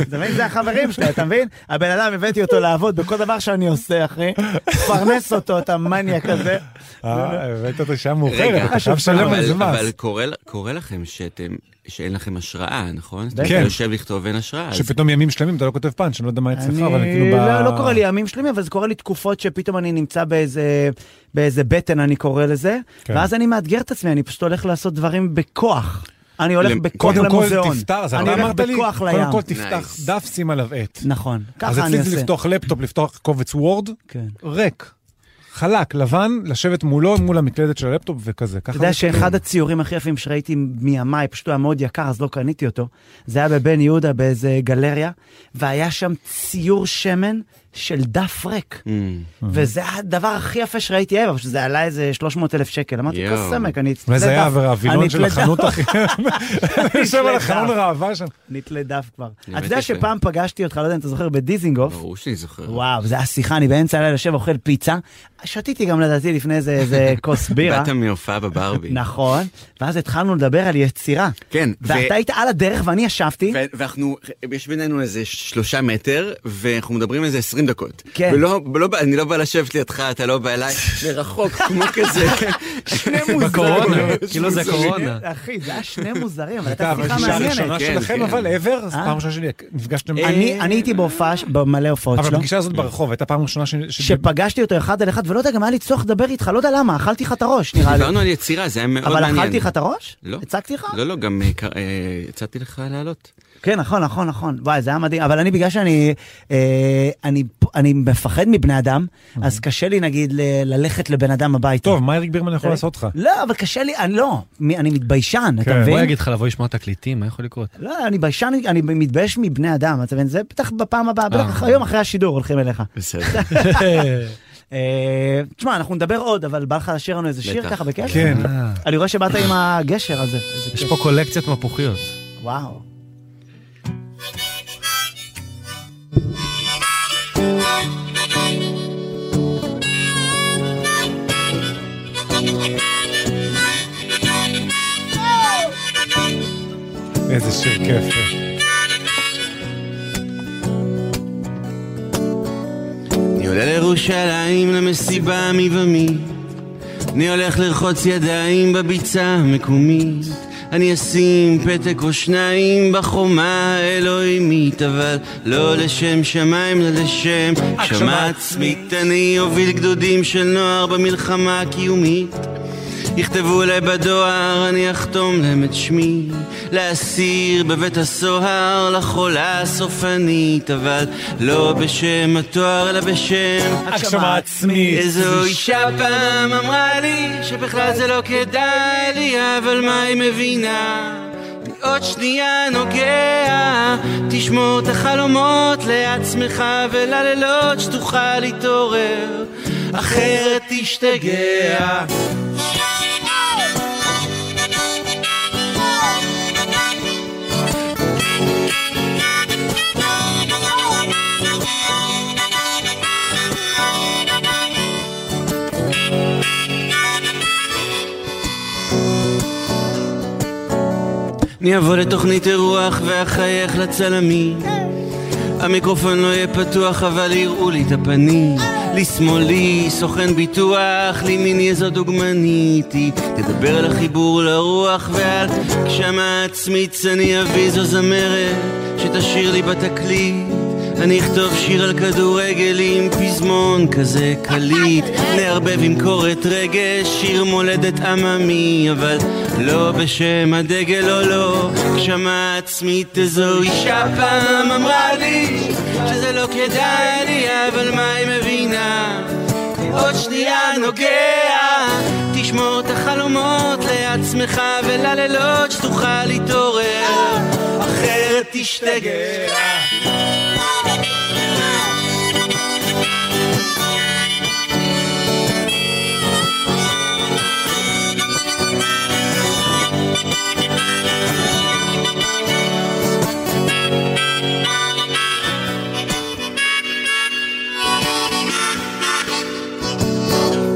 Speaker 1: אתה מבין? זה החברים שלי, אתה מבין? הבן אדם, הבאתי אותו לעבוד בכל דבר שאני עושה, אחי. תפרנס אותו, אתה מניאק הזה. לא,
Speaker 3: אה, הבאת אותו שעה מאוחרת,
Speaker 13: רגע,
Speaker 3: אתה חייב לשלם על
Speaker 13: אבל-
Speaker 3: זה מס.
Speaker 13: אבל קורה- קורה לכם שאתם, שאין לכם השראה, נכון?
Speaker 3: כן.
Speaker 13: אתה יושב לכתוב ואין השראה. אז-
Speaker 3: שפתאום ימים שלמים אתה לא כותב פאנץ', אני לא יודע מה אצלך, אבל אני
Speaker 1: אני
Speaker 3: כאילו ב...
Speaker 1: לא, לא קורה לי ימים שלמים, אבל זה קורה לי תקופות שפתאום אני נמצא באיזה, באיזה בטן, אני קורא לזה,
Speaker 3: כן.
Speaker 1: ואז אני מאתגר את עצמי, אני פשוט הולך לעשות דברים בכוח. אני הולך
Speaker 13: למ-
Speaker 1: בכוח
Speaker 3: קודם כל
Speaker 1: למוזיאון.
Speaker 3: תפתח, זה
Speaker 1: אני
Speaker 3: אתה
Speaker 1: הולך
Speaker 3: אמרת לי,
Speaker 1: בכוח לים.
Speaker 3: קודם כל תפתח
Speaker 13: Nice.
Speaker 3: דף, שים עליו עט.
Speaker 1: נכון,
Speaker 3: אז
Speaker 1: ככה אני
Speaker 3: אצלי זה
Speaker 1: עושה.
Speaker 3: לפתוח לפטופ, לפתוח קובץ וורד,
Speaker 1: כן.
Speaker 3: ריק, חלק, לבן, לשבת מולו, מול המקלדת של הלפטופ וכזה. ככה
Speaker 1: אתה יודע
Speaker 3: זה כאילו.
Speaker 1: שאחד הציורים הכי יפים שראיתי מימיי, פשוט הוא היה מאוד יקר, אז לא קניתי אותו, זה היה בבן יהודה באיזה גלריה, והיה שם ציור שמן של דף ריק.
Speaker 13: Mm,
Speaker 1: וזה היה הדבר הכי יפה שראיתי אי שזה עלה איזה 300 אלף שקל. אמרתי,
Speaker 13: יואו.
Speaker 1: כסמק, אני אצטלה
Speaker 3: אולי
Speaker 1: דף.
Speaker 3: זה היה
Speaker 1: אני
Speaker 3: הווילון של
Speaker 1: אתלה
Speaker 3: החנות
Speaker 1: דף."
Speaker 3: הכי... אני יושב על החלון
Speaker 1: דף.
Speaker 3: הראווה שם.
Speaker 1: נתלה דף כבר.
Speaker 13: באמת
Speaker 1: אתה יודע
Speaker 13: יפה.
Speaker 1: שפעם פגשתי אותך, לא יודע אם אתה זוכר, בדיזינגוף.
Speaker 13: אה? ברור שאני זוכר.
Speaker 1: וואו, זו הייתה שיחה, אני באמצע הלילה יושב, אוכל פיצה. שתיתי גם לדעתי לפני איזה- איזה כוס בירה.
Speaker 13: באת מהופעה בברבי.
Speaker 1: אה? נכון, ואז התחלנו לדבר על יצירה.
Speaker 13: כן, ו- כן,
Speaker 1: ואתה היית על הדרך ואני ישבתי.
Speaker 13: ו- ואנחנו, יש בינינו איזה שלושה מטר, ואנחנו מדברים איזה 20 דקות.
Speaker 1: כן.
Speaker 13: ולא, ולא, בא- אני לא בא לשבת לידך, אתה לא בא אליי, מרחוק, כמו כזה.
Speaker 1: שני
Speaker 2: בקורונה,
Speaker 1: מוזרים.
Speaker 2: כאילו זה הקורונה.
Speaker 1: אחי, זה היה שני מוזרים, אבל
Speaker 3: אתה,
Speaker 1: הייתה
Speaker 3: אבל
Speaker 1: שיחה
Speaker 3: פגישה
Speaker 1: מעניינת.
Speaker 3: ראשונה
Speaker 13: כן,
Speaker 3: שלכם,
Speaker 13: כן.
Speaker 3: אבל ever, זו
Speaker 1: אה?
Speaker 3: פעם ראשונה שלי, נפגשתם...
Speaker 1: אני אני לא. הייתי בהופעה, ש- במלא הופעות
Speaker 3: אבל
Speaker 1: שלו,
Speaker 3: הפגישה הזאת ברחוב, הייתה פעם ראשונה ש... ש-
Speaker 1: שפגשתי אותו אחד על אחד, ולא יודע, גם היה לי צורך לדבר איתך, לא יודע למה, אכלתי לך את הראש, נראה לי.
Speaker 13: דיברנו על יצירה, זה היה מאוד
Speaker 1: אבל
Speaker 13: מעניין.
Speaker 1: אכלתי לך את הראש?
Speaker 13: לא.
Speaker 1: הצגתי לך?
Speaker 13: לא, לא, גם אה, ק- אה, הצעתי לך לעלות.
Speaker 1: כן, נכון, נכון, נכון. וואי, זה היה מדהים. אבל אני, בגלל שאני אה, אני, אני מפחד מבני אדם,
Speaker 13: אוקיי.
Speaker 1: אז קשה לי, נגיד, ל- ללכת לבן אדם הביתה.
Speaker 3: טוב, מה אריק בירמן יכול
Speaker 1: אה?
Speaker 3: לעשות לך?
Speaker 1: לא, אבל קשה לי, אני לא, מי- אני מתביישן, אתה
Speaker 3: כן,
Speaker 1: מבין?
Speaker 2: בוא יגיד לך לבוא לשמוע תקליטים, מה יכול לקרות?
Speaker 1: לא, אני ביישן, אני מתבייש מבני אדם, אתה מבין? זה בטח בפעם הבאה,
Speaker 2: אה.
Speaker 1: בטח היום אחרי השידור הולכים אליך.
Speaker 13: בסדר.
Speaker 1: אה, תשמע, אנחנו נדבר עוד, אבל בא לך לשיר לנו איזה שיר
Speaker 13: בטח.
Speaker 1: ככה בקשר?
Speaker 3: כן.
Speaker 1: אני רואה שבאת עם הגשר הזה. איזה
Speaker 2: יש
Speaker 1: כיף.
Speaker 2: פה קולקציית מפוחיות.
Speaker 1: וואו.
Speaker 3: איזה שיר כיף.
Speaker 13: אני עולה לירושלים למסיבה מבעמית אני הולך לרחוץ ידיים בביצה המקומית
Speaker 8: אני אשים פתק או שניים בחומה אלוהימית, אבל לא לשם שמיים, אלא לשם הגשמה עצמית. אני אוביל גדודים של נוער במלחמה הקיומית. יכתבו אליי בדואר, אני אחתום להם את שמי. לאסיר בבית הסוהר, לחולה הסופנית, אבל לא בשם התואר, אלא בשם
Speaker 13: הגשמה עצמית.
Speaker 8: איזו אישה פעם אמרה לי, שבכלל זה לא כדאי לי, אבל מה היא מבינה? אני עוד שנייה נוגע, תשמור את החלומות לעצמך וללילות שתוכל להתעורר, אחרת תשתגע. אני אבוא לתוכנית אירוח ואחייך לצלמים המיקרופון לא יהיה פתוח אבל יראו לי את הפנים לשמאלי סוכן ביטוח, לימיני איזו דוגמנית היא תדבר על החיבור לרוח ועל גשמה עצמית אני אביא זו זמרת שתשאיר לי בתקליט אני אכתוב שיר על כדורגל עם פזמון כזה קליט נערבב עם קורת רגש, שיר מולדת עממי אבל לא בשם הדגל או לא גשמה עצמית איזו אישה פעם אמרה לי שזה לא כדאי לי אבל מה היא מבינה עוד שנייה נוגע תשמור את החלומות לעצמך וללילות שתוכל להתעורר אחרת תשתגע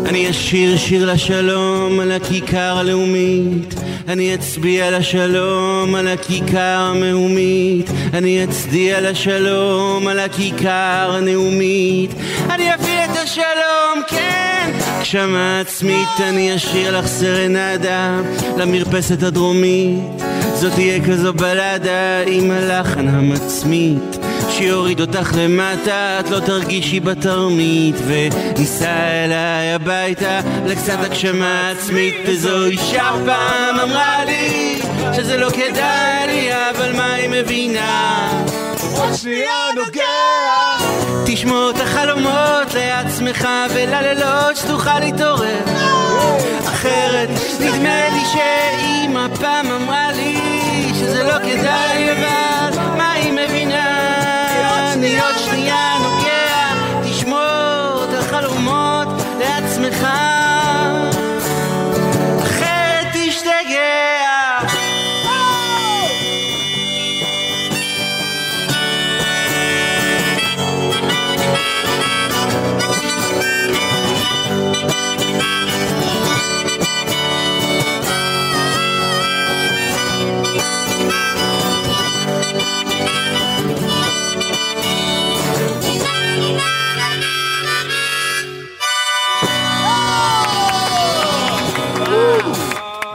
Speaker 8: אני אשיר שיר לשלום על הכיכר הלאומית אני אצביע לשלום על הכיכר המהומית אני אצדיע לשלום על הכיכר הנאומית אני אביא את השלום, כן! הגשמה עצמית אני אשאיר לך סרנדה למרפסת הדרומית זאת תהיה כזו בלדה עם הלחן המצמית שיוריד אותך למטה את לא תרגישי בתרמית וניסע אליי הביתה לקצת הגשמה עצמית איזו אישה פעם אמרה לי שזה לא כדאי לי אבל מה היא מבינה עוד שנייה נוגע תשמור את החלומות לעצמך וללילות שתוכל להתעורר אחרת נדמה לי שאמא פעם אמרה לי שזה לא כדאי אבל מה היא מבינה אני עוד שנייה נוגע תשמור את החלומות לעצמך אחרת תשתגע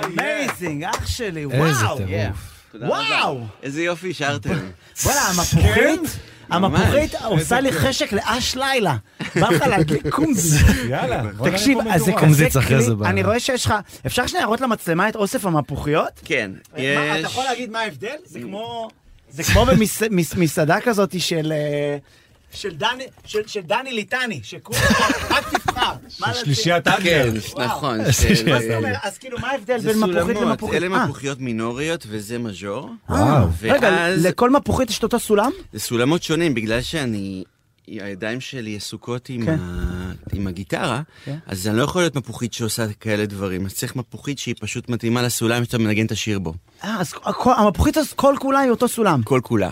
Speaker 1: אמייזינג, אח שלי, וואו.
Speaker 8: איזה טירוף.
Speaker 1: Yeah. וואו!
Speaker 8: איזה יופי שרתם.
Speaker 1: וואלה, המפוחית, המפוחית עושה לי חשק לאש לילה. בא לך להדליק קומזיץ.
Speaker 13: יאללה, בוא נראה
Speaker 1: תקשיב,
Speaker 13: פה
Speaker 1: אז זה
Speaker 13: מדורה.
Speaker 1: כזה כלי, אני רואה שיש לך, אפשר שנייה להראות למצלמה את אוסף המפוחיות?
Speaker 8: כן,
Speaker 1: מה, אתה יכול להגיד מה ההבדל? זה כמו... זה כמו במסעדה כזאת של... אה, של דני, של, של דני ליטני, שכולם, רק תבחר. מה לשים?
Speaker 13: שלישיית אדלר.
Speaker 1: וואו.
Speaker 8: נכון,
Speaker 1: מה
Speaker 8: של-
Speaker 1: זאת אומרת? אז כאילו, מה ההבדל בין מפוחית למפוחית?
Speaker 8: אלה
Speaker 1: אה,
Speaker 8: מפוחיות מינוריות וזה מז'ור.
Speaker 1: אה, רגע,
Speaker 8: ואז
Speaker 1: לכל מפוחית יש את אותו סולם?
Speaker 8: זה סולמות שונים, בגלל שאני... הידיים שלי עסוקות עם,
Speaker 1: כן.
Speaker 8: ה... עם הגיטרה,
Speaker 1: כן.
Speaker 8: אז אני לא יכול להיות מפוחית שעושה כאלה דברים. אז צריך מפוחית שהיא פשוט מתאימה לסולם שאתה מנגן את השיר בו.
Speaker 1: אה, אז הכל- המפוחית אז כל כולה היא אותו סולם.
Speaker 8: כל כולה.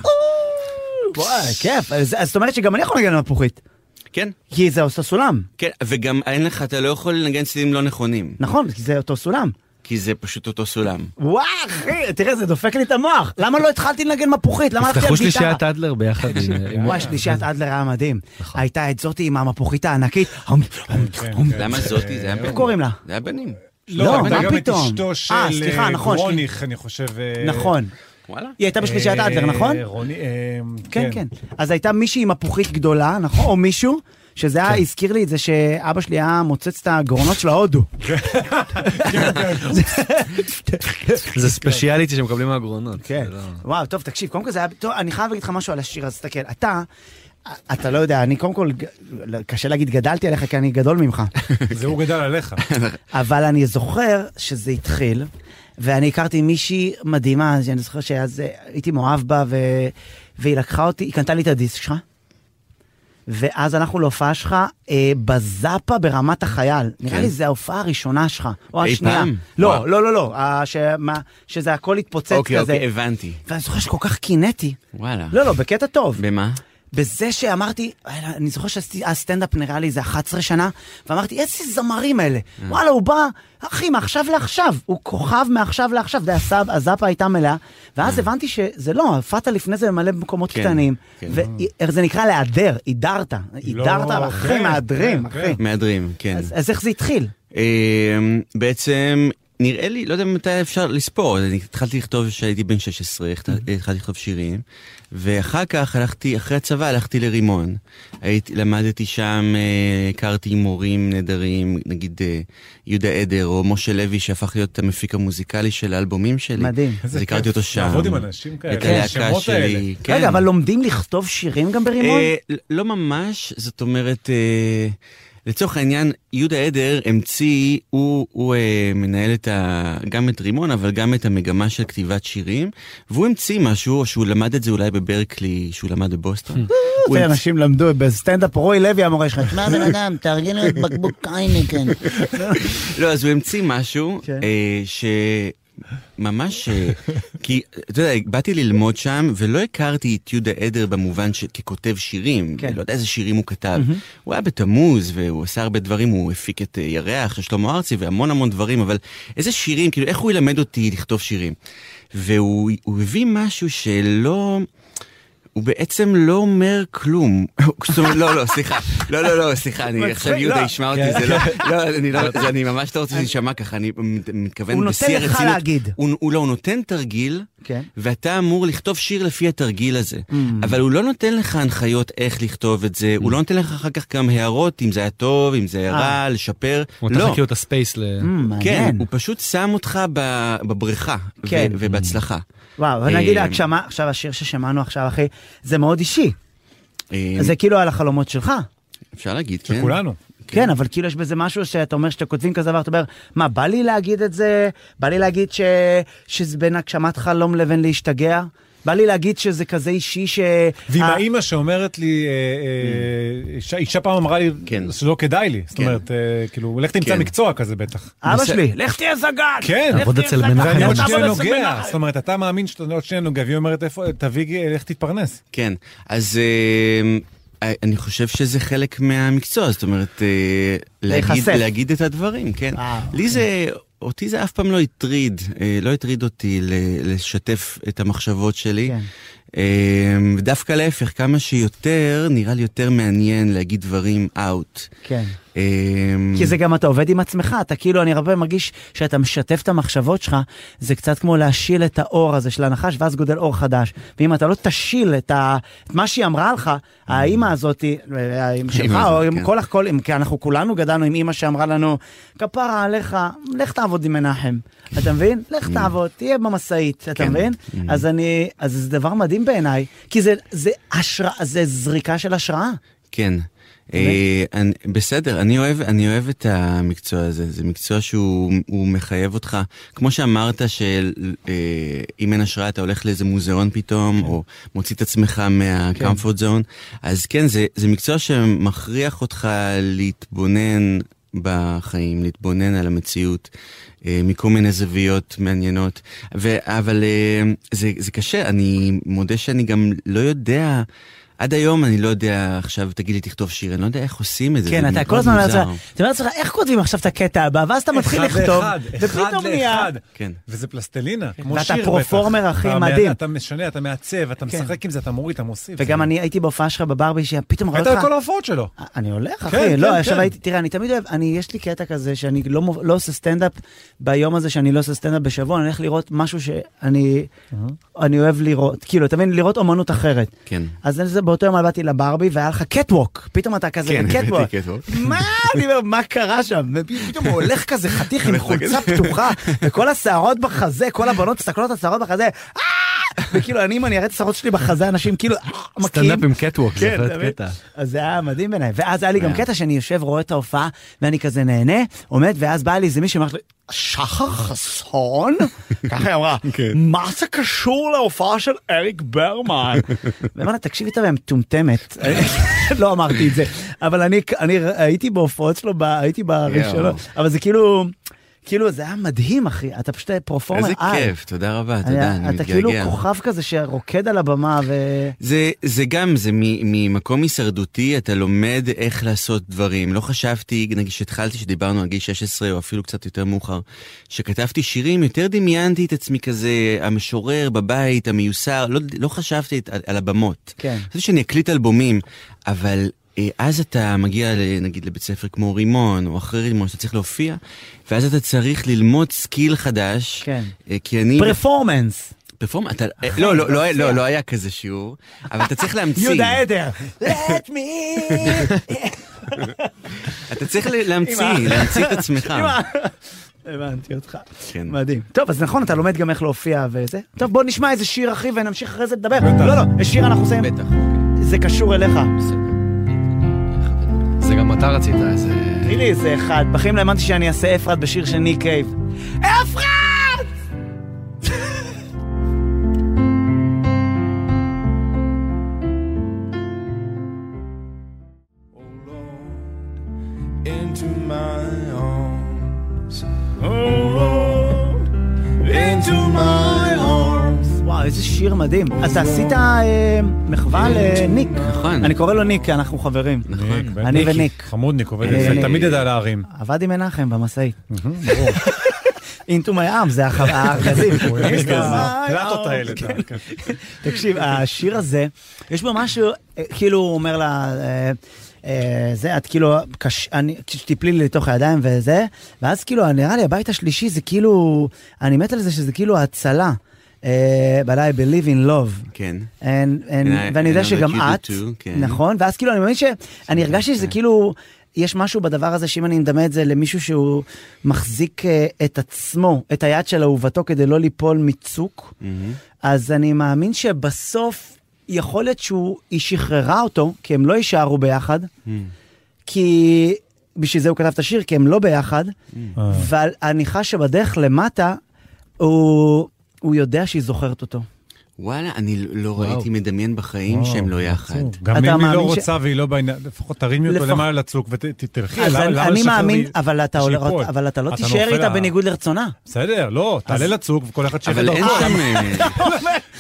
Speaker 1: וואי, כיף. אז אז זאת אומרת שגם אני יכול לנגן על מפוחית.
Speaker 8: כן.
Speaker 1: כי זה אותו סולם.
Speaker 8: כן, וגם אין לך, אתה לא יכול לנגן צלילים לא נכונים,
Speaker 1: נכון, כי זה אותו סולם.
Speaker 8: כי זה פשוט אותו סולם.
Speaker 1: וואי, אחי, תראה, זה דופק לי את המוח. למה לא התחלתי לנגן מפוחית? למה הלכתי על
Speaker 2: תפתחו
Speaker 1: גיטרה?
Speaker 2: שלישיית אדלר ביחד עם... עם-
Speaker 1: וואי, שלישיית אדלר היה מדהים. הייתה את זאתי עם המפוחית הענקית.
Speaker 13: כן.
Speaker 8: למה זאתי? זה היה בנים.
Speaker 1: כן. קוראים לה?
Speaker 8: זה היה בנים.
Speaker 1: לא, מה
Speaker 3: הייתה גם את
Speaker 1: פתאום?
Speaker 3: אשתו של
Speaker 1: אה, סליחה,
Speaker 3: אה,
Speaker 1: נכון,
Speaker 3: גרוניך, אני חושב. אה,
Speaker 1: נכון.
Speaker 3: וואלה.
Speaker 1: היא הייתה בשלישיית
Speaker 3: אה,
Speaker 1: אדלר, נכון?
Speaker 3: רוני, אה,
Speaker 1: כן, כן. אז הייתה מישהי עם הפוכית גדולה, נכון? או מישהו, שזה היה, הזכיר לי את זה שאבא שלי היה מוצץ את הגרונות של ההודו.
Speaker 2: זה ספיישליטי שמקבלים מהגרונות.
Speaker 1: כן.
Speaker 2: זה לא-
Speaker 1: וואו, טוב, תקשיב, קודם כל זה היה... טוב, אני חייב להגיד לך משהו על השיר, אז תסתכל. אתה, אתה לא יודע, אני קודם כל, ג- קשה להגיד גדלתי עליך, כי אני גדול ממך.
Speaker 3: זה הוא גדל עליך.
Speaker 1: אבל אני זוכר שזה התחיל, ואני הכרתי מישהי מדהימה, שאני זוכר שאז אה, הייתי מאוהב בה, ו... והיא לקחה אותי, היא קנתה לי את הדיסק שלך, ואז הלכנו להופעה שלך אה, בזאפה ברמת החייל. נראה
Speaker 13: כן.
Speaker 1: לי זו ההופעה הראשונה שלך, או
Speaker 13: אי
Speaker 1: השנייה.
Speaker 13: פעם?
Speaker 1: לא,
Speaker 13: וואו.
Speaker 1: לא, לא, לא, אה, שמה- שזה הכל התפוצץ כזה.
Speaker 13: אוקיי, אוקיי, הבנתי.
Speaker 1: ואני זוכר שכל כך קינאתי.
Speaker 13: וואלה.
Speaker 1: לא, לא, בקטע טוב.
Speaker 13: במה?
Speaker 1: בזה שאמרתי, "וואלה, אני זוכר שהסטנדאפ נראה לי איזה 11 שנה, ואמרתי, איזה זמרים אלה.
Speaker 13: Mm.
Speaker 1: וואלה, הוא בא, אחי, מעכשיו לעכשיו. הוא כוכב מעכשיו לעכשיו. זה הסב, הזאפה הייתה מלאה. ואז הבנתי שזה לא, הופעת לפני זה במלא מקומות
Speaker 13: Mm. כן,
Speaker 1: קטנים.
Speaker 13: כן. לא,
Speaker 1: וזה נקרא להדר, הידרת. הידרת, אבל אחי,
Speaker 13: כן,
Speaker 1: מהדרים, אחי.
Speaker 13: מהדרים, כן.
Speaker 1: אז- אז איך זה התחיל?
Speaker 13: אמ, בעצם, נראה לי, לא יודע מתי אפשר לספור, אני התחלתי לכתוב כשהייתי בן 16, התח-
Speaker 1: Mm-hmm.
Speaker 13: התחלתי לכתוב שירים, ואחר כך הלכתי, אחרי הצבא הלכתי לרימון. הייתי, למדתי שם, אה, הכרתי מורים נהדרים, נגיד אה, יהודה עדר או משה לוי, שהפך להיות המפיק המוזיקלי של האלבומים שלי.
Speaker 1: מדהים.
Speaker 13: אז
Speaker 3: איזה
Speaker 13: הכרתי
Speaker 3: כיף
Speaker 13: אותו שם.
Speaker 3: לעבוד עם אנשים כאלה,
Speaker 13: את הלהקה
Speaker 3: השמות האלה.
Speaker 13: שלי. כן.
Speaker 1: רגע, אבל לומדים לכתוב שירים גם ברימון?
Speaker 13: אה, לא ממש, זאת אומרת, אה, לצורך העניין, יהודה עדר המציא, הוא, הוא אה, מנהל את ה, גם את רימון, אבל גם את המגמה של כתיבת שירים, והוא המציא משהו, או שהוא למד את זה אולי בברקלי, שהוא למד בבוסטון. הוא
Speaker 1: אלפי
Speaker 13: המציא-
Speaker 1: אנשים למדו בסטנדאפ, רוי לוי המורה שלך, תשמע בן אדם, תארגנו את בקבוק כן. אייניקן.
Speaker 13: לא, אז הוא המציא משהו אה, שממש... אה, כי, אתה יודע, באתי ללמוד שם, ולא הכרתי את יהודה עדר במובן ש... ככותב שירים. כן. לא יודע איזה שירים הוא כתב.
Speaker 12: מהמם.
Speaker 13: הוא היה בתמוז, והוא עשה הרבה דברים, הוא הפיק את אה, ירח של שלמה ארצי, והמון המון דברים, אבל איזה שירים, כאילו, איך הוא ילמד אותי לכתוב שירים? והוא הוא הביא משהו שלא... הוא בעצם לא אומר כלום. זאת אומרת, לא, לא, סליחה. לא, לא, לא, סליחה, אני
Speaker 12: מצחיק,
Speaker 13: עכשיו
Speaker 12: לא.
Speaker 13: יהודה ישמע אותי,
Speaker 12: כן.
Speaker 13: זה לא... לא, אני לא... זה- אני ממש לא רוצה שזה יישמע ככה, אני
Speaker 1: הוא
Speaker 13: מתכוון
Speaker 1: נותן
Speaker 13: בשיא
Speaker 1: לך
Speaker 13: הרצינות.
Speaker 1: להגיד.
Speaker 13: הוא- הוא לא, הוא נותן תרגיל,
Speaker 1: כן. Mm.
Speaker 13: ואתה אמור לכתוב שיר לפי התרגיל הזה. אבל הוא לא נותן לך הנחיות איך לכתוב את זה, הוא לא נותן לך אחר כך גם הערות, אם זה היה טוב, אם זה היה
Speaker 2: אה.
Speaker 13: רע, לשפר.
Speaker 2: הוא
Speaker 13: לא.
Speaker 2: נתן לך כאילו את הספייס ל...
Speaker 13: כן, הוא פשוט שם אותך ב- בבריכה, ו-
Speaker 1: כן.
Speaker 13: ובהצלחה.
Speaker 1: וואו, אבל נגיד
Speaker 13: אה,
Speaker 1: הגשמה, עכשיו השיר ששמענו עכשיו, אחי, זה מאוד אישי.
Speaker 13: אה,
Speaker 1: זה כאילו על החלומות שלך.
Speaker 13: אפשר להגיד, כן.
Speaker 1: כן, אבל כאילו יש בזה משהו שאתה אומר שאתה כותבים כזה דבר, אתה אומר, מה, בא לי להגיד את זה? בא לי להגיד ש... שזה בין הגשמת חלום לבין להשתגע? בא לי להגיד שזה כזה אישי ש...
Speaker 3: ועם
Speaker 1: אה,
Speaker 3: האימא שאומרת לי, אה, אה, אישה- אישה פעם אמרה לי שלא כדאי לי. זאת אומרת, אה, כאילו, לך תמצא
Speaker 1: כן.
Speaker 3: מקצוע כזה בטח.
Speaker 1: אבא שלי, לך תהיה זגג!
Speaker 3: כן,
Speaker 1: לך תהיה זגג,
Speaker 3: ואני עוד
Speaker 1: לך
Speaker 3: שנייה
Speaker 1: תעבוד אצל
Speaker 3: נוגע.
Speaker 1: מנחם.
Speaker 3: זאת אומרת, אתה מאמין שאתה עוד שנייה נוגע, והיא אומרת, איפה, תביא, לך תתפרנס.
Speaker 13: כן, אז אה, אני חושב שזה חלק מהמקצוע, זאת אומרת, אה, להגיד,
Speaker 3: להיחשף.
Speaker 13: להגיד את הדברים, כן.
Speaker 1: אה, אוקיי.
Speaker 13: לי זה, אותי זה אף פעם לא הטריד, אה, לא הטריד אותי ל- לשתף את המחשבות שלי. כן. דווקא להפך, כמה שיותר, נראה לי יותר מעניין להגיד דברים out.
Speaker 1: כן.
Speaker 13: אה,
Speaker 1: כי זה גם אתה עובד עם עצמך, אתה כאילו, אני הרבה מרגיש שאתה משתף את המחשבות שלך, זה קצת כמו להשיל את האור הזה של הנחש, ואז גודל אור חדש. ואם אתה לא תשיל את, ה... את מה שהיא אמרה לך, האימא הזאת, אה, עם שלך,
Speaker 13: האמא
Speaker 1: או
Speaker 13: הזאת,
Speaker 1: עם
Speaker 13: כן.
Speaker 1: כל הכל, עם- כי אנחנו כולנו גדלנו עם אימא שאמרה לנו, כפרה עליך, לך תעבוד עם מנחם. אתה מבין? לך תעבוד, תהיה במשאית, אתה
Speaker 13: Mm. כן.
Speaker 1: מבין? אז אני, אז זה דבר מדהים בעיניי, כי זה, זה השראה, זה זריקה של השראה.
Speaker 13: כן. אה, אני, בסדר, אני אוהב, אני אוהב את המקצוע הזה, זה מקצוע שהוא הוא מחייב אותך. כמו שאמרת שאם אין השראה אתה הולך לאיזה מוזיאון פתאום, או מוציא את עצמך מהקמפורט זון, אז כן, זה, זה מקצוע שמכריח אותך להתבונן בחיים, להתבונן על המציאות. אה, מכל מיני זוויות מעניינות, ו- אבל אה, זה, זה קשה, אני מודה שאני גם לא יודע, עד היום אני לא יודע, עכשיו תגיד לי תכתוב שיר, אני לא יודע איך עושים את זה.
Speaker 1: כן,
Speaker 13: זה
Speaker 1: אתה
Speaker 13: מאוד
Speaker 1: כל הזמן אומר
Speaker 13: מוזר.
Speaker 1: לעצמך, אתה אומר לעצמך, איך כותבים עכשיו את הקטע הבא, ואז אתה מתחיל
Speaker 3: אחד
Speaker 1: לכתוב,
Speaker 3: לאחד,
Speaker 1: ופתאום
Speaker 3: אחד
Speaker 1: נהיה...
Speaker 3: לאחד.
Speaker 13: כן.
Speaker 3: וזה פלסטלינה, כמו
Speaker 1: ואתה
Speaker 3: שיר בטח.
Speaker 1: פרופורמר, אחי,
Speaker 3: אתה מ-
Speaker 1: מדהים.
Speaker 3: אתה משנה, אתה מעצב, אתה
Speaker 1: כן.
Speaker 3: משחק עם זה, אתה מוריד, אתה מוסיף.
Speaker 1: וגם
Speaker 3: זה-
Speaker 1: אני הייתי בהופעה שלך בברבי, שפתאום רואה
Speaker 3: היית
Speaker 1: אותך...
Speaker 3: על כל ההופעות שלו.
Speaker 1: אני הולך,
Speaker 3: כן,
Speaker 1: אחי,
Speaker 3: כן,
Speaker 1: לא, עכשיו
Speaker 3: כן.
Speaker 1: הייתי, תראה, אני תמיד אוהב, אני, יש לי קטע כזה שאני לא, מוב- לא עושה סטנדאפ ביום הזה שאני לא עושה סטנדאפ בשבוע, אני הולך לראות משהו שאני אני אוהב לראות, כאילו, אתה מבין, לראות אומנות אחרת.
Speaker 13: כן.
Speaker 1: אז אני- זה באותו יום באתי לברבי והיה לך קטווק, פתאום אתה כזה
Speaker 13: כן, הבאתי
Speaker 1: בקטווק.
Speaker 13: קטווק.
Speaker 1: מה, אני אומר, מה קרה שם? ופתאום הוא הולך כזה חתיך עם חולצה פתוחה, וכל השערות בחזה, כל הבנות מסתכלות על השערות בחזה, "אה!" וכאילו, אני, אם אני אראה את השערות שלי בחזה, אנשים כאילו "אה!" מכים.
Speaker 2: סטנדאפ עם קטווק, זה
Speaker 1: כן,
Speaker 2: יכול להיות
Speaker 1: אתה מבין?
Speaker 2: קטע.
Speaker 1: אז זה היה מדהים בעיניי. ואז היה לי גם קטע שאני יושב, רואה את ההופעה, ואני כזה נהנה, עומד, ואז בא לי איזה מישהו, אמר לי, שחר חסון? ככה היא אמרה, מה זה קשור להופעה של אריק ברמן? ואמר לה, תקשיבי טוב, היא מטומטמת. לא אמרתי את זה, אבל אני- אני הייתי בהופעות שלו, ב- הייתי בראשונות, אבל זה כאילו... כאילו זה היה מדהים אחי, אתה פשוט פרופורמר.
Speaker 13: איזה
Speaker 1: על.
Speaker 13: כיף, תודה רבה,
Speaker 1: היה-
Speaker 13: תודה, אני
Speaker 1: אתה כאילו
Speaker 13: מתגעגע.
Speaker 1: כוכב כזה שרוקד על הבמה ו...
Speaker 13: זה, זה גם, זה מ, ממקום הישרדותי, אתה לומד איך לעשות דברים. לא חשבתי, נגיד שהתחלתי, שדיברנו על גיל 16 או אפילו קצת יותר מאוחר, שכתבתי שירים, יותר דמיינתי את עצמי כזה, המשורר בבית, המיוסר, לא, לא חשבתי את, על, על הבמות.
Speaker 1: כן.
Speaker 13: חשבתי שאני אקליט אלבומים, אבל אה, אז אתה מגיע ל- נגיד לבית ספר כמו רימון, או אחרי רימון, שאתה צריך להופיע, ואז אתה צריך ללמוד סקיל חדש.
Speaker 1: כן.
Speaker 13: אה, כי אני...
Speaker 1: פרפורמנס.
Speaker 13: פרפורמנס, אתה... אה, לא, לא, לא, לא, לא היה כזה שיעור, אבל אתה צריך להמציא.
Speaker 1: יהודה עדר.
Speaker 11: Let me...
Speaker 13: אתה צריך ל- להמציא,
Speaker 1: עם ה-
Speaker 13: להמציא את עצמך.
Speaker 1: עם ה- הבנתי אותך.
Speaker 13: כן.
Speaker 1: מדהים. טוב, אז נכון, אתה לומד גם איך להופיע וזה. טוב, בוא נשמע איזה שיר, אחי, ונמשיך אחרי זה לדבר. לא, לא, יש שיר אנחנו עושים.
Speaker 13: בטח.
Speaker 1: זה קשור אליך.
Speaker 2: זה גם אתה רצית, איזה...
Speaker 1: תראי לי איזה אחד. בחיים לא האמנתי שאני אעשה אפרת בשיר של ניק קייב. אפרת!
Speaker 5: into my arms. Oh Lord, into my arms.
Speaker 1: וואו, איזה שיר מדהים. אתה עשית אה, מחווה לניק.
Speaker 13: נכון.
Speaker 1: אני קורא לו ניק, כי אנחנו חברים.
Speaker 3: נכון.
Speaker 1: אני וניק.
Speaker 3: חמודניק עובד
Speaker 1: אה,
Speaker 3: על זה,
Speaker 1: אני-
Speaker 3: תמיד ידע להרים.
Speaker 1: עבד עם מנחם במשאית. אינטו מי ארם, זה הח- הארגזים.
Speaker 3: הוא העמיד
Speaker 1: Into
Speaker 3: כזה,
Speaker 1: my
Speaker 3: פלטות
Speaker 1: arms.
Speaker 3: האלה.
Speaker 1: כן. תקשיב, השיר הזה, יש בו משהו, אה, כאילו הוא אומר לה, אה, אה, זה, את כאילו, קש- אני- שתיפלי לי לתוך הידיים וזה, ואז כאילו, נראה לי הבית השלישי זה כאילו, אני מת על זה שזה כאילו הצלה. אה, but I believe in love.
Speaker 13: כן.
Speaker 1: And,
Speaker 13: I-
Speaker 1: and,
Speaker 13: I
Speaker 1: ואני יודע
Speaker 13: know
Speaker 1: שגם
Speaker 13: that you do
Speaker 1: את,
Speaker 13: too, כן.
Speaker 1: נכון? ואז כאילו אני מאמין ש... אני הרגשתי שזה כאילו, יש משהו בדבר הזה שאם אני מדמה את זה למישהו שהוא מחזיק אה, את עצמו, את היד של אהובתו כדי לא ליפול מצוק,
Speaker 13: Mm-hmm.
Speaker 1: אז אני מאמין שבסוף יכול להיות שהוא- היא שחררה אותו, כי הם לא יישארו ביחד,
Speaker 13: Mm.
Speaker 1: כי בשביל זה הוא כתב את השיר, כי הם לא ביחד,
Speaker 13: Mm.
Speaker 1: אבל אני חש שבדרך למטה, הוא, הוא יודע שהיא זוכרת אותו.
Speaker 13: וואלה, אני לא ראיתי מדמיין בחיים שהם לא יחד.
Speaker 3: גם
Speaker 1: אתה
Speaker 3: אם היא
Speaker 1: מאמין
Speaker 3: לא
Speaker 1: ש-
Speaker 3: רוצה והיא לא בעניין, לפחות תרימי אותו
Speaker 1: לפחות-
Speaker 3: למעלה לצוק ותלכי,
Speaker 1: אז אני- אני מאמין, אבל אתה עול-
Speaker 3: שיפול.
Speaker 1: אבל אתה לא
Speaker 3: אתה
Speaker 1: תישאר
Speaker 3: נופל
Speaker 1: איתה
Speaker 3: לה.
Speaker 1: בניגוד לרצונה.
Speaker 3: בסדר, לא, תעלה לצוק וכל אחד שיהיה
Speaker 13: אבל אין
Speaker 3: דרכו.
Speaker 13: שם... אה,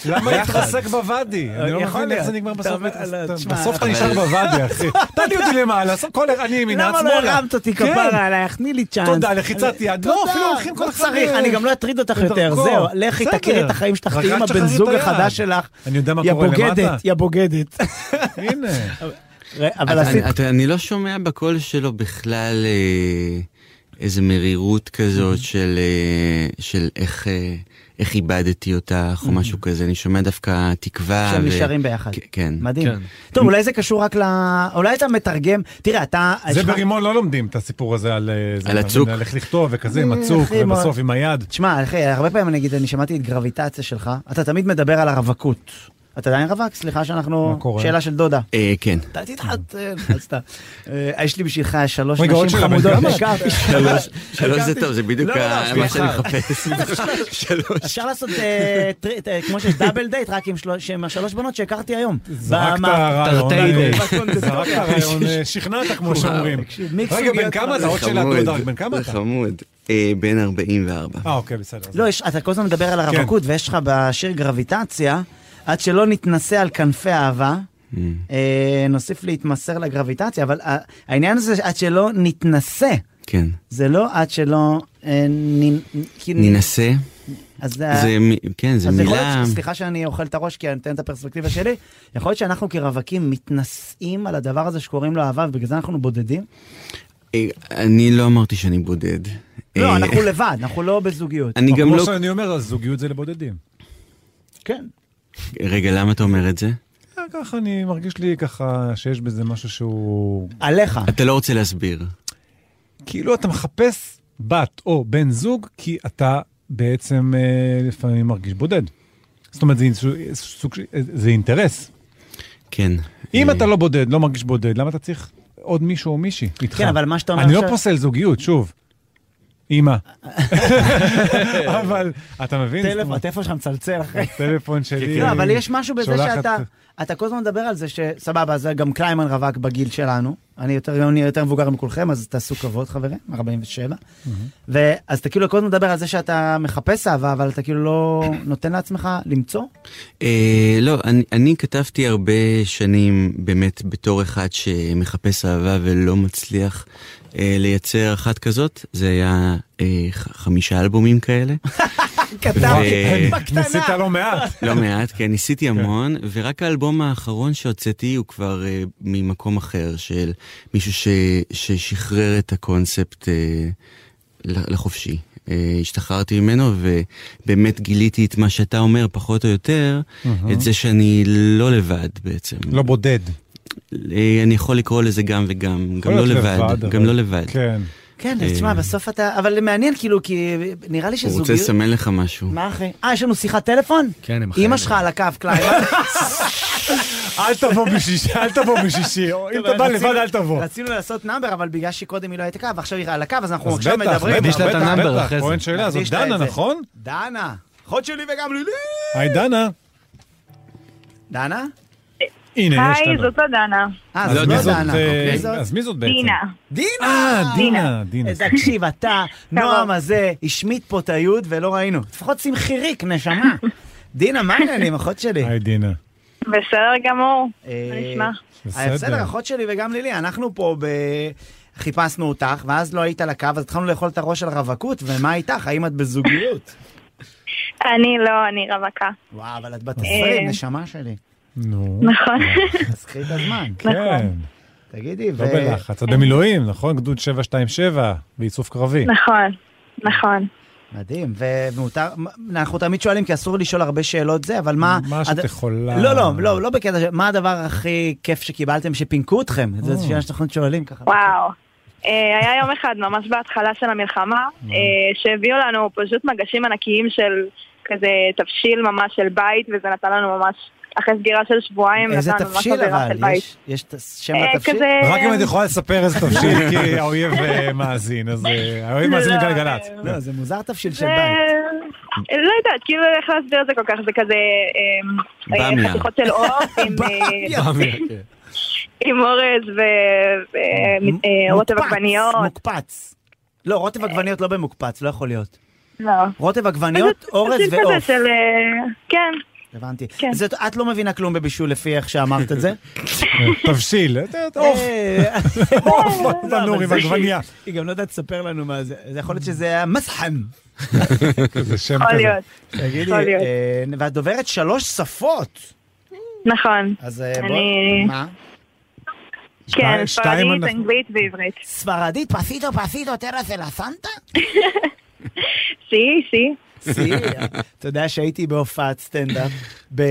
Speaker 3: למה
Speaker 13: יחד.
Speaker 3: להתרסק בוואדי? אני לא
Speaker 1: אה, יכול
Speaker 3: מבין
Speaker 1: להיות.
Speaker 3: איך זה נגמר
Speaker 1: אתה
Speaker 3: בסוף.
Speaker 1: אומר, לא, תשמע,
Speaker 3: בסוף אתה
Speaker 13: אבל-
Speaker 3: נשאר בוואדי, אחי. תעלי אותי למעלה, סוף כל אחד, אני ימינה,
Speaker 1: למה
Speaker 3: שמאלה.
Speaker 1: לא הרמת אותי
Speaker 3: כן.
Speaker 1: כפרה עלייך? תני לי צ'אנס.
Speaker 3: תודה, לחיצת יד. לא,
Speaker 1: תודה,
Speaker 3: אפילו הולכים כל
Speaker 1: לא
Speaker 3: אחד
Speaker 1: צריך,
Speaker 3: ב-
Speaker 1: אני גם לא אטריד אותך
Speaker 3: בדרכו.
Speaker 1: יותר, זהו, לכי
Speaker 3: בסדר.
Speaker 1: תכירי את החיים שלך,
Speaker 3: רק
Speaker 1: תהיי עם
Speaker 3: אל תשחררי
Speaker 1: הבן
Speaker 3: את
Speaker 1: זוג
Speaker 3: היד.
Speaker 1: החדש שלך.
Speaker 3: אני יודע מה
Speaker 1: יא
Speaker 3: קורה למטה.
Speaker 1: בוגדת, יא בוגדת.
Speaker 3: הנה.
Speaker 1: ראה, אבל
Speaker 13: אתה-
Speaker 1: עשית...
Speaker 13: אתה- אני לא שומע בקול שלו בכלל אה, איזה מרירות כזאת של אה, של איך... אה, איך איבדתי אותך או משהו כזה, אני שומע דווקא תקווה.
Speaker 3: אה,
Speaker 1: שהם
Speaker 13: ו-
Speaker 1: נשארים ביחד.
Speaker 13: כן, כן.
Speaker 1: מדהים.
Speaker 2: כן.
Speaker 1: טוב, אולי זה קשור רק ל... אולי אתה מתרגם... תראה, אתה...
Speaker 3: זה
Speaker 1: יש לך-
Speaker 3: ברימון לא לומדים את הסיפור הזה על... אה, זה,
Speaker 13: על
Speaker 3: אתה
Speaker 13: הצוק.
Speaker 3: מבין, על איך לכתוב וכזה, עם
Speaker 1: אה,
Speaker 3: הצוק,
Speaker 1: אחי, מה-
Speaker 3: ובסוף עם היד.
Speaker 1: תשמע, אחי, הרבה פעמים נגיד, אני שמעתי את גרביטציה שלך, אתה תמיד מדבר על הרווקות. אתה עדיין רווק? סליחה שאנחנו...
Speaker 3: מה קורה?
Speaker 1: שאלה של דודה.
Speaker 13: אה, כן.
Speaker 1: אתה תתחתן, אז אתה... אה, יש לי בשבילך שלוש
Speaker 3: Mm. רגע, עוד
Speaker 1: נשים
Speaker 3: שאלה, בן
Speaker 1: חמודות,
Speaker 3: כמה אתה?
Speaker 1: הכרתי.
Speaker 13: שלוש, שלוש זה טוב, זה בדיוק
Speaker 1: לא, לא,
Speaker 13: ה-
Speaker 1: סליחה.
Speaker 13: מה שאני מחפש. שלוש.
Speaker 1: אפשר לעשות אה, טרי- אה, כמו שיש דאבל דייט, רק עם שלוש- עם השלוש בנות שהכרתי היום.
Speaker 3: זרקת
Speaker 1: במה-
Speaker 3: הרעיון,
Speaker 2: תרתי
Speaker 3: אה,
Speaker 2: די.
Speaker 3: זרקת הרעיון, אה, שכנעת כמו שאומרים.
Speaker 1: תקשיב, מיקס
Speaker 3: רגע,
Speaker 1: סוגיות
Speaker 3: בן כמה אתה?
Speaker 1: רעיון.
Speaker 3: עוד שאלה,
Speaker 13: חמוד,
Speaker 3: דודק, בן כמה
Speaker 13: לא זה
Speaker 3: אתה?
Speaker 13: חמוד. אה, בן 44.
Speaker 3: אה, אוקיי, בסדר.
Speaker 1: לא, יש- אתה כל הזמן
Speaker 3: כן.
Speaker 1: מדבר על הרווקות, ויש לך בשיר גרביטציה, עד שלא נתנסה על כנפי אהבה,
Speaker 3: Mm.
Speaker 1: אה, נוסיף להתמסר לגרביטציה, אבל ה- העניין זה עד שלא נתנסה,
Speaker 13: כן.
Speaker 1: זה לא עד שלא אה, נ- כאילו-
Speaker 13: ננסה.
Speaker 1: אז
Speaker 13: זה, מ- כן, זה
Speaker 1: אה. אז יכול
Speaker 13: מילה...
Speaker 1: להיות ש- סליחה שאני אוכל את הראש כי אני נותן את הפרספקטיבה שלי, יכול להיות שאנחנו כרווקים מתנשאים על הדבר הזה שקוראים לו אהבה ובגלל זה אנחנו בודדים.
Speaker 13: אה, אני לא אמרתי שאני בודד.
Speaker 1: לא,
Speaker 13: אה,
Speaker 1: אנחנו לבד, אנחנו לא בזוגיות.
Speaker 13: אני גם לא...
Speaker 3: אני אומר, הזוגיות זה לבודדים.
Speaker 1: כן.
Speaker 13: רגע, למה אתה אומר את זה?
Speaker 3: אה, ככה אני מרגיש לי ככה שיש בזה משהו שהוא...
Speaker 1: עליך.
Speaker 13: אתה לא רוצה להסביר.
Speaker 3: כאילו אתה מחפש בת או בן זוג, כי אתה בעצם אה, לפעמים מרגיש בודד. זאת אומרת, זה, איזשהו- סוג, של- זה אינטרס.
Speaker 13: כן.
Speaker 3: אם אתה לא בודד, לא מרגיש בודד, למה אתה צריך עוד מישהו או מישהי איתך?
Speaker 1: כן, אבל מה שאתה אומר
Speaker 3: אני לא
Speaker 1: עכשיו-
Speaker 3: פוסל זוגיות, שוב. אימא. אבל אתה מבין?
Speaker 1: טלפון- הטלפון שלך מצלצל אחרי.
Speaker 3: הטלפון שלי.
Speaker 1: לא, אבל יש משהו בזה
Speaker 3: אה, שולחת-
Speaker 1: שאתה אתה כל הזמן מדבר על זה שסבבה, זה גם קליימן רווק בגיל שלנו. אני יותר אני יותר מבוגר מכולכם, אז תעשו כבוד חברים, 47. ואז אתה כאילו כל הזמן מדבר על זה שאתה מחפש אהבה, אבל אתה כאילו לא נותן לעצמך למצוא.
Speaker 13: אה, לא, אני, אני כתבתי הרבה שנים באמת בתור אחד שמחפש אהבה ולא מצליח אה, לייצר אחת כזאת. זה היה אה, ח- חמישה אלבומים כאלה. ו-
Speaker 3: אה, ניסית לא מעט.
Speaker 13: לא מעט, כן, ניסיתי המון, ורק האלבום האחרון שהוצאתי הוא כבר אה, ממקום אחר, של מישהו ש, ששחרר את הקונספט אה, ל- לחופשי. אה, השתחררתי ממנו ובאמת גיליתי את מה שאתה אומר, פחות או יותר,
Speaker 3: אהה.
Speaker 13: את זה שאני לא לבד בעצם.
Speaker 3: לא בודד.
Speaker 13: אה, אני יכול לקרוא לזה גם וגם, גם
Speaker 3: יכול
Speaker 13: לא
Speaker 3: להיות
Speaker 13: לבד,
Speaker 3: לבד,
Speaker 13: גם
Speaker 3: אבל-
Speaker 13: לא לבד.
Speaker 3: כן.
Speaker 1: כן, אז תשמע, בסוף אתה, אבל מעניין כאילו, כי נראה לי
Speaker 13: הוא רוצה
Speaker 1: שזוגיות...
Speaker 13: לסמן לך משהו.
Speaker 1: מה אחי? אה, יש לנו שיחת טלפון?
Speaker 13: כן, הם
Speaker 1: אמא שלך על הקו, קליימן.
Speaker 3: אל תבוא בשישי, אל תבוא בשישי, או אם אתה בא לבד אל תבוא.
Speaker 1: רצינו לעשות נאמבר, אבל בגלל שקודם היא לא הייתה קו, ועכשיו היא על הקו, אז אנחנו
Speaker 3: אז
Speaker 1: עכשיו
Speaker 3: בטח,
Speaker 1: מדברים.
Speaker 3: בטח, בטח, בטח, כהן שאלה הזאת.
Speaker 1: נקדיש לה את
Speaker 3: דנה,
Speaker 1: זה.
Speaker 3: נכון?
Speaker 1: דנה, אחות שלי וגם לילי.
Speaker 3: היי דנה.
Speaker 1: דנה?
Speaker 3: הנה, יש
Speaker 12: היי,
Speaker 3: לנו.
Speaker 12: זאת הדנה.
Speaker 1: אה, זאת
Speaker 3: מי
Speaker 1: לא
Speaker 3: זאת,
Speaker 1: דנה.
Speaker 3: אה,
Speaker 1: אוקיי. זאת?
Speaker 3: אז מי זאת בעצם? אה,
Speaker 12: דינה.
Speaker 1: דינה!
Speaker 3: דינה, דינה.
Speaker 1: אז תקשיב, אתה, נועם הזה, השמיט פה את היוד ולא ראינו. לפחות שים חיריק, נשמה. דינה, מה העניינים, אחות שלי?
Speaker 3: היי דינה.
Speaker 12: בסדר גמור.
Speaker 1: מה
Speaker 12: נשמע?
Speaker 1: בסדר. אה, בסדר, אחות שלי וגם לילי, אנחנו פה ב... חיפשנו אותך, ואז לא היית על הקו, אז התחלנו לאכול את הראש על רווקות, ומה איתך? האם את בזוגיות?
Speaker 12: אני לא, אני רווקה.
Speaker 1: וואו, אבל את בת
Speaker 12: אה.
Speaker 1: 20, נשמה שלי.
Speaker 3: נו.
Speaker 12: נכון.
Speaker 1: אז קחי את הזמן.
Speaker 3: כן.
Speaker 1: תגידי,
Speaker 3: לא בלחץ,
Speaker 12: כן.
Speaker 3: את במילואים, נכון? גדוד 727, באיסוף קרבי.
Speaker 12: נכון, נכון.
Speaker 1: מדהים, ו- ומותר, מ- אנחנו תמיד שואלים, כי אסור לשאול הרבה שאלות זה, אבל מה...
Speaker 3: מה שאת
Speaker 1: הד-
Speaker 3: יכולה.
Speaker 1: לא, לא, לא, לא בקטע, ש- מה הדבר הכי כיף שקיבלתם, שפינקו אתכם?
Speaker 12: או.
Speaker 1: זו שאלה שאנחנו שואלים ככה.
Speaker 12: וואו. אה, היה יום אחד, ממש בהתחלה של המלחמה,
Speaker 1: Mm.
Speaker 12: אה, שהביאו לנו פשוט מגשים ענקיים של כזה תבשיל ממש של בית, וזה נתן לנו ממש, אחרי סגירה של שבועיים,
Speaker 1: איזה
Speaker 12: נתן לנו ממש
Speaker 1: תבשיל
Speaker 12: עבירה
Speaker 1: אבל,
Speaker 12: של בית.
Speaker 1: יש- יש את שם
Speaker 12: אה,
Speaker 1: התבשיל?
Speaker 12: כזה-
Speaker 3: רק אם את יכולה לספר איזה תבשיל, כי האויב אה, מאזין, אז אה, האויב מאזין
Speaker 12: לא,
Speaker 3: לגלגלצ.
Speaker 1: לא, זה מוזר תבשיל של
Speaker 12: זה- אה,
Speaker 1: בית.
Speaker 12: לא יודעת, כאילו איך להסביר את זה כל כך, זה כזה אה, אה,
Speaker 1: במיה.
Speaker 12: חתיכות של עוף עם, אה,
Speaker 1: כן.
Speaker 12: עם אורז ורוטב
Speaker 1: מוקפץ,
Speaker 12: אה, עגבניות.
Speaker 1: מוקפץ. לא, רוטב עגבניות לא במוקפץ, לא יכול להיות.
Speaker 12: לא.
Speaker 1: רוטב עגבניות, אורז
Speaker 12: תבשיל כזה
Speaker 1: ועוף.
Speaker 12: של, אה, כן.
Speaker 1: הבנתי. זאת- את לא מבינה כלום בבישול לפי איך שאמרת את זה?
Speaker 12: לא.
Speaker 1: אה,
Speaker 3: תבשיל, אה,
Speaker 1: עוף. עוף
Speaker 3: תנור לא, עם עגבניה.
Speaker 1: לא, היא גם לא יודעת לספר לנו מה זה. זה יכול להיות שזה היה מסחן.
Speaker 3: זה שם
Speaker 1: יכול
Speaker 3: כזה.
Speaker 1: להיות. תגידי,
Speaker 12: יכול להיות.
Speaker 1: אה, ואת דוברת שלוש שפות.
Speaker 12: נכון.
Speaker 1: אז אה,
Speaker 12: אני-
Speaker 1: בואי, מה?
Speaker 12: כן,
Speaker 1: שתיים
Speaker 12: ספרדית,
Speaker 1: אנחנו-
Speaker 12: אנגלית ועברית.
Speaker 1: ספרדית, פסיטו, פסיטו, טרס אל הסנטה?
Speaker 12: סי, סי.
Speaker 1: סי, אתה יודע שהייתי בהופעת סטנדאפ ב-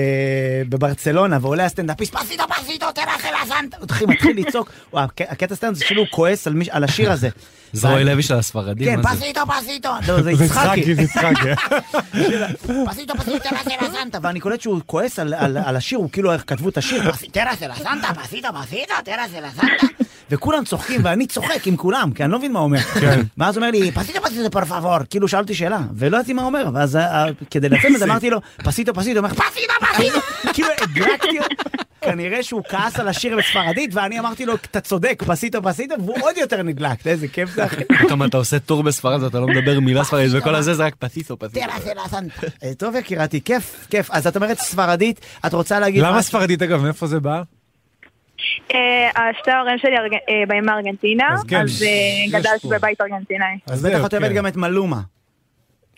Speaker 1: בברצלונה, ועולה הסטנדאפיסט, פסיטו, פסיטו, טרס אל הסנטה. הוא התחיל- מתחיל לצעוק, וואו, הק- הקטע סטנדאפ זה כאילו הוא כועס על מיש- על השיר הזה.
Speaker 2: זרועי לוי של הספרדים,
Speaker 1: כן,
Speaker 2: מה זה?
Speaker 1: פסיטו, פסיטו. לא, זה
Speaker 2: זה
Speaker 1: יצחקי.
Speaker 2: יצחקי, זה יצחקי. אה?
Speaker 1: פסיטו, פסיטו, טרס אל הסנטה. ואני קולט שהוא כועס על- על על השיר, הוא כאילו איך כתבו את השיר, "פס- טרס אל הסנטה, פסיטו, פסיטו, טרס אל הסנטה. וכולם צוחקים, ואני צוחק עם כולם, כי אני לא מבין מה הוא אומר.
Speaker 2: כן.
Speaker 1: ואז הוא אומר לי, פסיטו פסיטו פר פאבור, כאילו שאלתי שאלה, ולא ידעתי מה הוא אומר, ואז אה, אה, כדי לצאת מזה אמרתי לו, פסיטו פסיטו, הוא אומר, פסיטו פסיטו, כאילו הדלקתי אותו, כנראה שהוא כעס על השיר בספרדית, ואני אמרתי לו, אתה צודק, פסיטו פסיטו, והוא עוד יותר נדלק, אתה יודע, איזה כיף זה אחי.
Speaker 2: פתאום אתה עושה טור בספרד ואתה לא מדבר מילה ספרדית וכל הזה זה רק פטיטו פטיטו.
Speaker 1: טרס אל הסנטה. אה, טוב יקירתי, כיף, כיף. אז את אומרת ספרדית, את רוצה להגיד...
Speaker 3: למה
Speaker 1: משהו?
Speaker 3: ספרדית אגב, מאיפה זה בא?
Speaker 12: אה, שתי ההורים שלי ארג- אה, באים מארגנטינה,
Speaker 1: אז כן,
Speaker 12: אז אה,
Speaker 1: יש
Speaker 12: גדלתי
Speaker 1: פה.
Speaker 12: בבית ארגנטינאי.
Speaker 1: אז בטח
Speaker 3: כן.
Speaker 1: את אוהבת גם את מלומה.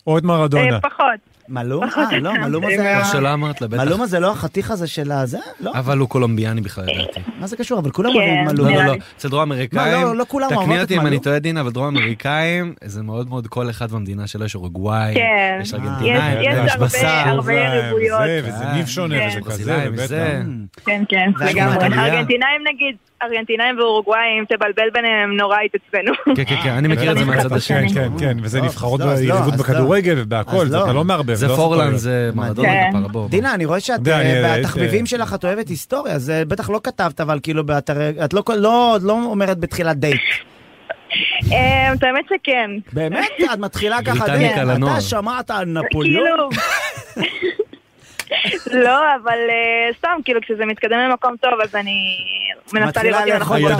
Speaker 9: או את
Speaker 12: אה, פחות.
Speaker 1: מלום?
Speaker 12: פחות.
Speaker 1: אה, לא, מלומה זה...
Speaker 2: מה שלא אמרת לה, בטח.
Speaker 1: מלומה זה לא אה, החתיך הזה של הזה? לא.
Speaker 2: אבל הוא קולומביאני בכלל, לדעתי.
Speaker 1: מה זה קשור? אבל כולם
Speaker 2: לא,
Speaker 1: אוהבים
Speaker 2: לא,
Speaker 1: מלומה.
Speaker 2: לא, לא, אצל דרום
Speaker 1: מה,
Speaker 2: אמריקאים,
Speaker 1: לא, לא כולם אוהבות
Speaker 2: תקני
Speaker 1: את
Speaker 2: אותי אם אני
Speaker 1: מלום.
Speaker 2: טועה דין, אבל דרום אמריקאים, זה מאוד מאוד כל אחד במדינה שלו, יש אורוגוואי,
Speaker 12: כן.
Speaker 2: יש
Speaker 12: אה,
Speaker 2: ארגנטינאים,
Speaker 12: יש- יש
Speaker 2: יש
Speaker 12: הרבה-
Speaker 2: בשר,
Speaker 12: הרבה ריבויות.
Speaker 9: וזה, וזה ניב שונה,
Speaker 12: כן.
Speaker 9: וזה כזה,
Speaker 2: ברזילאים,
Speaker 9: ובטח.
Speaker 2: זה.
Speaker 1: Mm.
Speaker 12: כן, כן,
Speaker 2: ואת
Speaker 12: לגמרי.
Speaker 2: מעלייה.
Speaker 12: ארגנטינאים נגיד, ארגנטינאים ואורוגוואים, תבלבל ביניהם, נורא התעצבנו.
Speaker 2: כן, כן, כן, אני מכיר את זה מהצד
Speaker 9: כן,
Speaker 2: השני.
Speaker 9: כן, כן, וזה
Speaker 1: טוב,
Speaker 9: נבחרות
Speaker 1: אז לא, אז לא,
Speaker 9: ביריבות
Speaker 1: אז לא.
Speaker 9: בכדורגל ובהכל,
Speaker 1: אז
Speaker 9: זה
Speaker 1: לא.
Speaker 9: אתה לא מערבב.
Speaker 2: זה
Speaker 9: לא עושה
Speaker 2: פורלנד,
Speaker 9: טעויות.
Speaker 2: זה מרדונה
Speaker 12: כן.
Speaker 2: כפרה, בוא.
Speaker 1: דינה, אני רואה שאת,
Speaker 9: יודע, אני-
Speaker 1: אה,
Speaker 9: את,
Speaker 1: בתחביבים
Speaker 9: אה,
Speaker 1: שלך את אוהבת היסטוריה, זה בטח לא כתבת, אבל כאילו, באתר- את לא- לא לא אומרת בתחילת דייט.
Speaker 12: אה, את האמת שכן.
Speaker 1: באמת? את מתחילה ככה,
Speaker 2: בריטניקה
Speaker 1: דייט,
Speaker 2: לנוער.
Speaker 1: אתה שמעת על נפוליאון?
Speaker 12: כאילו... לא, אבל אה, סתם, כאילו, כשזה מתקדם למקום טוב, אז אני מנסה
Speaker 1: מתחילה
Speaker 12: לראות אם אנחנו...
Speaker 1: לאכול את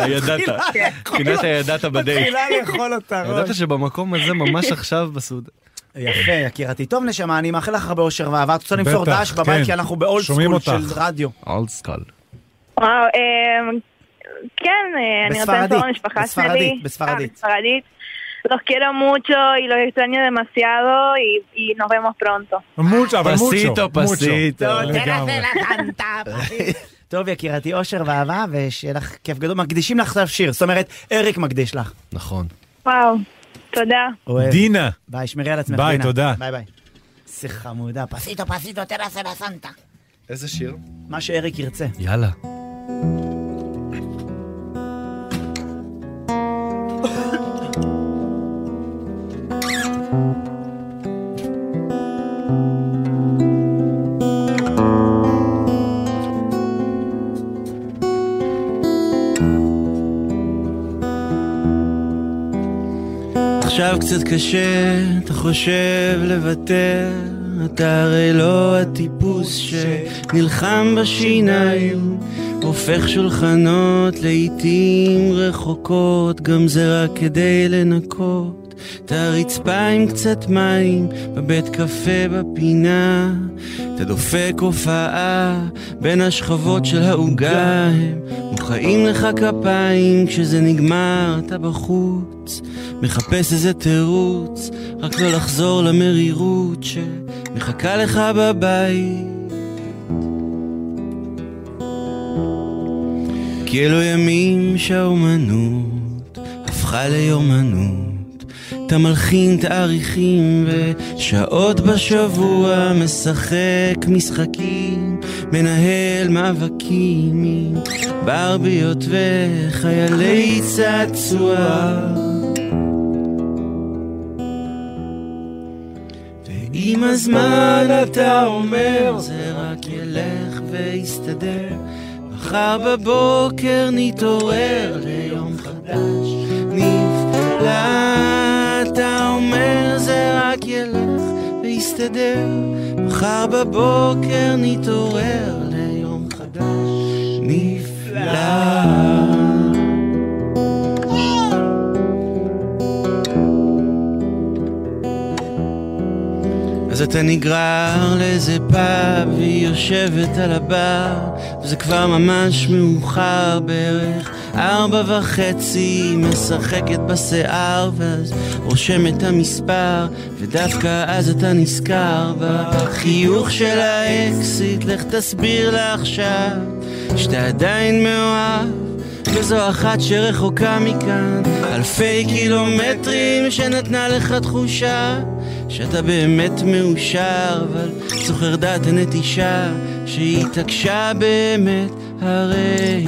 Speaker 1: הראש.
Speaker 2: הידעת.
Speaker 12: כן.
Speaker 2: פינת הידעת בדייט.
Speaker 1: מתחילה לאכול אותה ראש.
Speaker 2: ידעת שבמקום הזה ממש עכשיו בסעודה.
Speaker 1: יפה, יקירתי. טוב, נשמה, אני מאחל לך הרבה אושר ואהבה. את רוצה
Speaker 9: בטח,
Speaker 1: למסור דש
Speaker 9: כן.
Speaker 1: בבית, כי אנחנו באולד
Speaker 9: שומעים
Speaker 1: סקול של
Speaker 9: אותך.
Speaker 1: רדיו.
Speaker 2: אולד סקול.
Speaker 12: וואו, אה, כן, אה, אני רוצה
Speaker 1: בספרדית,
Speaker 12: לעזור למשפחה
Speaker 1: בספרדית,
Speaker 12: שלי.
Speaker 1: בספרדית.
Speaker 12: אה, בספרדית. Los quiero mucho y los extraño demasiado y, y nos vemos pronto.
Speaker 9: מוצ'ו, אבל מוצ'ו.
Speaker 2: פסיטו,
Speaker 9: מוצ'ו.
Speaker 2: פסיטו.
Speaker 3: לא,
Speaker 9: לגמרי.
Speaker 12: לא,
Speaker 1: טוב, יקירתי, אושר ואהבה, ושיהיה לך כיף גדול. מקדישים לך עכשיו שיר, זאת אומרת, אריק מקדיש לך.
Speaker 2: נכון.
Speaker 12: וואו, תודה.
Speaker 1: אוהב.
Speaker 9: דינה.
Speaker 1: ביי, שמרי על עצמך.
Speaker 9: ביי,
Speaker 1: דינה.
Speaker 9: תודה.
Speaker 1: ביי ביי. איזה חמודה, פסיט.
Speaker 14: Pasito, pasito, te la hace la santa.
Speaker 2: איזה שיר?
Speaker 1: מה שאריק ירצה.
Speaker 2: יאללה.
Speaker 8: עכשיו קצת קשה, אתה חושב לוותר, אתה הרי לא הטיפוס שנלחם בשיניים, הופך שולחנות לעיתים רחוקות, גם זה רק כדי לנקות. את הרצפה עם קצת מים, בבית קפה בפינה, אתה דופק הופעה בין השכבות של העוגה, הם מוחאים לך כפיים, כשזה נגמר אתה בחוץ, מחפש איזה תירוץ, רק לא לחזור למרירות שמחכה לך בבית. כי אלו ימים שהאומנות הפכה ליומנות. אתה מלחין תאריכים ושעות בשבוע, משחק משחקים, מנהל מאבקים עם ברביות וחיילי צעצוע. ועם הזמן אתה אומר, זה רק ילך ויסתדר. מחר בבוקר נתעורר ליום חדש נפלא. אתה אומר זה רק ילך ויסתדר. מחר בבוקר נתעורר ליום חדש נפלא. אז אתה נגרר לאיזה פאב, והיא יושבת על הבר, וזה כבר ממש מאוחר בערך. ארבע וחצי, משחקת בשיער, ואז רושם את המספר, ודווקא אז אתה נזכר בחיוך של האקסיט, לך תסביר לה עכשיו שאתה עדיין מאוהב. וזו אחת שרחוקה מכאן אלפי קילומטרים שנתנה לך תחושה שאתה באמת מאושר אבל זוכר דעת הנטישה שהיא התעקשה באמת הרי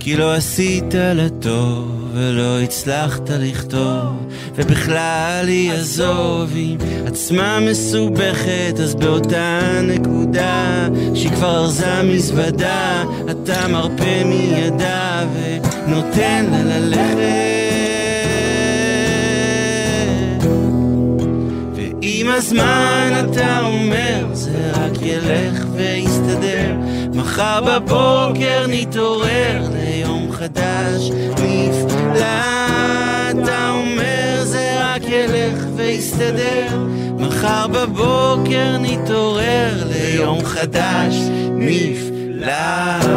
Speaker 8: כי לא עשית לה טוב ולא הצלחת לכתוב ובכלל היא עזוב היא עצמה מסובכת אז באותה נקודה שהיא כבר ארזה מזוודה אתה מרפה מידה ונותן לה ללכת ועם הזמן אתה אומר זה רק ילך ויסתדר מחר בבוקר נתעורר ליום חדש נפלא אתה אומר זה רק ילך ויסתדר מחר מחר בבוקר נתעורר ליום חדש, נפלא.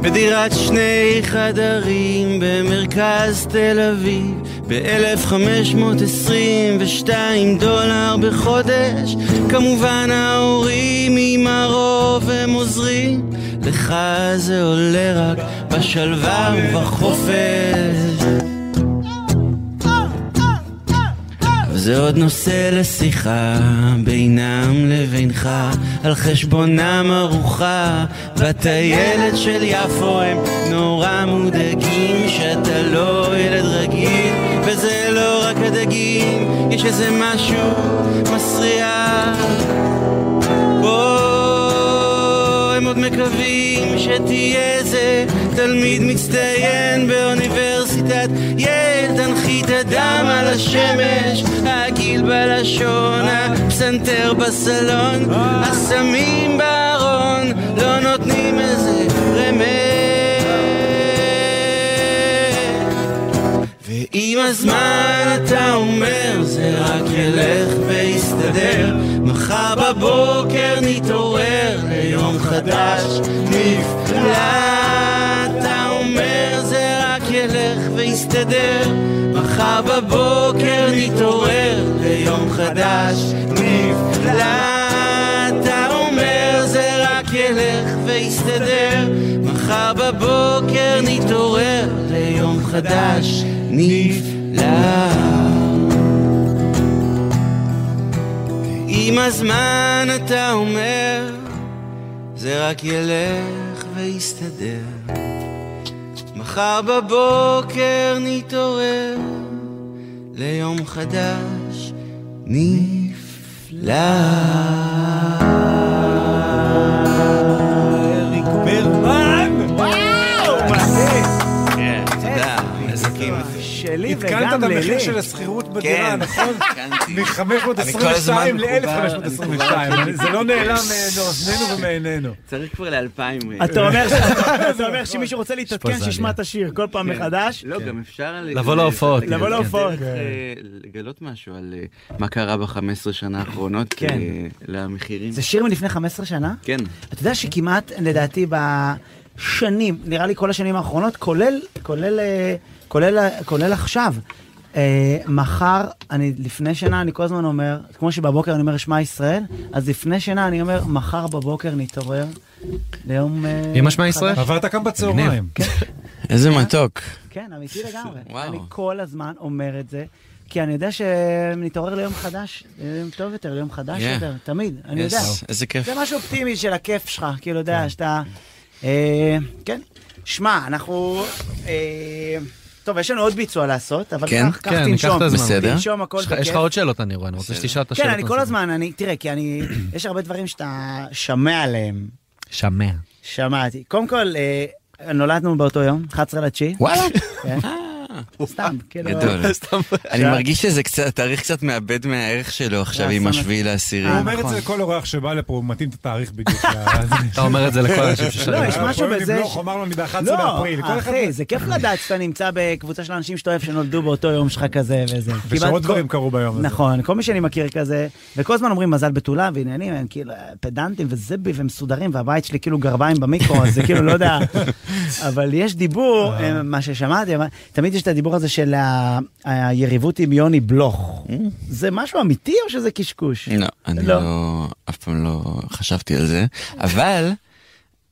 Speaker 8: בדירת שני חדרים במרכז תל אביב ב-1522 דולר בחודש כמובן ההורים עם הרוב הם עוזרים לך זה עולה רק בשלווה ובחופש אבל זה עוד נושא לשיחה בינם לבינך על חשבונם ארוחה בטיילת של יפו הם נורא מודאגים שאתה לא ילד רגיל וזה לא רק הדגים יש איזה משהו מסריח פה הם עוד מקווים שתהיה איזה תלמיד מצטיין באוניברסיטת יל תנחית הדם על השמש העגיל בלשון, הפסנתר בסלון הסמים בארון לא נותנים איזה רמז ועם הזמן אתה אומר זה רק ילך ויסתדר מחר בבוקר נתעורר ליום חדש נפלא אתה אומר זה רק ילך ויסתדר מחר בבוקר נתעורר ליום חדש נפלא אתה אומר זה רק ילך ויסתדר מחר בבוקר נתעורר ליום חדש נפלא עם הזמן אתה אומר, זה רק ילך ויסתדר. מחר בבוקר נתעורר ליום חדש נפלא. אריק
Speaker 12: אה,
Speaker 8: ברמן! כן,
Speaker 1: אה,
Speaker 8: תודה. נזקים.
Speaker 1: שלי
Speaker 3: עדכנת
Speaker 1: וגם
Speaker 3: את המחיר
Speaker 1: לילי.
Speaker 3: של השכירות
Speaker 1: כן.
Speaker 3: בדירה, נכון?
Speaker 13: אני כל הזמן מחובר.
Speaker 3: מ-522 ל-1522. זה לא נעלם אה, מאוזנינו ומעינינו.
Speaker 13: צריך כבר לאלפיים. אה.
Speaker 3: אתה אומר ש-
Speaker 1: זה אומר שמי שרוצה להתעדכן
Speaker 13: פוזליה.
Speaker 1: שישמע את השיר כל פעם
Speaker 13: כן.
Speaker 1: מחדש. כן.
Speaker 13: לא, גם אפשר... על-
Speaker 2: לבוא להופעות.
Speaker 13: אתה
Speaker 1: לבוא
Speaker 9: כן.
Speaker 13: גם
Speaker 1: להופעות.
Speaker 13: צריך, אה, לגלות משהו על אה, מה קרה ב-15 שנה האחרונות
Speaker 1: כן.
Speaker 13: אה, למחירים.
Speaker 1: זה שיר מלפני 15 שנה?
Speaker 13: כן.
Speaker 1: אתה יודע שכמעט, לדעתי, בשנים, נראה לי כל השנים האחרונות, כולל, כולל, אה, כולל, אה, כולל עכשיו, אה, מחר, אני לפני שנה, אני כל הזמן אומר, כמו שבבוקר אני אומר שמע ישראל, אז לפני שנה אני אומר, מחר בבוקר נתעורר ליום... אה, חדש."
Speaker 3: אבל אתה קם בצהריים.
Speaker 13: כן. איזה מתוק.
Speaker 1: כן, אמיתי לגמרי. אני כל הזמן אומר את זה, כי אני יודע שנתעורר ליום חדש, ליום טוב יותר, ליום חדש
Speaker 13: Yeah.
Speaker 1: יותר, תמיד, אני
Speaker 13: Yes,
Speaker 1: יודע.
Speaker 13: איזה כיף.
Speaker 1: זה משהו אופטימי של הכיף שלך, כאילו, אתה יודע, שאתה... אה, כן. שמע, אנחנו... אה, טוב, יש לנו עוד ביצוע לעשות, אבל
Speaker 2: כן,
Speaker 1: קח קח,
Speaker 2: כן, ניקח
Speaker 1: תנשום.
Speaker 2: את הזמן.
Speaker 1: תנשום הכל
Speaker 2: יש לך-
Speaker 1: בכיף.
Speaker 2: יש לך עוד שאלות, אני רואה, אני רוצה שתשאל את השאלות.
Speaker 1: כן, אני כל הזמן, אני... תראה, כי אני... יש הרבה דברים שאתה שמע עליהם.
Speaker 2: שמע.
Speaker 1: שמעתי. קודם כל, אה, נולדנו באותו יום, 11 לתשיעי.
Speaker 9: וואלה?
Speaker 1: כן. סתם, כאילו...
Speaker 9: גדול. אני
Speaker 1: עכשיו-
Speaker 9: מרגיש שזה קצת, התאריך קצת מאבד מהערך שלו עכשיו עם השביעי לעשירי.
Speaker 3: הוא
Speaker 1: אה,
Speaker 3: אומר את
Speaker 13: נכון.
Speaker 3: זה לכל אורח שבא לפה, הוא מתאים את התאריך בדיוק.
Speaker 9: אתה אומר את זה לכל האנשים ששואלים.
Speaker 1: לא, יש משהו בזה...
Speaker 3: נבלוך, אמרנו, אני ב-11
Speaker 1: לא,
Speaker 3: באפריל. כל אחד-
Speaker 1: אחי, זה כיף לדעת שאתה נמצא בקבוצה של אנשים שאתה אוהב שנולדו באותו יום שלך כזה וזה. כמעט כל-
Speaker 3: ושעוד דברים קרו ביום הזה.
Speaker 1: נכון, כל מי שאני מכיר כזה, וכל הזמן אומרים מזל בתולה ועניינים, הם כאילו אה, פדנטים וזבי ומסודרים, והבית שלי כאילו גרביים במיקרו, אז זה כאילו לא יודע. אבל יש דיבור, אה, מה ששמעתי, אבל תמיד יש את הדיבור הזה של ה- היריבות עם יוני בלוך. זה משהו אמיתי או שזה קשקוש?
Speaker 9: לא, אני
Speaker 1: לא.
Speaker 9: לא, אף פעם לא חשבתי על זה, אבל...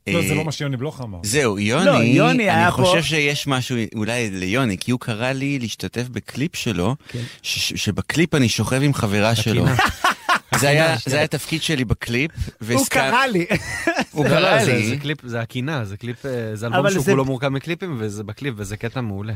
Speaker 3: לא, זה
Speaker 9: אה,
Speaker 3: לא מה שיוני בלוך אמר.
Speaker 9: זהו,
Speaker 1: לא,
Speaker 9: יוני,
Speaker 1: יוני היה
Speaker 9: אני
Speaker 1: פה-
Speaker 9: חושב שיש משהו אולי ליוני, כי הוא קרא לי להשתתף בקליפ שלו,
Speaker 1: כן.
Speaker 9: ש- ש- שבקליפ אני שוכב עם חברה שלו. זה היה זה היה התפקיד שלי בקליפ, והסכם-
Speaker 1: לי.
Speaker 9: הוא
Speaker 2: לא, לא,
Speaker 9: קרא
Speaker 2: זה-
Speaker 9: לי.
Speaker 2: זה קליפ, זה הקינה, זה קליפ, אה, זה
Speaker 1: אבל
Speaker 2: אלבום שהוא
Speaker 1: זה-
Speaker 2: כולו מורכב מקליפים, וזה בקליפ, וזה קטע מעולה.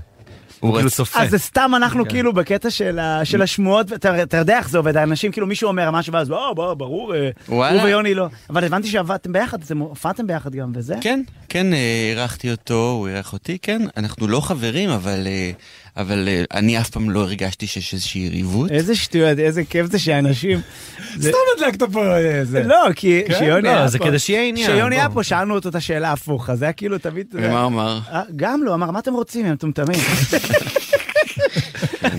Speaker 9: הוא
Speaker 2: הוא כאילו
Speaker 9: רצ-
Speaker 2: צופה.
Speaker 1: אז אה, זה סתם אנחנו
Speaker 2: כן.
Speaker 1: כאילו בקטע של ה- של השמועות, אתה אתה יודע איך זה עובד, האנשים כאילו מישהו אומר משהו ואז "אה, ב- ברור, אה,
Speaker 9: וואלה.
Speaker 1: הוא ויוני לא, אבל הבנתי שעבדתם ביחד, אתם הופעתם ביחד גם וזה.
Speaker 9: כן, כן, אה, אירחתי אותו, הוא אירח אותי, כן, אנחנו לא חברים, אבל אה,
Speaker 13: אבל אה, אני אף פעם לא הרגשתי שיש איזושהי יריבות.
Speaker 1: איזה שטויות, איזה כיף זה שאנשים... זה-
Speaker 3: סתם הדלקת פה איזה.
Speaker 1: לא, כי
Speaker 3: כן?
Speaker 1: שיוני
Speaker 3: לא,
Speaker 1: היה פה.
Speaker 3: זה כדי שיהיה עניין,
Speaker 1: שיוני
Speaker 3: בוא.
Speaker 1: היה פה, שאלנו אותו את השאלה הפוך, אז זה היה כאילו תמיד... אתה יודע-
Speaker 13: ומה הוא אמר?
Speaker 1: אה, גם לא, אמר, מה אתם רוצים, הם מטומטמים.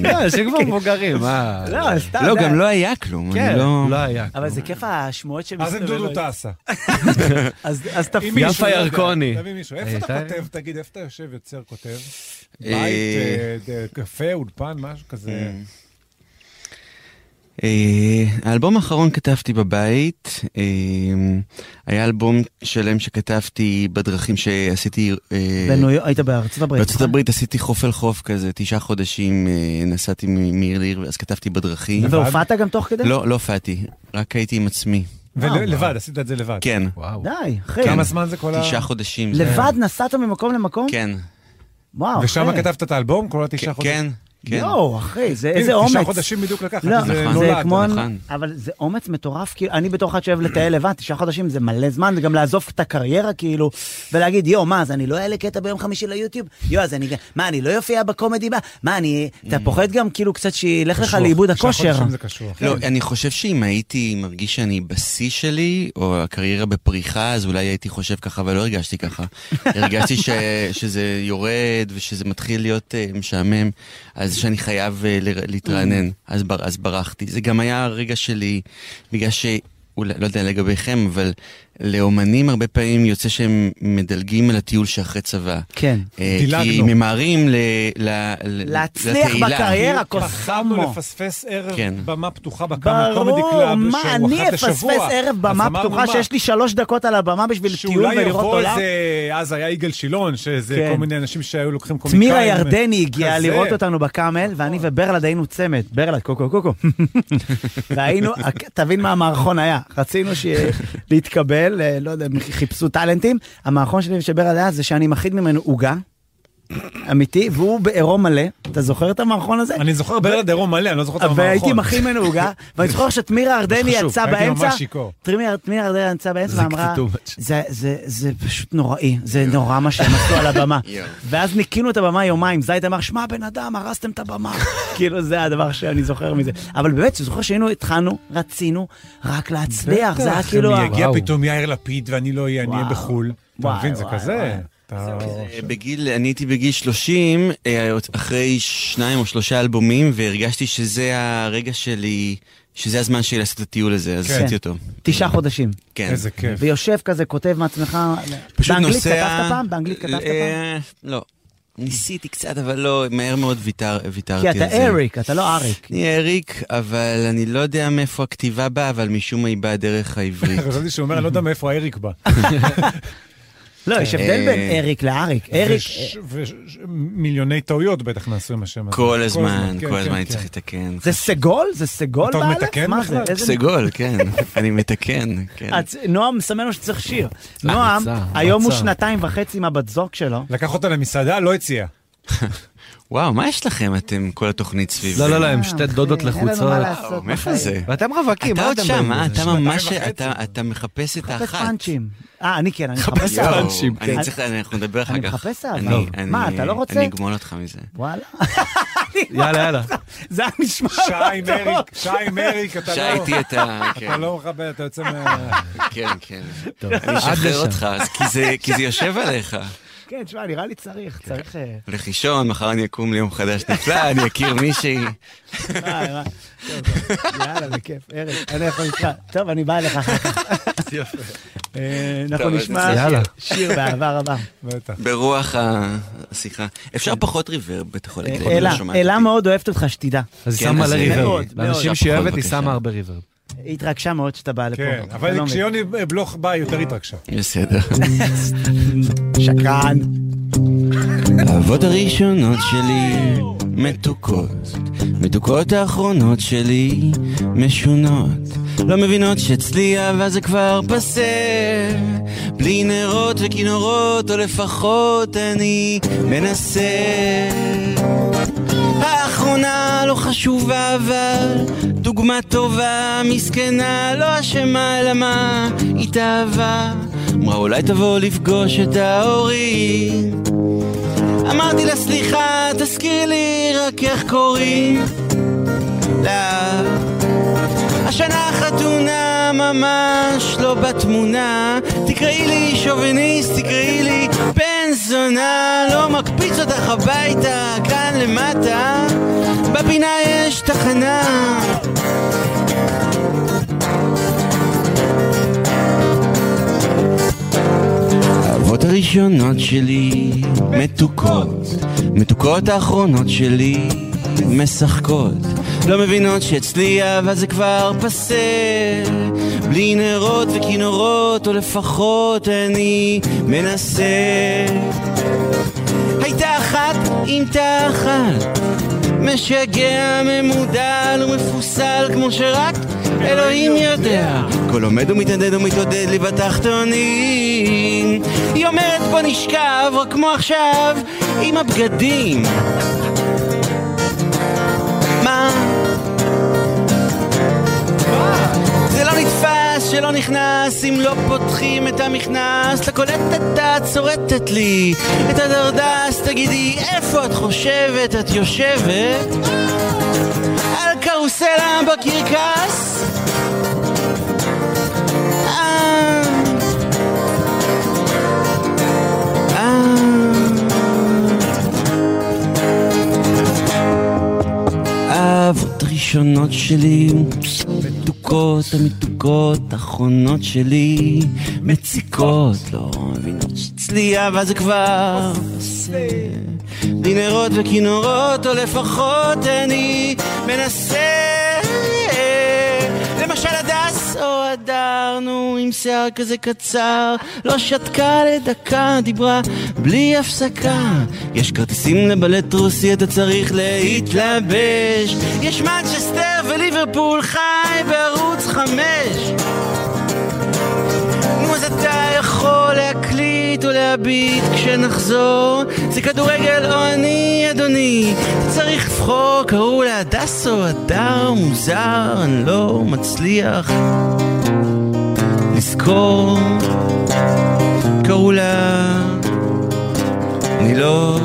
Speaker 9: לא, אנשים כבר מבוגרים,
Speaker 2: אה,
Speaker 9: מה?
Speaker 1: לא, סתם.
Speaker 13: לא,
Speaker 1: זה-
Speaker 13: גם לא היה כלום, אני
Speaker 1: כן,
Speaker 13: לא-
Speaker 9: לא היה
Speaker 1: אבל זה כיף השמועות
Speaker 3: אז הם
Speaker 1: שמסתובבות.
Speaker 3: דודו טסה.
Speaker 1: אז אז
Speaker 3: אם
Speaker 1: תפעיל.
Speaker 3: מישהו, לא יודע, תביא מישהו.
Speaker 1: אה,
Speaker 3: איפה אתה כותב, תגיד, איפה אתה יושב, יוצר, כותב? בית,
Speaker 13: אה,
Speaker 3: אה, ד- קפה, אולפן, משהו כזה.
Speaker 13: אה, האלבום האחרון כתבתי בבית, אה, היה אלבום שלם שכתבתי בדרכים שעשיתי... אה,
Speaker 1: בניו יורק- היית בארצות הברית,
Speaker 13: בארצות
Speaker 1: נכון?
Speaker 13: הברית עשיתי חוף אל חוף כזה, תשעה חודשים אה, נסעתי מ- מעיר לעיר, ואז כתבתי בדרכים.
Speaker 1: והופעת גם תוך כדי?
Speaker 13: לא, לא הופעתי, רק הייתי עם עצמי.
Speaker 3: ולבד, עשית את זה לבד.
Speaker 13: אה, כן.
Speaker 1: די, אחי.
Speaker 13: כן.
Speaker 1: תשעה
Speaker 13: תשעה חודשים. זה-
Speaker 1: לבד נסעת ממקום למקום?
Speaker 13: כן.
Speaker 1: וואו, אחי.
Speaker 3: ושם כתבת את האלבום? כל התשעה
Speaker 13: אוקיי. כן, כן,
Speaker 3: חודשים?
Speaker 13: כן.
Speaker 1: יואו, אחי, זה
Speaker 3: הנה,
Speaker 1: איזה
Speaker 3: תשעה
Speaker 1: אומץ.
Speaker 3: חודשים בדיוק לקח,
Speaker 1: לא,
Speaker 3: זה
Speaker 1: זה
Speaker 3: נולד,
Speaker 1: כמו...
Speaker 3: נכון.
Speaker 1: אבל זה אומץ מטורף, כאילו, אני בתור אחד שאוהב לטייל לבד, תשעה חודשים זה מלא זמן, זה גם לעזוב את הקריירה, כאילו, ולהגיד, יואו, מה, אז אני לא אעלה קטע ביום חמישי ליוטיוב? יואו, אז אני... גם- מה, אני לא יופיע בקומדי בה? מה, אני... אתה פוחד גם כאילו קצת שילך לך
Speaker 13: Mm. קשוח.
Speaker 1: לאיבוד
Speaker 13: תשעה
Speaker 1: הכושר.
Speaker 13: חודשים זה לא, אני חושב שאם הייתי מרגיש שאני בשיא שלי, או הקריירה בפריחה, אז אולי הייתי חושב ככה, אבל לא הרגשתי ככה. הרגשתי ש... שזה יורד ושזה מתחיל להיות אה, משעמם, אז שאני חייב אה, ל... להתרענן.
Speaker 1: Mm.
Speaker 13: אז, בר... אז ברחתי. זה גם היה הרגע שלי, בגלל ש... אולי, לא יודע לגביכם, אבל לאומנים הרבה פעמים יוצא שהם מדלגים על הטיול שאחרי צבא.
Speaker 1: כן.
Speaker 13: אה, כי
Speaker 1: דילגנו.
Speaker 13: ממהרים ל... ל... ל-
Speaker 1: להצליח
Speaker 13: לתהילה.
Speaker 1: בקריירה, כוס
Speaker 3: פחדנו
Speaker 1: חמו.
Speaker 3: לפספס ערב
Speaker 13: כן.
Speaker 3: במה פתוחה בקאמרי קומדי
Speaker 1: ברור,
Speaker 3: קלאב,
Speaker 1: מה,
Speaker 3: שהוא
Speaker 1: אני
Speaker 3: אחת לשבוע.
Speaker 1: אפספס ערב
Speaker 3: אז
Speaker 1: במה
Speaker 3: אמרנו,
Speaker 1: פתוחה
Speaker 3: מה?
Speaker 1: שיש לי שלוש דקות על הבמה בשביל טיול
Speaker 3: שאולי
Speaker 1: ולראות
Speaker 3: יבוא
Speaker 1: עולם?
Speaker 3: איזה, אז היה יגאל שילון, שזה
Speaker 1: כן.
Speaker 3: כל מיני אנשים שהיו לוקחים קומיקאים.
Speaker 1: תמיר הירדני הגיע
Speaker 3: כזה.
Speaker 1: לראות אותנו בקאמל, ואני וברלד היינו צמד, ברלד, קוקו קוקו. והיינו, תבין מה המערכון היה, רצינו ש- להתקבל, אה, לא יודע, חיפשו טאלנטים, המערכון שלי ושל ברלד היה זה שאני מכין ממנו עוגה. אמיתי, והוא בעירום מלא, אתה זוכר את המערכון הזה?
Speaker 3: אני זוכר ברלד עירום מלא, אני לא זוכר את המערכון.
Speaker 1: והייתי מכין ממנו עוגה, ואני זוכר שתמיר הרדני
Speaker 3: חשוב,
Speaker 1: יצא
Speaker 3: הייתי ממש
Speaker 1: באמצע,
Speaker 3: שיכור.
Speaker 1: תמיר תמיר הרדני יצא באמצע
Speaker 3: זה
Speaker 1: ואמרה,
Speaker 3: קצת too
Speaker 1: "זה- זה- זה פשוט נוראי, זה נורא מה שהם עשו על הבמה.
Speaker 13: יואו.
Speaker 1: ואז ניקינו את הבמה יומיים, זייד אמר, שמע בן אדם, הרסתם את הבמה. כאילו זה הדבר שאני זוכר מזה. אבל באמת, זוכר שהיינו, התחלנו, רצינו רק להצליח, זה היה
Speaker 3: בטח,
Speaker 1: כאילו... ה-
Speaker 3: אם יגיע פתאום יאיר לפיד ואני לא אהיה, אני אהיה בחו"ל. אתה
Speaker 1: וואו,
Speaker 3: מבין, זה
Speaker 1: וואו,
Speaker 3: כזה. אתה-
Speaker 13: אה, בגיל, אני הייתי בגיל 30, אה, אחרי שניים או שלושה אלבומים, והרגשתי שזה הרגע שלי, שזה הזמן שלי לעשות את הטיול הזה, אז
Speaker 1: כן.
Speaker 13: עשיתי אותו.
Speaker 1: תשעה חודשים.
Speaker 13: כן.
Speaker 1: ויושב כזה, כותב מעצמך,
Speaker 13: פשוט
Speaker 1: באנגלית
Speaker 13: נוסע-
Speaker 1: כתבת פעם? באנגלית כתבת פעם?
Speaker 13: אה, לא. ניסיתי קצת, אבל לא, מהר מאוד ויתר- ויתרתי
Speaker 3: אה,
Speaker 1: כי
Speaker 13: על זה.
Speaker 1: אתה אריק, אתה לא אריק.
Speaker 13: אני אריק, אבל אני לא יודע מאיפה הכתיבה באה, אבל משום מה היא באה דרך העברית.
Speaker 3: חשבתי שהוא אומר, אני לא יודע מאיפה אריק בא.
Speaker 1: לא, יש הבדל בין אריק לאריק. אריק...
Speaker 3: ומיליוני טעויות בטח נעשו עם השם הזה.
Speaker 13: כל הזמן,
Speaker 3: כן,
Speaker 13: כל
Speaker 3: כן,
Speaker 13: הזמן אני
Speaker 3: כן.
Speaker 13: צריך לתקן.
Speaker 1: זה סגול? זה סגול
Speaker 3: אתה עוד
Speaker 1: באלף?
Speaker 3: מתקן
Speaker 1: מה זה?
Speaker 3: בכלל?
Speaker 1: איזה-
Speaker 13: סגול, כן. אני מתקן, כן.
Speaker 1: הצ- נועם מסמן לו שצריך שיר.
Speaker 13: אה,
Speaker 1: נועם,
Speaker 13: מצא,
Speaker 1: היום הוא
Speaker 13: מצא.
Speaker 1: שנתיים וחצי עם הבת זוג שלו.
Speaker 3: לקח אותה למסעדה, לא הציע.
Speaker 13: וואו, מה יש לכם, אתם, כל התוכנית סביב?
Speaker 9: לא, לא, לא, הם שתי דודות
Speaker 1: אוקיי,
Speaker 9: לחוצות.
Speaker 13: וואו, מאיפה זה?
Speaker 9: ואתם רווקים,
Speaker 13: אתה
Speaker 9: מה
Speaker 13: עוד
Speaker 9: אתם
Speaker 13: שם,
Speaker 9: באים
Speaker 13: אה?
Speaker 9: בזה?
Speaker 13: אתה
Speaker 9: שנתיים
Speaker 13: ממש,
Speaker 9: וחצי.
Speaker 13: אתה אתה מחפש את
Speaker 1: מחפש
Speaker 13: האחת.
Speaker 1: פאנצ'ים. אה, אני כן, אני מחפש
Speaker 13: מחפש
Speaker 1: אהבה.
Speaker 13: פאנצ'ים. אני
Speaker 1: אני-
Speaker 13: צריך, אנחנו נדבר אחר כך.
Speaker 1: אני מחפש אהבה.
Speaker 13: אני-
Speaker 1: לא.
Speaker 13: אני-
Speaker 1: מה, אתה לא רוצה?
Speaker 13: אני אגמול אותך מזה.
Speaker 1: וואלה.
Speaker 9: יאללה, יאללה.
Speaker 1: זה היה נשמע לא
Speaker 3: שי עם אריק, שי עם אריק, אתה לא...
Speaker 13: לא, שי איתי אתה-
Speaker 3: אתה
Speaker 13: כן.
Speaker 3: לא מכבד, אתה יוצא מה...
Speaker 13: כן, כן.
Speaker 3: טוב.
Speaker 13: אני
Speaker 3: עד
Speaker 13: אשחרר
Speaker 3: לשם.
Speaker 13: אותך, אז כי זה- כי זה יושב עליך.
Speaker 1: כן, תשמע, נראה לי צריך,
Speaker 13: כן.
Speaker 1: צריך... אה,
Speaker 13: הולך לישון, מחר אני אקום ליום חדש נפלא, אני אכיר מישהי.
Speaker 1: וואי, וואי. אה, טוב, טוב. יאללה, בכיף. ארז, אני יכול איתך. טוב, אני בא אליך אחר כך.
Speaker 13: יפה.
Speaker 1: אה, אנחנו
Speaker 13: טוב, אז
Speaker 1: נשמע
Speaker 13: נצא.
Speaker 1: שיר-
Speaker 13: יאללה.
Speaker 1: שיר באהבה רבה.
Speaker 13: ברוח השיחה. אפשר פחות ריברב, אתה יכול להגיד. אני לא
Speaker 1: אלה,
Speaker 13: שומעת
Speaker 1: אלה מאוד אוהבת אותך, שתדע.
Speaker 9: אז היא שמה מלא ריברב. לאנשים שהיא אוהבת, היא שמה הרבה ריברב.
Speaker 1: היא התרגשה מאוד שאתה בא לפה.
Speaker 3: כן,
Speaker 1: אני לא
Speaker 3: אבל
Speaker 1: מבין.
Speaker 3: כשיוני בלוך בא, היא
Speaker 13: אה.
Speaker 3: יותר התרגשה.
Speaker 13: בסדר.
Speaker 1: שקרן.
Speaker 13: האהבות הראשונות שלי מתוקות, מתוקות האחרונות שלי משונות. לא מבינות שאצלי אהבה זה כבר פסה, בלי נרות וכינורות, או לפחות אני מנסה. האחרונה לא חשובה אבל דוגמה טובה, מסכנה, לא אשמה למה התאהבה. אמרה אולי תבוא לפגוש את ההורים
Speaker 8: אמרתי לה סליחה, תזכירי לי רק איך קוראים לה. השנה חתונה ממש לא בתמונה, תקראי לי שוביניסט, תקראי לי בן זונה, לא מקפיץ אותך הביתה, כאן למטה, בפינה יש תחנה.
Speaker 13: האהבות הראשונות שלי מתוקות, מתוקות האחרונות שלי משחקות. לא מבינות שאצלי אהבה זה כבר פסה, בלי נרות וכינורות, או לפחות אני מנסה.
Speaker 8: הייתה אחת עם תחת משגע, ממודל ומפוסל כמו שרק אלוהים יודע
Speaker 13: כל עומד ומתנדד ומתעודד לי בתחתונים
Speaker 8: היא אומרת בוא נשכב, רק כמו עכשיו, עם הבגדים מה? זה לא נתפס, שלא נכנס, אם לא פותחים את המכנס, לקולטת את צורטת לי את הדרדס, תגידי, איפה את חושבת, את יושבת? על קרוסלה בקרקס? אה, אה. אה.
Speaker 13: האהבות הראשונות שלי מתוקות, המתוקות האחרונות שלי מציקות, לא מבינות
Speaker 8: אצלי אהבה זה כבר בלי נרות וכינורות, או לפחות אני מנסה. למשל הדס או הדר, נו, עם שיער כזה קצר, לא שתקה לדקה, דיברה בלי הפסקה.
Speaker 13: יש כרטיסים לבלט רוסי, אתה צריך להתלבש.
Speaker 8: יש מנצ'סטר וליברפול חי בערוץ חמש. נו, אז אתה יכול להקליט או להביט כשנחזור. זה כדורגל או אני, אדוני. אתה צריך לבחור, קראו לה הדס או הדר, מוזר, אני לא מצליח לזכור.
Speaker 13: קראו לה... אני לא...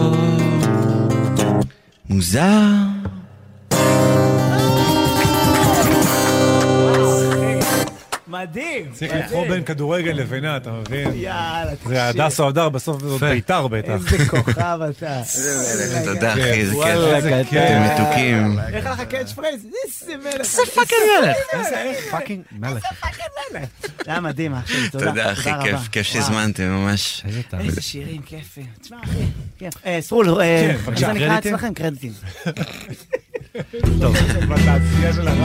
Speaker 13: מוזר.
Speaker 1: מדהים.
Speaker 3: צריך לבחור בין כדורגל לבינה, אתה מבין?
Speaker 13: אה.
Speaker 1: יאללה, תקשיב.
Speaker 3: זה הדס או הדר, בסוף זה עוד בית"ר בטח.
Speaker 1: אה, איזה כוכב אתה.
Speaker 9: תודה אחי, איזה כיף.
Speaker 3: וואלה, איזה כיף.
Speaker 9: אתם מתוקים.
Speaker 1: איך לך קאץ' פרייז? איזה מלך.
Speaker 8: איזה פאקינג מלך.
Speaker 1: איזה פאקינג מלך. זה היה מדהים, אחי, תודה.
Speaker 9: תודה אחי,
Speaker 1: רבה.
Speaker 9: כיף, כיף שהזמנתם ממש.
Speaker 1: איזה שירים כיפים. תשמע, אחי. כן. אה, סרול, אה,
Speaker 9: כן,
Speaker 1: איך זה
Speaker 9: בבקשה,
Speaker 1: נקרא
Speaker 2: קרדיטים?
Speaker 1: אצלכם? קרדיטים.
Speaker 2: טוב.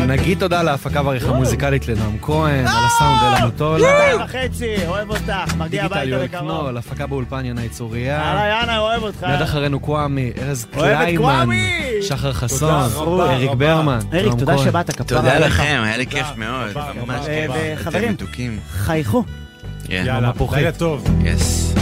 Speaker 2: נגיד תודה להפקה ועריכה מוזיקלית לנועם כהן, על הסאונד אלה מוטולה.
Speaker 1: שתיים וחצי, אוהב אותך, מגיע
Speaker 2: דיגיטל
Speaker 1: הביתה
Speaker 2: יואל
Speaker 1: לקרוב.
Speaker 2: קנול, הפקה באולפן ינאי צוריה.
Speaker 1: יאללה, יאללה, אוהב אותך.
Speaker 2: מיד אחרינו קוואמי, ארז
Speaker 1: אוהב את
Speaker 2: קליימן,
Speaker 1: קוואמי!
Speaker 2: שחר
Speaker 1: תודה
Speaker 2: חסון,
Speaker 1: רבה,
Speaker 2: אריק
Speaker 1: רבה.
Speaker 2: ברמן.
Speaker 1: אריק,
Speaker 2: נועם
Speaker 1: תודה
Speaker 2: כהן.
Speaker 1: שבאת, כפרה
Speaker 9: תודה
Speaker 1: עליך.
Speaker 9: לכם, היה לי כיף מאוד. ממש
Speaker 1: אה,
Speaker 9: כיף.
Speaker 1: וחברים,
Speaker 9: אתם מתוקים.
Speaker 1: חייכו.
Speaker 9: כן.
Speaker 3: יאללה, לילה טוב.
Speaker 9: יס.